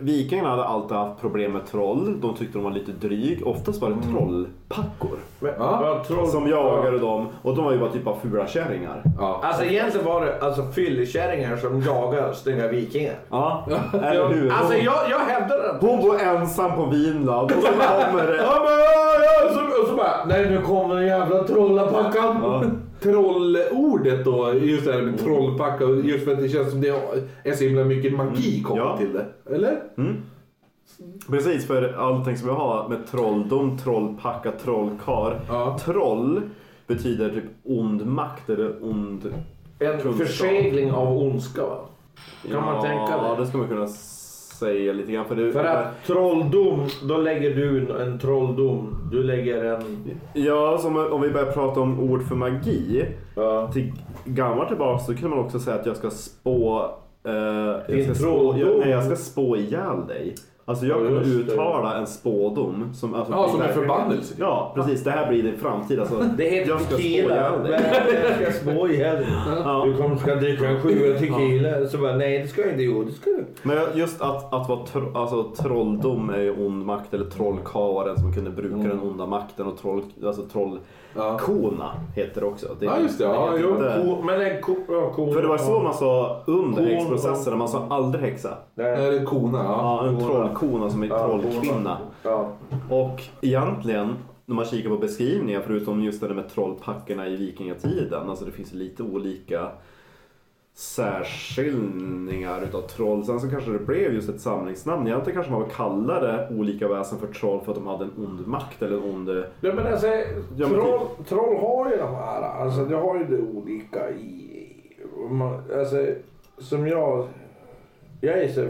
[SPEAKER 3] vikingarna hade alltid haft problem med troll. De tyckte de var lite dryg. Oftast var det trollpackor
[SPEAKER 4] Men,
[SPEAKER 1] Ja.
[SPEAKER 4] var troll-
[SPEAKER 3] som jagade dem. Och de var ju bara typ av fula kärringar.
[SPEAKER 1] Ja.
[SPEAKER 4] Alltså egentligen var det alltså, fyllekärringar som jagar snygga vikingar.
[SPEAKER 3] Ja, eller hur?
[SPEAKER 4] Alltså jag, jag hävdar den.
[SPEAKER 3] Hon bor ensam på Vinland och så kommer det...
[SPEAKER 4] Ja, men, ja, ja, så, och så bara, nej nu kommer den jävla trollapackan.
[SPEAKER 3] Ja.
[SPEAKER 1] Trollordet då, just det här med trollpacka. och Just för att det känns som det är så himla mycket magi kopplat
[SPEAKER 3] Ja.
[SPEAKER 1] till det. Eller?
[SPEAKER 3] Precis, för allting som jag har med trolldom, trollpacka, trollkar.
[SPEAKER 1] Ja.
[SPEAKER 3] Troll betyder typ ond makt eller ond...
[SPEAKER 4] En
[SPEAKER 3] Kunskap.
[SPEAKER 4] försegling av ondska va? Kan man tänka
[SPEAKER 3] Ja,
[SPEAKER 4] det?
[SPEAKER 3] det skulle man kunna säga lite grann. För det,
[SPEAKER 4] För att trolldom, då lägger du en, en trolldom. Du lägger en...
[SPEAKER 3] Ja, som om vi börjar prata om ord för magi.
[SPEAKER 4] Ja.
[SPEAKER 3] Till gammalt tillbaks så kunde man också säga att jag ska spå... Eh, jag, ska spå
[SPEAKER 4] trolldom.
[SPEAKER 3] jag, nej, jag ska spå ihjäl dig. Alltså jag
[SPEAKER 4] Ja,
[SPEAKER 3] kan
[SPEAKER 4] just det.
[SPEAKER 3] uttala en spådom. Som, alltså,
[SPEAKER 1] Ja, som en
[SPEAKER 3] verkligen-
[SPEAKER 1] förbannelse.
[SPEAKER 3] Ja, precis. Det här blir din framtid. Alltså,
[SPEAKER 4] Det heter
[SPEAKER 3] jag ska spå
[SPEAKER 4] tequila.
[SPEAKER 3] ihjäl
[SPEAKER 4] Men
[SPEAKER 3] dig.
[SPEAKER 4] Jag ska små ihjäl dig. Du kommer ska dricka en sjua tequila. Så bara, nej det ska jag inte. Jo det ska du.
[SPEAKER 3] Men just att, att vara tro, alltså, trolldom är ju ond makt, eller trollkaren som kunde bruka
[SPEAKER 1] Mm.
[SPEAKER 3] den onda makten och troll, alltså, trollkona heter det också. Det,
[SPEAKER 1] Ja, just det. Ja,
[SPEAKER 3] heter
[SPEAKER 1] jo.
[SPEAKER 3] inte-
[SPEAKER 4] Ko, men en ko... Ja, ko
[SPEAKER 3] För det var så man sa under
[SPEAKER 4] Kon-
[SPEAKER 3] häxprocesserna, man sa aldrig häxa.
[SPEAKER 4] Nej.
[SPEAKER 1] Eller kona, ja.
[SPEAKER 3] Ja, en trollkona som är
[SPEAKER 4] Ja,
[SPEAKER 3] trollkvinna.
[SPEAKER 4] Ja.
[SPEAKER 3] Och egentligen, när man kikar på beskrivningar, förutom just det där med trollpackorna i vikingatiden, alltså det finns lite olika särskiljningar utav troll. Sen så kanske det blev just ett samlingsnamn. Egentligen kanske man kallade olika väsen för troll för att de hade en ond makt eller en ond...
[SPEAKER 4] Nej men alltså,
[SPEAKER 3] Ja, men
[SPEAKER 4] troll, troll har ju de här, alltså det har ju det olika i... man- Alltså, som jag... Jag är så...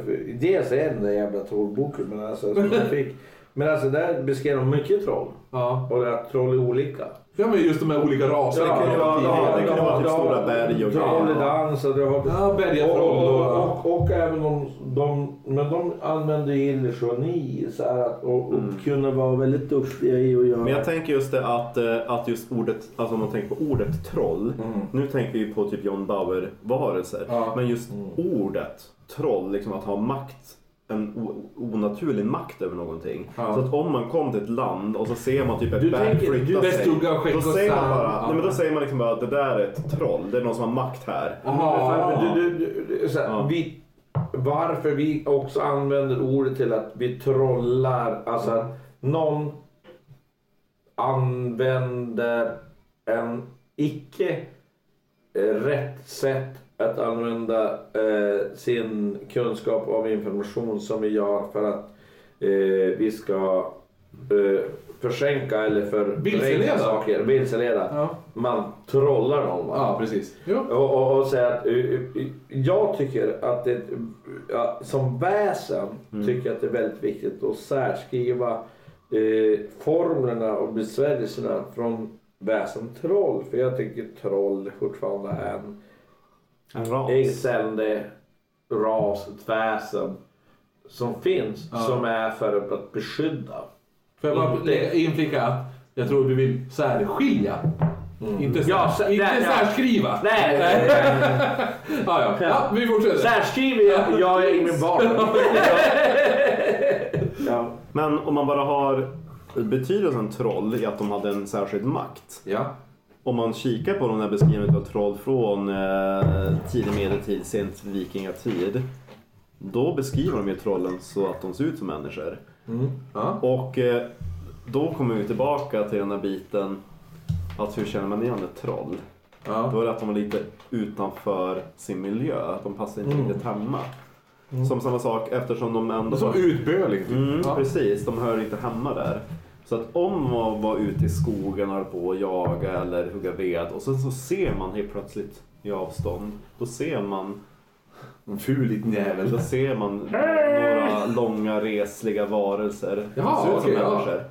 [SPEAKER 4] Dels är den där jävla trollboken, men alltså som jag fick... Men alltså där beskrev de mycket troll.
[SPEAKER 1] ja.
[SPEAKER 4] Och att troll är olika.
[SPEAKER 1] Ja, men just de här olika raserna.
[SPEAKER 3] Ja,
[SPEAKER 1] kunde
[SPEAKER 3] ja,
[SPEAKER 1] vara tidigare.
[SPEAKER 3] ja, det kunde vara typ stora berg och
[SPEAKER 4] Du
[SPEAKER 3] grejer.
[SPEAKER 4] har dans och du har...
[SPEAKER 1] Ja, bergatroll
[SPEAKER 4] och, och,
[SPEAKER 1] och-
[SPEAKER 4] och, och, även de, de... Men de använde ju illusioni så här att, och, och kunde vara väldigt duktiga i att göra...
[SPEAKER 3] Mm. Men jag tänker just det att, eh, att just ordet, alltså om man tänker på ordet troll. Nu tänker vi på typ John Bauer-varelser.
[SPEAKER 1] Mm. Ja. Mm.
[SPEAKER 3] Men just ordet troll, liksom att ha makt, en o- onaturlig makt över någonting.
[SPEAKER 1] Ja.
[SPEAKER 3] Så att om man kom till ett land och så ser man typ ett
[SPEAKER 4] Du
[SPEAKER 3] berg
[SPEAKER 4] tänker-
[SPEAKER 3] flytta
[SPEAKER 1] du- det
[SPEAKER 3] sig.
[SPEAKER 1] stod en skäck
[SPEAKER 3] Då
[SPEAKER 1] och
[SPEAKER 3] säger man
[SPEAKER 1] sand.
[SPEAKER 3] bara,
[SPEAKER 1] Ja.
[SPEAKER 3] nej, men då säger man liksom bara att det där är ett troll, det är någon som har makt här.
[SPEAKER 1] Jaha.
[SPEAKER 4] Men du, du, du, du, så här,
[SPEAKER 3] Ja.
[SPEAKER 4] vi, varför vi också använder ordet till att vi trollar, alltså att någon använder en icke eh, rätt sätt att använda eh, sin kunskap av information som vi gör för att eh, vi ska eh, förskänka eller förvränga
[SPEAKER 1] Vilseleda.
[SPEAKER 4] saker, vilseleda.
[SPEAKER 1] Ja.
[SPEAKER 4] Man trollar någon. va?
[SPEAKER 1] ja, precis. Jo.
[SPEAKER 4] Och, och, och säga att eh, eh, jag tycker att det, ja, som väsen tycker jag att det är väldigt viktigt att särskriva eh, formlerna och besvärjelserna från väsen troll. För jag tycker troll fortfarande är en
[SPEAKER 3] En ras.
[SPEAKER 4] excellerande ras, ett väsen som finns
[SPEAKER 1] Ja.
[SPEAKER 4] som är för att beskydda.
[SPEAKER 1] Får jag bara
[SPEAKER 4] Inte.
[SPEAKER 1] lägga- inflika att jag tror vi vill särskilja. Inte, sär,
[SPEAKER 4] Mm. Ja, sä-
[SPEAKER 1] inte
[SPEAKER 4] nej, ja.
[SPEAKER 1] särskriva.
[SPEAKER 4] Nej, nej, nej.
[SPEAKER 1] Ja, ja. ja, vi fortsätter.
[SPEAKER 4] Eh, särskriver jag, jag är i min barndom.
[SPEAKER 7] Ja.
[SPEAKER 3] Men om man bara har betydelsen troll i att de hade en särskild makt.
[SPEAKER 1] Ja.
[SPEAKER 3] Om man kikar på den här beskrivningen av troll från eh, tidig medeltid, sent vikingatid. Då beskriver de ju trollen så att de ser ut som människor.
[SPEAKER 1] Mm, Ja.
[SPEAKER 3] Och eh, då kommer vi tillbaka till den här biten att hur känner man igen ett troll?
[SPEAKER 1] Ja.
[SPEAKER 3] Då är det att de är lite utanför sin miljö, att de passar inte
[SPEAKER 1] Mm.
[SPEAKER 3] riktigt hemma. Som samma sak eftersom de ändå...
[SPEAKER 1] Som utböling. typ.
[SPEAKER 3] Mm,
[SPEAKER 1] Ja.
[SPEAKER 3] Precis, de hör inte hemma där. Så att om man var ute i skogen och höll på att jaga eller hugga ved och sen så ser man helt plötsligt i avstånd. Då ser man,
[SPEAKER 1] Ful liten jävel.
[SPEAKER 3] då ser man några långa resliga varelser.
[SPEAKER 1] Jaha,
[SPEAKER 3] de ser ut som
[SPEAKER 1] okej, ja.
[SPEAKER 3] människor.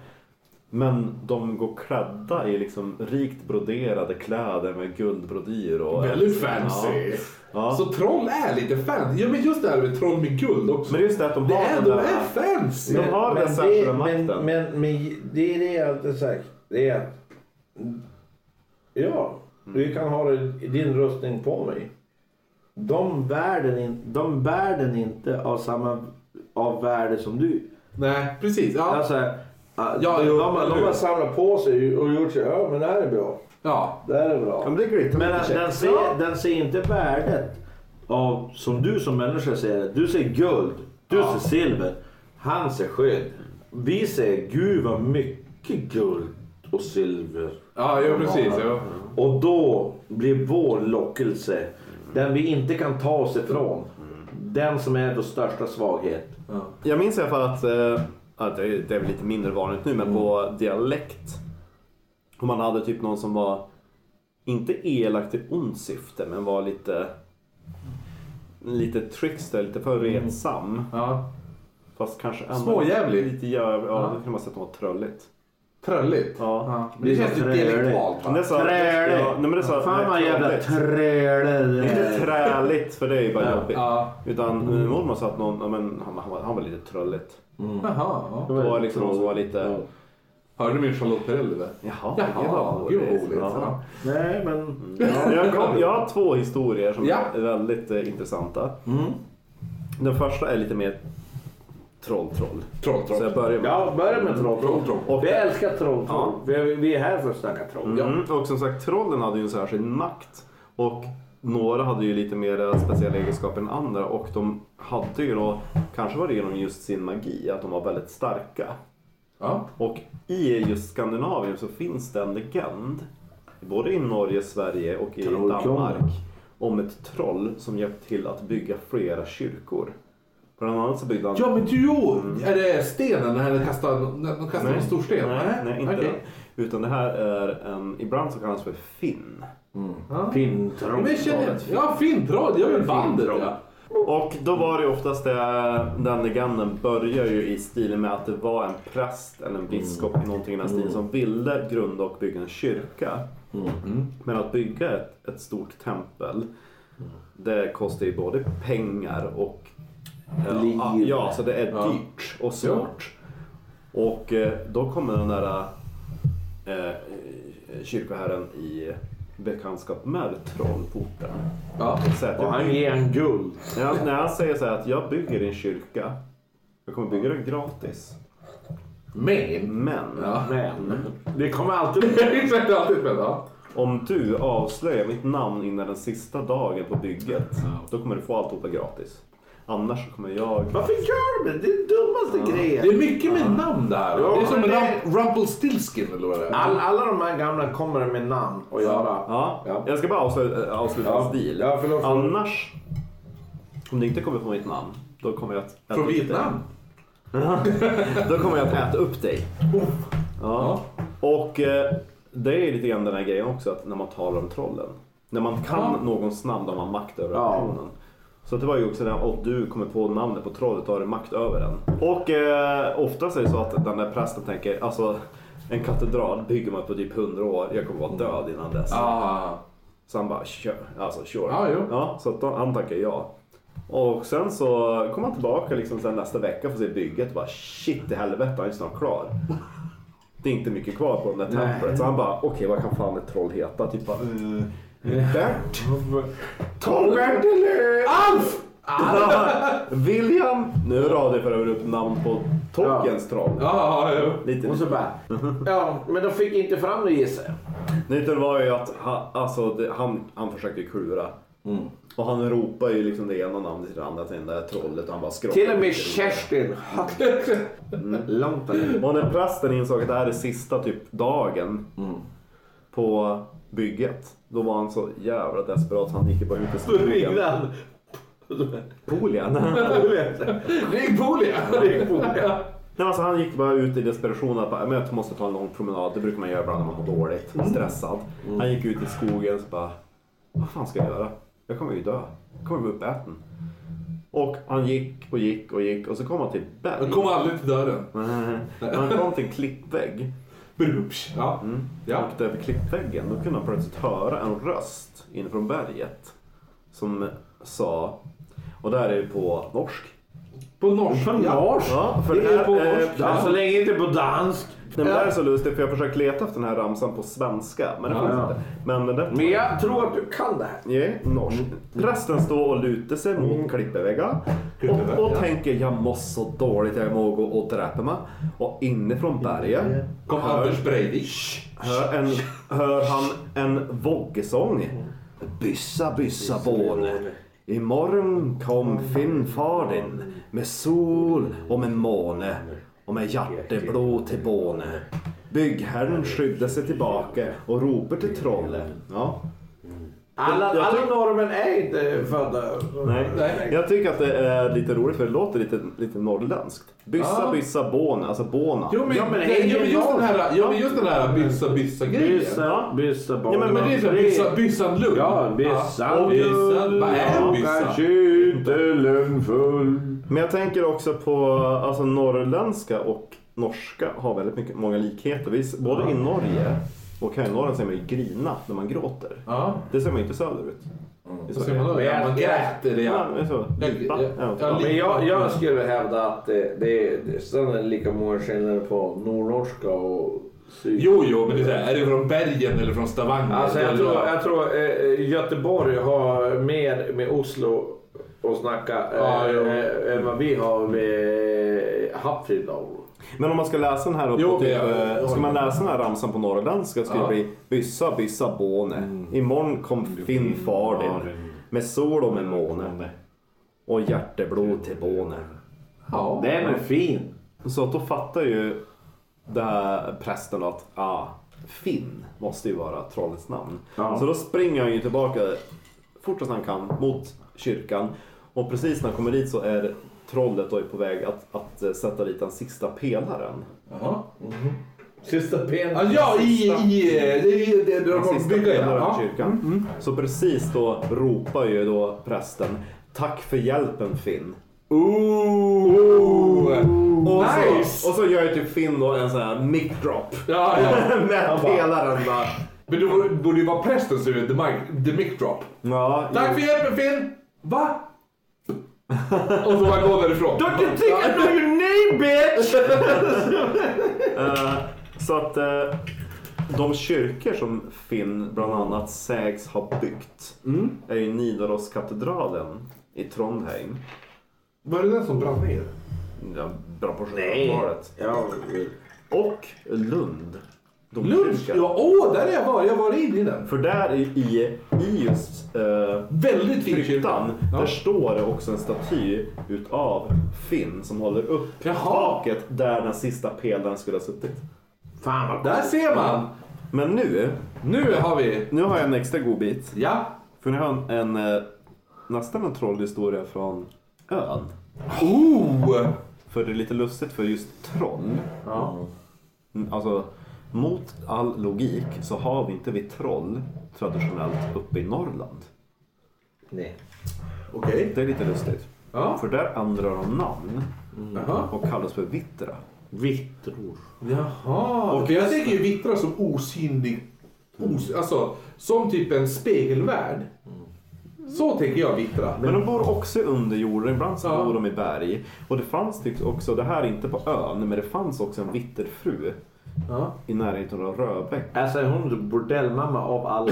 [SPEAKER 3] Men de går klädda i liksom rikt broderade kläder med guldbrodyr. Och
[SPEAKER 1] Väldigt fancy.
[SPEAKER 3] Ja. Ja.
[SPEAKER 1] Så troll är lite fancy. Ja, men just det här med troll med guld också.
[SPEAKER 3] Men det är just det att de har
[SPEAKER 1] det är,
[SPEAKER 3] den
[SPEAKER 1] de
[SPEAKER 3] där...
[SPEAKER 1] är fancy.
[SPEAKER 3] De har den där
[SPEAKER 4] det,
[SPEAKER 3] särskilda
[SPEAKER 4] men,
[SPEAKER 3] makten.
[SPEAKER 4] men, men det är det jag alltid sagt. Det är att... Ja,
[SPEAKER 3] Mm.
[SPEAKER 4] du kan ha det- din rustning på mig. De bär den, in, de bär den inte av samma av värde som du.
[SPEAKER 1] Nej, precis. Ja.
[SPEAKER 4] Alltså, ja,
[SPEAKER 1] Ja,
[SPEAKER 4] de,
[SPEAKER 1] jo,
[SPEAKER 4] de, har- de
[SPEAKER 1] eller hur?
[SPEAKER 4] har samlat på sig och gjort så här, ja men det här är bra.
[SPEAKER 1] ja.
[SPEAKER 4] Det här är bra.
[SPEAKER 3] Ja, men det är glitter.
[SPEAKER 4] Men den, den, ser, den ser inte värdet av, som du som människa ser det. Du ser guld, du
[SPEAKER 1] Ja.
[SPEAKER 4] ser silver, han ser sked. Vi ser, gud vad mycket guld och silver.
[SPEAKER 1] Ja, ja precis. Ja.
[SPEAKER 4] Och då blir vår lockelse, den vi inte kan ta oss ifrån, den som är vår största svaghet.
[SPEAKER 1] Ja.
[SPEAKER 3] Jag minns i alla fall att, eh, att det, är, det är väl lite mindre vanligt nu, men på dialekt. Om man hade typ någon som var, inte elak till ont syfte, men var lite lite trickster, lite för retsam.
[SPEAKER 1] Ja.
[SPEAKER 3] Fast kanske ändå
[SPEAKER 1] Småjävlig.
[SPEAKER 3] Lite jävlig. Ja,
[SPEAKER 1] Ja.
[SPEAKER 3] då kunde man säga att de var trölligt.
[SPEAKER 1] Trölligt.
[SPEAKER 3] Ja.
[SPEAKER 1] Ja. Men Det känns ju
[SPEAKER 4] Trölligt.
[SPEAKER 1] dialektalt.
[SPEAKER 3] Men det är
[SPEAKER 1] va?
[SPEAKER 3] så-
[SPEAKER 4] Trälig.
[SPEAKER 3] Ja, nej, men det är så-
[SPEAKER 4] Fan
[SPEAKER 3] nej,
[SPEAKER 4] vad jävla
[SPEAKER 3] trolligt.
[SPEAKER 4] trälig
[SPEAKER 3] Det
[SPEAKER 4] det
[SPEAKER 3] är inte
[SPEAKER 4] är.
[SPEAKER 3] träligt, för det är ju bara
[SPEAKER 4] Ja.
[SPEAKER 3] jobbigt.
[SPEAKER 1] Ja.
[SPEAKER 3] Utan min mormor sa att någon, ja, men, han, han, var, han var lite trölligt.
[SPEAKER 1] Jaha. Ja.
[SPEAKER 3] Det var liksom någon som var lite,
[SPEAKER 1] Hörde du min Charlotte Perrelli där?
[SPEAKER 3] jaha, det
[SPEAKER 1] Jaha,
[SPEAKER 3] var
[SPEAKER 1] gud vad
[SPEAKER 3] roligt.
[SPEAKER 1] roligt.
[SPEAKER 3] Ja.
[SPEAKER 1] Ja.
[SPEAKER 4] Nej men...
[SPEAKER 3] Jag, kom, jag har två historier som
[SPEAKER 1] Ja.
[SPEAKER 3] är väldigt eh, intressanta. Den första är lite mer troll-troll.
[SPEAKER 1] Troll,
[SPEAKER 3] Så
[SPEAKER 1] troll.
[SPEAKER 3] jag börjar med.
[SPEAKER 4] Ja, börja med troll.
[SPEAKER 1] Troll, troll.
[SPEAKER 3] Och,
[SPEAKER 4] Vi älskar troll.
[SPEAKER 3] Ja.
[SPEAKER 4] troll. Vi, är- vi är här för att snacka troll.
[SPEAKER 3] mm, och som sagt, trollen hade ju en särskild makt. Och några hade ju lite mer speciella egenskaper än andra. Och de hade ju då, kanske var det genom just sin magi, att de var väldigt starka.
[SPEAKER 1] Ja.
[SPEAKER 3] Och i just Skandinavien så finns det en legend, både i Norge, Sverige och i Danmark, om ett troll som hjälpt till att bygga flera kyrkor. Bland annat så byggde han...
[SPEAKER 1] ja, men du jo! Är det stenen? När de kastar, när de kastar en stor sten?
[SPEAKER 3] Nej, nej inte
[SPEAKER 1] Okej.
[SPEAKER 3] den. Utan det här är en, ibland så kallas för finn.
[SPEAKER 1] Ja.
[SPEAKER 4] Pinntroll.
[SPEAKER 1] Men jag känner, ja, fintroll. Jag vill bandet ja.
[SPEAKER 3] Och då var det oftast det, den legenden börjar ju i stil med att det var en präst eller en biskop
[SPEAKER 1] Mm.
[SPEAKER 3] i någonting i den här stilen som ville grunda och bygga en kyrka.
[SPEAKER 1] Mm.
[SPEAKER 3] Men att bygga ett, ett stort tempel
[SPEAKER 1] Mm.
[SPEAKER 3] det kostar ju både pengar och eh,
[SPEAKER 4] Liv.
[SPEAKER 3] Ja, ja, så det är
[SPEAKER 1] Ja.
[SPEAKER 3] dyrt och svårt. Och eh, då kommer den där eh, kyrkoherren i bekantskap med troll på orten.
[SPEAKER 1] Ja.
[SPEAKER 3] Och säger att
[SPEAKER 4] Och
[SPEAKER 3] jag
[SPEAKER 4] han ger en guld.
[SPEAKER 3] när han, när han säger så här att jag bygger din kyrka. Jag kommer bygga den gratis.
[SPEAKER 1] Men.
[SPEAKER 3] Men
[SPEAKER 1] Ja.
[SPEAKER 4] Men det kommer alltid...
[SPEAKER 1] Exakt, alltid men ja.
[SPEAKER 3] om du avslöjar mitt namn innan den sista dagen på bygget. Då kommer du få alltihopa gratis. Annars så kommer jag...
[SPEAKER 4] Varför gör du det? Det är den dummaste
[SPEAKER 1] Det
[SPEAKER 4] grejen.
[SPEAKER 1] är mycket med namn det här.
[SPEAKER 4] Ja,
[SPEAKER 1] det är som
[SPEAKER 4] men det-
[SPEAKER 1] Rump- Rumpelstiltskin eller vad det är.
[SPEAKER 4] All, alla de här gamla kommer med namn att göra.
[SPEAKER 3] Ja,
[SPEAKER 4] Ja.
[SPEAKER 3] jag ska bara avsluta, avsluta
[SPEAKER 4] Ja.
[SPEAKER 3] hans deal.
[SPEAKER 4] Ja, förlåt.
[SPEAKER 3] Annars, om du inte kommer på mitt namn, då kommer jag att... äta
[SPEAKER 1] Från
[SPEAKER 3] upp
[SPEAKER 1] Vietnam.
[SPEAKER 3] dig. Då kommer jag att äta upp dig. Ja. Och eh, det är lite grann den här grejen också, att när man talar om trollen. När man kan
[SPEAKER 1] Ja.
[SPEAKER 3] någons namn, då har man makt över
[SPEAKER 4] Ja.
[SPEAKER 3] personen. Så det var ju också det här, och du kommer på namnet på trollet, då har du makt över den. Och eh, oftast är det så att den där prästen tänker, alltså en katedral bygger man på typ 100 år, jag kommer vara död innan dess.
[SPEAKER 1] Ah.
[SPEAKER 3] Så han bara kör. Alltså sure.
[SPEAKER 1] Ja, jo.
[SPEAKER 3] ja, så att då, han tackar ja. Och sen så kom han tillbaka liksom sen nästa vecka för att se bygget och bara shit i helvete han är snart klar. Det är inte mycket kvar på den där templet. Så han bara okej vad kan fan ett troll heta? Typ bara uh, Bert? Torbert eller?
[SPEAKER 1] Alf!
[SPEAKER 3] Ah! William? Nu radar jag för övrigt upp namn på Tolkiens troll.
[SPEAKER 1] Ja, ja, ja.
[SPEAKER 3] Lite
[SPEAKER 4] Och så bara, ja, men de fick inte fram det gissar jag.
[SPEAKER 3] Nyttan var ju att han, alltså, det, han, han försökte ju klura.
[SPEAKER 4] Mm.
[SPEAKER 3] Och han ropar ju liksom det ena namnet till det andra till det där trollet och han bara skrockar.
[SPEAKER 4] Till och med Kerstin. Långt där.
[SPEAKER 3] Och när prästen insåg att det här är sista typ dagen
[SPEAKER 4] Mm.
[SPEAKER 3] på bygget. Då var han så jävla desperat så han gick ju bara ut i
[SPEAKER 4] Så ringde han.
[SPEAKER 3] Polien.
[SPEAKER 1] Ring Polia!
[SPEAKER 3] Nej, alltså, han gick bara ut i desperation att bara, men jag måste ta en lång promenad. Det brukar man göra ibland när man mår dåligt,
[SPEAKER 1] Mm.
[SPEAKER 3] stressad. Han gick ut i skogen och bara, vad fan ska jag göra? Jag kommer ju dö. Jag kommer bli uppäten. Och han gick och gick och gick och så kom han till ett berg.
[SPEAKER 1] Jag kom aldrig till dörren.
[SPEAKER 3] Han kom till en klippvägg.
[SPEAKER 1] Brupsch. Ja. ja.
[SPEAKER 3] Och där vid klippväggen då kunde han plötsligt höra en röst inifrån berget. Som sa, och där är det på norsk.
[SPEAKER 1] På norska. Ja.
[SPEAKER 3] Ja, för
[SPEAKER 1] Det är på
[SPEAKER 3] eh,
[SPEAKER 1] norsk.
[SPEAKER 3] ja,
[SPEAKER 4] Så länge inte på dansk.
[SPEAKER 3] Nej, men det här är så lustigt för jag försöker leta efter den här ramsan på svenska. Men det
[SPEAKER 1] Ja,
[SPEAKER 3] finns
[SPEAKER 1] ja.
[SPEAKER 3] inte. Men den där...
[SPEAKER 4] Men jag tror att du kan det här.
[SPEAKER 3] Ja, norsk. Prästen står och lutar sig mot klippeväggen och, och tänker jag mår så dåligt, jag mår gå och dräpa mig. Och inifrån berget
[SPEAKER 1] Kom Anders Breivik.
[SPEAKER 3] hör, en, hör han en voggesång. Byssa, byssa båne. Imorgon kom Finnfadin med sol och med måne och med hjärteblå till båne. Byggherren skyddar sig tillbaka och ropar till trollet. Ja.
[SPEAKER 4] Alla,
[SPEAKER 3] Jag- jag
[SPEAKER 4] alla norrmän är inte födda.
[SPEAKER 3] Nej. Jag tycker att det är lite roligt för det låter lite, lite norrländskt. Byssa,
[SPEAKER 1] Ja.
[SPEAKER 3] byssa, båne. Alltså båna.
[SPEAKER 1] Jo men,
[SPEAKER 4] Ja, men
[SPEAKER 1] det,
[SPEAKER 4] hänger
[SPEAKER 1] jo, men just
[SPEAKER 4] jag-
[SPEAKER 1] den här, jo, men just den här byssa byssa grejen.
[SPEAKER 4] Byssa, byssa barn.
[SPEAKER 1] Ja men, men det är så här, byssa, byssan lugn.
[SPEAKER 4] Ja, byssan
[SPEAKER 1] Ja, byssan. Vad är en byssa?
[SPEAKER 4] Kanske inte lögnfull.
[SPEAKER 3] Men jag tänker också på alltså norrländska och norska har väldigt mycket, många likheter. Vi, s- både i Norge och här i Norrland ser man ju grina när man gråter.
[SPEAKER 1] Ja.
[SPEAKER 3] Det ser man ju inte söderut. I
[SPEAKER 1] Så Mm. ser
[SPEAKER 3] Sverige.
[SPEAKER 1] man då. Ja, man gräter.
[SPEAKER 3] Ja,
[SPEAKER 1] Ja.
[SPEAKER 3] det är så. Lipa.
[SPEAKER 1] Jag- jag-
[SPEAKER 3] Ja.
[SPEAKER 4] Men jag, jag skulle hävda att det, det, det sen är det lika många skillnader på nordnorska och syd.
[SPEAKER 1] Jo, jo, men det är, så här, är det från Bergen eller från Stavanger?
[SPEAKER 4] Alltså jag
[SPEAKER 1] Eller-
[SPEAKER 4] tror, jag tror eh, Göteborg har mer med Oslo att snacka eh,
[SPEAKER 1] Ja, jo.
[SPEAKER 4] eh, än vad vi har med Happfrid
[SPEAKER 3] Men om man ska läsa den här då
[SPEAKER 1] Jo,
[SPEAKER 3] på typ,
[SPEAKER 1] det är-
[SPEAKER 3] eh, Ska man läsa den här ramsan på norrländska ska
[SPEAKER 1] Ja.
[SPEAKER 3] det bli Byssa, byssa, båne. Imorgon kom Finn far din. Med sol och med måne. Och hjärteblod till båne.
[SPEAKER 1] Ja.
[SPEAKER 4] Den är fin.
[SPEAKER 3] Så att då fattar ju det här prästen att ah, Finn måste ju vara trollets namn.
[SPEAKER 4] Ja.
[SPEAKER 3] Så då springer han ju tillbaka fort som han kan mot kyrkan. Och precis när han kommer dit så är trollet då på väg att, att eh, sätta dit den sista pelaren.
[SPEAKER 1] Jaha.
[SPEAKER 4] Sista
[SPEAKER 1] Ja,
[SPEAKER 4] penis.
[SPEAKER 1] ja, i... i eh, det är ju det de
[SPEAKER 3] Den
[SPEAKER 1] har
[SPEAKER 3] sista
[SPEAKER 1] byggt igen.
[SPEAKER 3] pelaren
[SPEAKER 1] Ja. Mm.
[SPEAKER 3] i kyrkan. Så precis då ropar ju då prästen Tack för hjälpen Finn.
[SPEAKER 1] Ooh.
[SPEAKER 3] Och,
[SPEAKER 1] Nice.
[SPEAKER 3] så, och så gör ju typ Finn då en sån här mic drop.
[SPEAKER 1] Ja, ja.
[SPEAKER 3] Med pelaren bara.
[SPEAKER 1] Men då borde- borde ju vara prästen som gjorde the mic, the mic drop.
[SPEAKER 3] Ja,
[SPEAKER 1] Tack för hjälpen Finn! Va? Och så bara gå därifrån.
[SPEAKER 3] Eh, Så att eh, de kyrkor som Finn bland annat sägs ha byggt
[SPEAKER 1] Mm.
[SPEAKER 3] är ju Nidaroskatedralen i Trondheim.
[SPEAKER 1] Var det den som brann ner?
[SPEAKER 3] Ja, Bra på 1700-talet.
[SPEAKER 4] Ja,
[SPEAKER 3] Och Lund.
[SPEAKER 1] Lunch?
[SPEAKER 3] domkyrka.
[SPEAKER 1] Ja, åh, där är jag var. Jag var inne i den.
[SPEAKER 3] För där i, i, i just eh,
[SPEAKER 1] Väldigt fin kyrka.
[SPEAKER 3] Kryptan,
[SPEAKER 1] Ja.
[SPEAKER 3] där står det också en staty utav Finn som håller upp
[SPEAKER 1] Jaha.
[SPEAKER 3] taket där den sista pelaren skulle ha suttit.
[SPEAKER 4] Fan vad
[SPEAKER 1] Där ser man!
[SPEAKER 3] Men nu,
[SPEAKER 1] Nu har vi...
[SPEAKER 3] nu har jag en extra god bit.
[SPEAKER 1] Ja.
[SPEAKER 3] För nu har jag en, en eh, nästan en trollhistoria från ön.
[SPEAKER 1] Oh!
[SPEAKER 3] För det är lite lustigt för just troll. Mm, Alltså, mot all logik så har vi inte vi troll traditionellt uppe i Norrland.
[SPEAKER 4] Nej.
[SPEAKER 1] Okej.
[SPEAKER 3] Det är lite lustigt.
[SPEAKER 1] Ja.
[SPEAKER 3] För där ändrar de namn
[SPEAKER 1] Jaha.
[SPEAKER 3] och kallas för vittra.
[SPEAKER 4] Vittror.
[SPEAKER 1] Jaha. Och jag tänker ju vittra som osynlig. Os, alltså, som typ en spegelvärld.
[SPEAKER 4] Mm.
[SPEAKER 1] Så tänker jag vittra.
[SPEAKER 3] Men de bor också i underjorden, ibland så
[SPEAKER 1] Ja.
[SPEAKER 3] bor de i berg. Och det fanns typ också, det här är inte på ön, men det fanns också en vitterfru
[SPEAKER 1] Ja.
[SPEAKER 3] i närheten av Röbäck.
[SPEAKER 4] Alltså är hon bordellmamma av alla.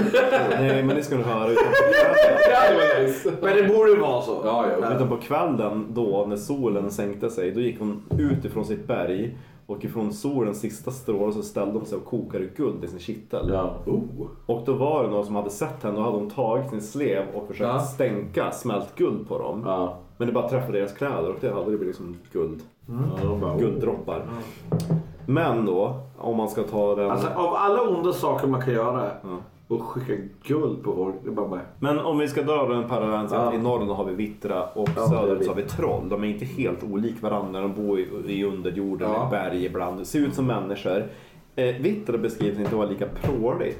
[SPEAKER 3] Nej, men det ska du höra.
[SPEAKER 4] Men det borde ju vara så.
[SPEAKER 1] Ja, ja.
[SPEAKER 3] Utan på kvällen då, när solen sänkte sig, då gick hon ut ifrån sitt berg och ifrån solens sista stråle så ställde hon sig och kokade guld i sin kittel.
[SPEAKER 4] Ja.
[SPEAKER 1] Oh.
[SPEAKER 3] Och då var det någon som hade sett henne och hade hon tagit sin slev och försökt
[SPEAKER 1] Ja.
[SPEAKER 3] stänka smält guld på dem.
[SPEAKER 4] Ja.
[SPEAKER 3] Men det bara träffade deras kläder och det hade blivit liksom guld.
[SPEAKER 4] Ja, de bara, oh.
[SPEAKER 3] Gulddroppar. Men då, om man ska ta den...
[SPEAKER 4] Alltså av alla onda saker man kan göra. Och skicka guld på folk. Det är bara, bara
[SPEAKER 3] Men om vi ska dra den parallellen så att
[SPEAKER 4] Ja.
[SPEAKER 3] i norr har vi vittra och söderut så har vi troll. De är inte helt olika varandra. De bor i, i underjorden,
[SPEAKER 1] Ja.
[SPEAKER 3] i berg ibland. Ser ut som människor. Eh, vittra beskrivs inte vara lika prålig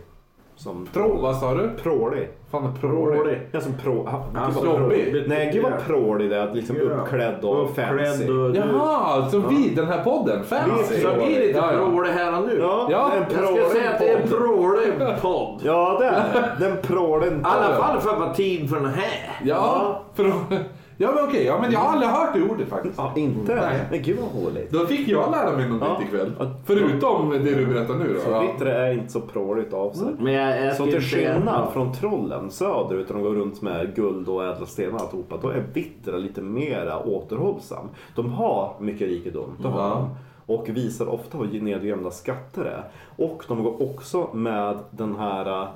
[SPEAKER 3] som
[SPEAKER 1] Tro, vad sa du?
[SPEAKER 3] Prålig.
[SPEAKER 1] Fan,
[SPEAKER 4] Prålig.
[SPEAKER 1] prålig.
[SPEAKER 3] Ja, som prå... ha-
[SPEAKER 4] Ja,
[SPEAKER 3] gud vad
[SPEAKER 1] prålig.
[SPEAKER 3] prålig. Nej, gud vad prålig det är. att Liksom
[SPEAKER 4] Ja.
[SPEAKER 3] uppklädd och fancy.
[SPEAKER 4] uppklädd och du.
[SPEAKER 1] Jaha, så vi, den här podden. Fancy.
[SPEAKER 4] Så vi är lite
[SPEAKER 1] Ja, ja.
[SPEAKER 4] prålig här och nu.
[SPEAKER 3] Ja,
[SPEAKER 1] Ja,
[SPEAKER 3] den
[SPEAKER 4] Jag ska säga att det är en prålig podd. I
[SPEAKER 3] Ja, det är det. den. prålen.
[SPEAKER 4] alla fall för att vara tid för den här.
[SPEAKER 1] Ja, för, ja men okej. Ja, men jag har aldrig hört det ordet faktiskt.
[SPEAKER 3] Ja, inte?
[SPEAKER 1] Nej.
[SPEAKER 3] Men gud vad håligt.
[SPEAKER 1] Då fick jag lära mig något
[SPEAKER 3] Ja.
[SPEAKER 1] nytt
[SPEAKER 3] Ja.
[SPEAKER 1] ikväll. Förutom det du berättar nu då.
[SPEAKER 3] Så vittra är inte så pråligt av sig.
[SPEAKER 4] Men jag, jag
[SPEAKER 3] Så
[SPEAKER 4] skulle
[SPEAKER 3] till
[SPEAKER 4] säga-
[SPEAKER 3] skillnad från trollen söderut, där de går runt med guld och ädla stenar och alltihopa, då är vittra lite mera återhållsam. De har mycket rikedom, det har de. Och visar ofta vad nedgrävda skatter är. Och de går också med den här äh,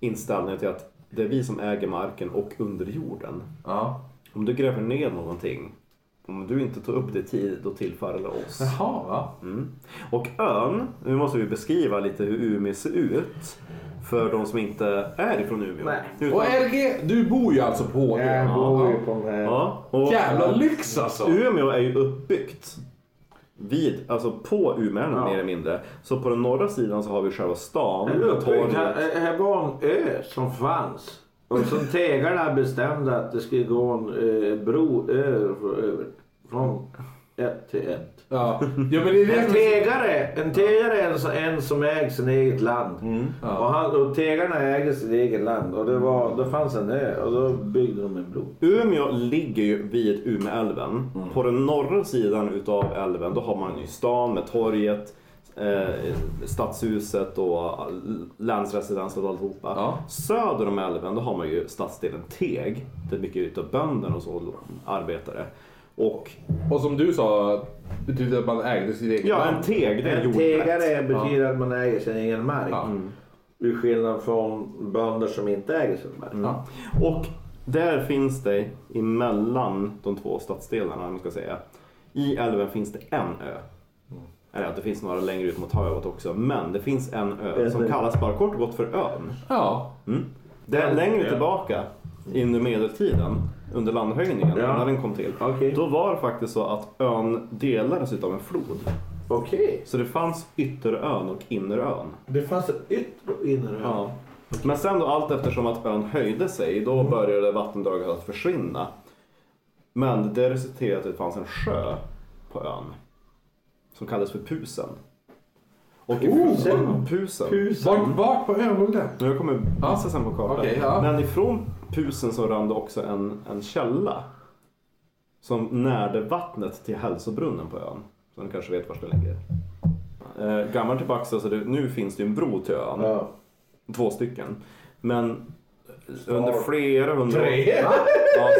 [SPEAKER 3] inställningen till att det är vi som äger marken och underjorden.
[SPEAKER 1] Ja.
[SPEAKER 3] Om du gräver ner någonting, om du inte tar upp det i tid, då tillfaller det oss.
[SPEAKER 1] Jaha, va?
[SPEAKER 3] Mm. Och ön, nu måste vi beskriva lite hur Umeå ser ut. För de som inte är från Umeå.
[SPEAKER 4] Nej.
[SPEAKER 3] Utan,
[SPEAKER 1] Och RG, du bor ju alltså på HD.
[SPEAKER 4] Jag bor ju på den här.
[SPEAKER 3] ja, och
[SPEAKER 1] Jävla lyx alltså!
[SPEAKER 3] Umeå är ju uppbyggt vid, alltså på Umeälven
[SPEAKER 4] Ja.
[SPEAKER 3] mer eller mindre. Så på den norra sidan så har vi själva stan.
[SPEAKER 4] Eller
[SPEAKER 3] med
[SPEAKER 4] uppbyggd.
[SPEAKER 3] torget.
[SPEAKER 4] Här, här var en ö som fanns. Och som tegarna bestämde att det skulle gå en eh, bro över, över från ett till ett.
[SPEAKER 1] Ja. ja, men det är det
[SPEAKER 4] En
[SPEAKER 1] som är...
[SPEAKER 4] tegare, en tegare är en, så- en som äger sin eget land.
[SPEAKER 1] Ja.
[SPEAKER 4] Och, han, och tegarna äger sitt eget land. Och det, var, det fanns en ö och då byggde de en bro.
[SPEAKER 3] Umeå ligger ju vid Umeälven. På den norra sidan utav älven då har man ju stan med torget, eh, stadshuset och all- länsresidenset och alltihopa.
[SPEAKER 1] Ja.
[SPEAKER 3] Söder om älven då har man ju stadsdelen Teg. Det är mycket utav bönder och så, arbetare. Och
[SPEAKER 1] Och som du sa, betyder att man ägde sitt eget
[SPEAKER 3] ja, en
[SPEAKER 1] land.
[SPEAKER 3] teg det är en
[SPEAKER 4] En
[SPEAKER 3] jordplätt.
[SPEAKER 4] tegare betyder att man äger sin egen mark.
[SPEAKER 1] Ja.
[SPEAKER 4] Till skillnad från bönder som inte äger sin mark.
[SPEAKER 1] Ja.
[SPEAKER 3] Och där finns det emellan de två stadsdelarna, om man ska säga. I älven finns det en ö. Eller att det finns några längre ut mot havet också. Men det finns en ö som kallas bara kort och gott för ön.
[SPEAKER 1] ja.
[SPEAKER 3] Det är längre tillbaka under medeltiden, under landhöjningen,
[SPEAKER 4] Ja.
[SPEAKER 3] när den kom till.
[SPEAKER 4] Okej.
[SPEAKER 3] Då var det faktiskt så att ön delades av en flod.
[SPEAKER 4] Okej.
[SPEAKER 3] Så det fanns ytterön och innerön.
[SPEAKER 4] Det fanns en yttre och inre ö.
[SPEAKER 3] Ja. Men sen då allt eftersom att ön höjde sig, då började vattendraget att försvinna. Men det resulterade i att det fanns en sjö på ön. Som kallades för Pusen. Och
[SPEAKER 4] Pusen?
[SPEAKER 3] Pusen? Pusen.
[SPEAKER 1] Vart, vart på ön låg den?
[SPEAKER 3] Jag kommer visa sen på kartan.
[SPEAKER 1] Okej, ja.
[SPEAKER 3] Men ifrån Pusen så rann det också en, en källa. Som närde vattnet till hälsobrunnen på ön. Så ni kanske vet var det ligger. Eh, gammalt tillbaka så det, nu finns det ju en bro till ön.
[SPEAKER 4] Ja.
[SPEAKER 3] Två stycken. Men under flera hundra år...
[SPEAKER 4] Tre?
[SPEAKER 3] Ja,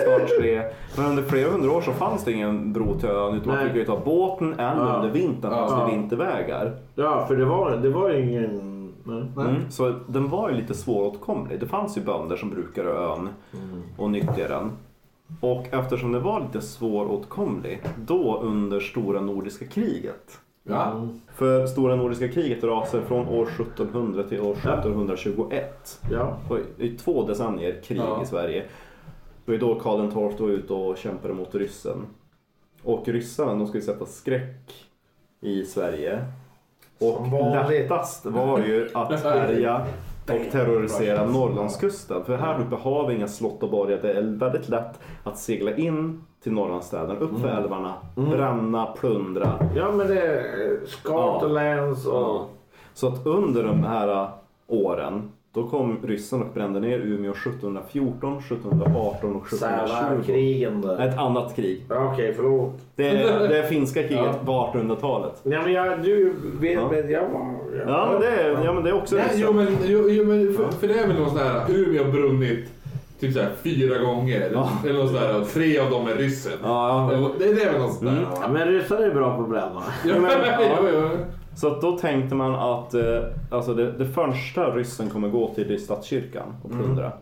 [SPEAKER 3] snart tre. Men under flera hundra år så fanns det ingen bro till ön utan man
[SPEAKER 4] Nej.
[SPEAKER 3] fick ju ta båten eller
[SPEAKER 4] Ja.
[SPEAKER 3] under vintern fanns
[SPEAKER 1] Ja.
[SPEAKER 3] det vintervägar.
[SPEAKER 4] Ja, för det var, det var ju ingen
[SPEAKER 1] Nej.
[SPEAKER 3] Mm. Så den var ju lite svåråtkomlig. Det fanns ju bönder som brukade ön
[SPEAKER 4] Mm.
[SPEAKER 3] och nyttjade den. Och eftersom den var lite svåråtkomlig då under Stora Nordiska kriget.
[SPEAKER 1] Ja.
[SPEAKER 3] För Stora Nordiska kriget rasar från år 1700 till år 1721.
[SPEAKER 4] Ja.
[SPEAKER 3] Och I två decennier krig
[SPEAKER 1] Ja.
[SPEAKER 3] i Sverige. Det var ju då Karl XII var ute och kämpade mot ryssen. Och ryssarna de skulle sätta skräck i Sverige. Och
[SPEAKER 5] Som vanligt.
[SPEAKER 3] lättast var ju att härja och terrorisera Norrlandskusten. För här uppe har vi inga slott och borgar. Det är väldigt lätt att segla in till Norrlandsstäderna, upp
[SPEAKER 5] Mm.
[SPEAKER 3] för älvarna, bränna, plundra.
[SPEAKER 4] Ja, men det är Scotlands och...
[SPEAKER 3] Så att under de här äh, åren då kom ryssen och brände ner Umeå 1714, 1718 och 1720.
[SPEAKER 4] Sävarkrigen där.
[SPEAKER 3] Ett annat krig.
[SPEAKER 4] Ja, Okej, förlåt.
[SPEAKER 3] Det, är- det är finska kriget på 1800-talet.
[SPEAKER 4] Nej, men jag, du vet,
[SPEAKER 3] Ja.
[SPEAKER 4] men jag var... Jag,
[SPEAKER 3] Ja men, det är, ja, men det är också
[SPEAKER 1] Nej,
[SPEAKER 3] ryssen.
[SPEAKER 1] jo, men, jo, jo, men för, för det är väl någon sån här Umeå har brunnit typ så här fyra gånger. Eller något sån här, och tre av dem är ryssen.
[SPEAKER 3] Ja, ja.
[SPEAKER 1] Det, det är väl något sånt där. va?
[SPEAKER 4] Ja, men ryssar är bra på att bränna.
[SPEAKER 1] Ja, Mm. jo, jo.
[SPEAKER 3] Så att då tänkte man att eh, alltså det, det första ryssen kommer gå till det är stadskyrkan och plundra.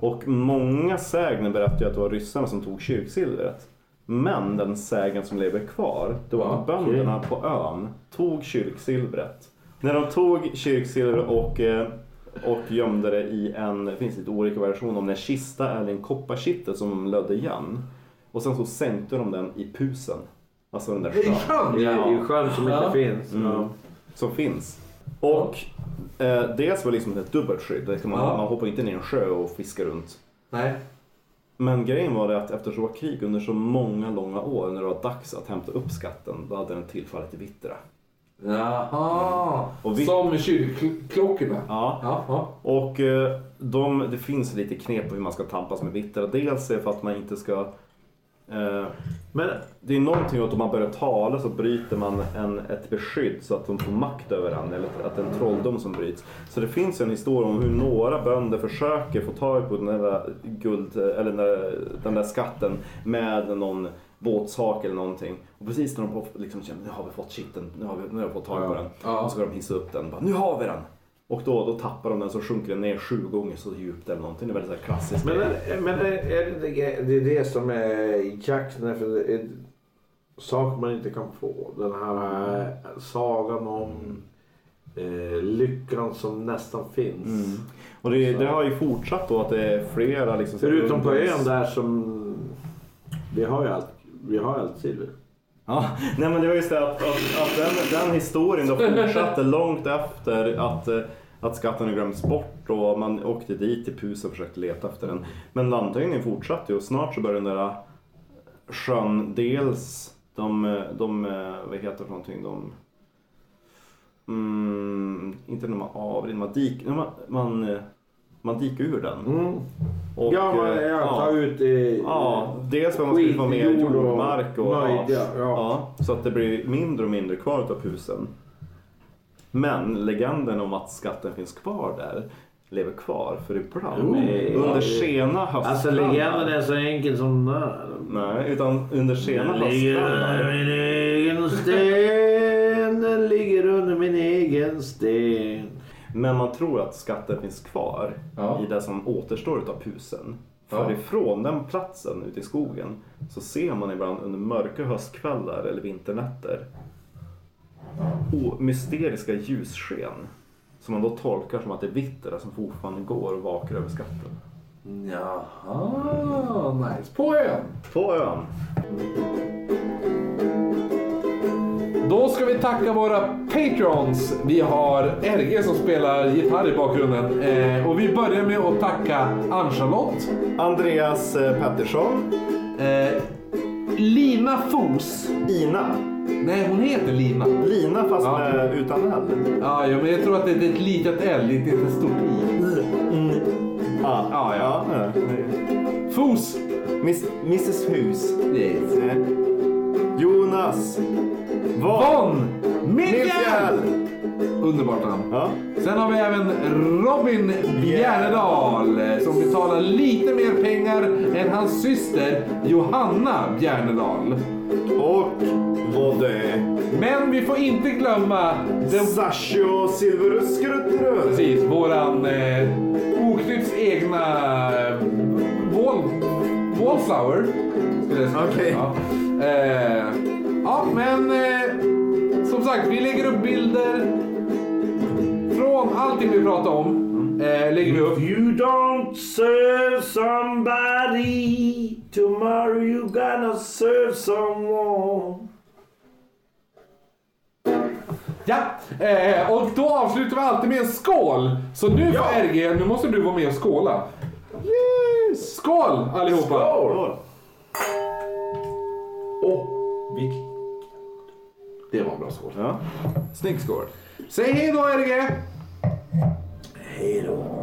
[SPEAKER 3] Och många sägner berättar ju att det var ryssarna som tog kyrksilvret. Men den sägen som lever kvar, det var att bönderna på ön tog kyrksilvret. När de tog kyrksilvret och, eh, och gömde det i en, det finns lite olika versioner om det, en kista eller en kopparkittel som de lödde igen. Och sen så sänkte de den i pusen. Alltså den där
[SPEAKER 1] I sjön,
[SPEAKER 4] Det är
[SPEAKER 3] Ja Mm.
[SPEAKER 4] ju skönt som inte
[SPEAKER 1] Ja.
[SPEAKER 4] finns. Ja.
[SPEAKER 3] som finns. Och eh, dels var det liksom ett dubbelt skydd. Det kan man,
[SPEAKER 1] Ja.
[SPEAKER 3] man hoppar inte ner i en sjö och fiskar runt.
[SPEAKER 1] Nej.
[SPEAKER 3] Men grejen var det att eftersom det var krig under så många långa år när det var dags att hämta upp skatten då hade den tillfallit i Vittra.
[SPEAKER 1] Jaha.
[SPEAKER 3] Och vi-
[SPEAKER 1] Som kyrkklockorna.
[SPEAKER 3] Ja.
[SPEAKER 1] Ja, ja.
[SPEAKER 3] Och eh, de, det finns lite knep på hur man ska tampas med Vittra. Dels är det för att man inte ska... Eh, men det är någonting att om man börjar tala så bryter man en, ett beskydd så att de får makt över en. Eller att det är en trolldom som bryts. Så det finns ju en historia om hur några bönder försöker få tag på den där, guld, eller den där, den där skatten med någon båtsak eller någonting. Och precis när de på- liksom känner nu har vi fått shitten, nu har vi, nu har vi fått tag på den.
[SPEAKER 1] Ja.
[SPEAKER 3] Och så ska de hissa upp den. Bara, nu har vi den! Och då, då tappar de den så sjunker den ner sju gånger så djupt eller någonting. Det är väldigt så här klassiskt.
[SPEAKER 4] Men, är- men är är det, det det är det som är jakten för det är saker man inte kan få. Den här eh, sagan om eh, lyckan som nästan finns.
[SPEAKER 3] Mm. Och det, det har ju fortsatt då att det är flera liksom...
[SPEAKER 4] Förutom på
[SPEAKER 3] ungdoms-
[SPEAKER 4] ön där som vi har ju allt, vi har allt silver.
[SPEAKER 3] Ja, nej men det var just det att, att, att den, den historien då fortsatte långt efter att, eh, att skatten har glömts bort och man åkte dit till Pus och försökte leta efter den. Men landhöjningen fortsatte ju och snart så började den där sjön dels de, eh, de eh, vad heter det för någonting, de Mm, inte när man avrinner, man, dik, när man, man, eh, man dikar ur den. Och,
[SPEAKER 4] Mm. ja, man,
[SPEAKER 3] eh,
[SPEAKER 4] jag
[SPEAKER 3] ja.
[SPEAKER 4] tar ut eh,
[SPEAKER 3] Ja, dels för att man skulle få mer
[SPEAKER 4] Skitjord och
[SPEAKER 3] jordmark och
[SPEAKER 4] nöjd, ja,
[SPEAKER 3] ja.
[SPEAKER 4] ja.
[SPEAKER 3] Så att det blir mindre och mindre kvar av husen. Men legenden om att skatten finns kvar där lever kvar för ibland
[SPEAKER 4] Oh.
[SPEAKER 3] under sena höstkvällar.
[SPEAKER 4] Alltså legenden är så enkel som den är.
[SPEAKER 3] Nej, utan under sena
[SPEAKER 4] Den ligger
[SPEAKER 3] höstkvällar.
[SPEAKER 4] under min egen sten, den ligger under min egen sten.
[SPEAKER 3] Men man tror att skatten finns kvar
[SPEAKER 1] Ja.
[SPEAKER 3] i det som återstår utav husen. För
[SPEAKER 1] Ja.
[SPEAKER 3] ifrån den platsen ute i skogen så ser man ibland under mörka höstkvällar eller vinternätter o- mysteriska ljussken. Som man då tolkar som att det är vittra som fortfarande går och vakar över skatten.
[SPEAKER 1] Jaha, nice. På ön.
[SPEAKER 3] På ön.
[SPEAKER 1] Då ska vi tacka våra patrons. Vi har RG som spelar gitarr i bakgrunden. Eh, och vi börjar med att tacka Ann-Charlotte,
[SPEAKER 3] Andreas eh, Pettersson.
[SPEAKER 1] eh, Lina Fos.
[SPEAKER 3] Ina.
[SPEAKER 1] Nej, hon heter Lina.
[SPEAKER 3] Lina fast
[SPEAKER 1] Ja.
[SPEAKER 3] med, utan L.
[SPEAKER 1] Ja, ja, men jag tror att det är ett litet L, inte ett stort I.
[SPEAKER 3] Ah.
[SPEAKER 1] Ja, ja. Fos.
[SPEAKER 3] Miss, Mrs Hus.
[SPEAKER 1] Yes.
[SPEAKER 3] Eh, Jonas. Vad?
[SPEAKER 1] Von Mikael!
[SPEAKER 3] Mikael!
[SPEAKER 1] Underbart namn.
[SPEAKER 3] Ja.
[SPEAKER 1] Sen har vi även Robin Bjärnedal som betalar lite mer pengar än hans syster Johanna Bjärnedal.
[SPEAKER 3] Och vad det är.
[SPEAKER 1] Men vi får inte glömma den
[SPEAKER 3] Sasho Silveruskruttröd.
[SPEAKER 1] Precis, våran eh, Oknytts egna eh, wall, wallflower. skulle jag säga.
[SPEAKER 3] Okej.
[SPEAKER 1] Ja. Eh, ja, men eh, som sagt, vi lägger upp bilder från allting vi pratar om. Eh, lägger vi upp.
[SPEAKER 7] You don't serve somebody tomorrow you gonna serve someone.
[SPEAKER 1] Ja, eh, och då avslutar vi alltid med en skål. Så nu ja. RG, nu måste du vara med och skåla. Skål allihopa!
[SPEAKER 3] Skål.
[SPEAKER 1] Det var en bra skål.
[SPEAKER 3] Ja. Snygg skål.
[SPEAKER 1] Säg hej då RG!
[SPEAKER 7] Hej då.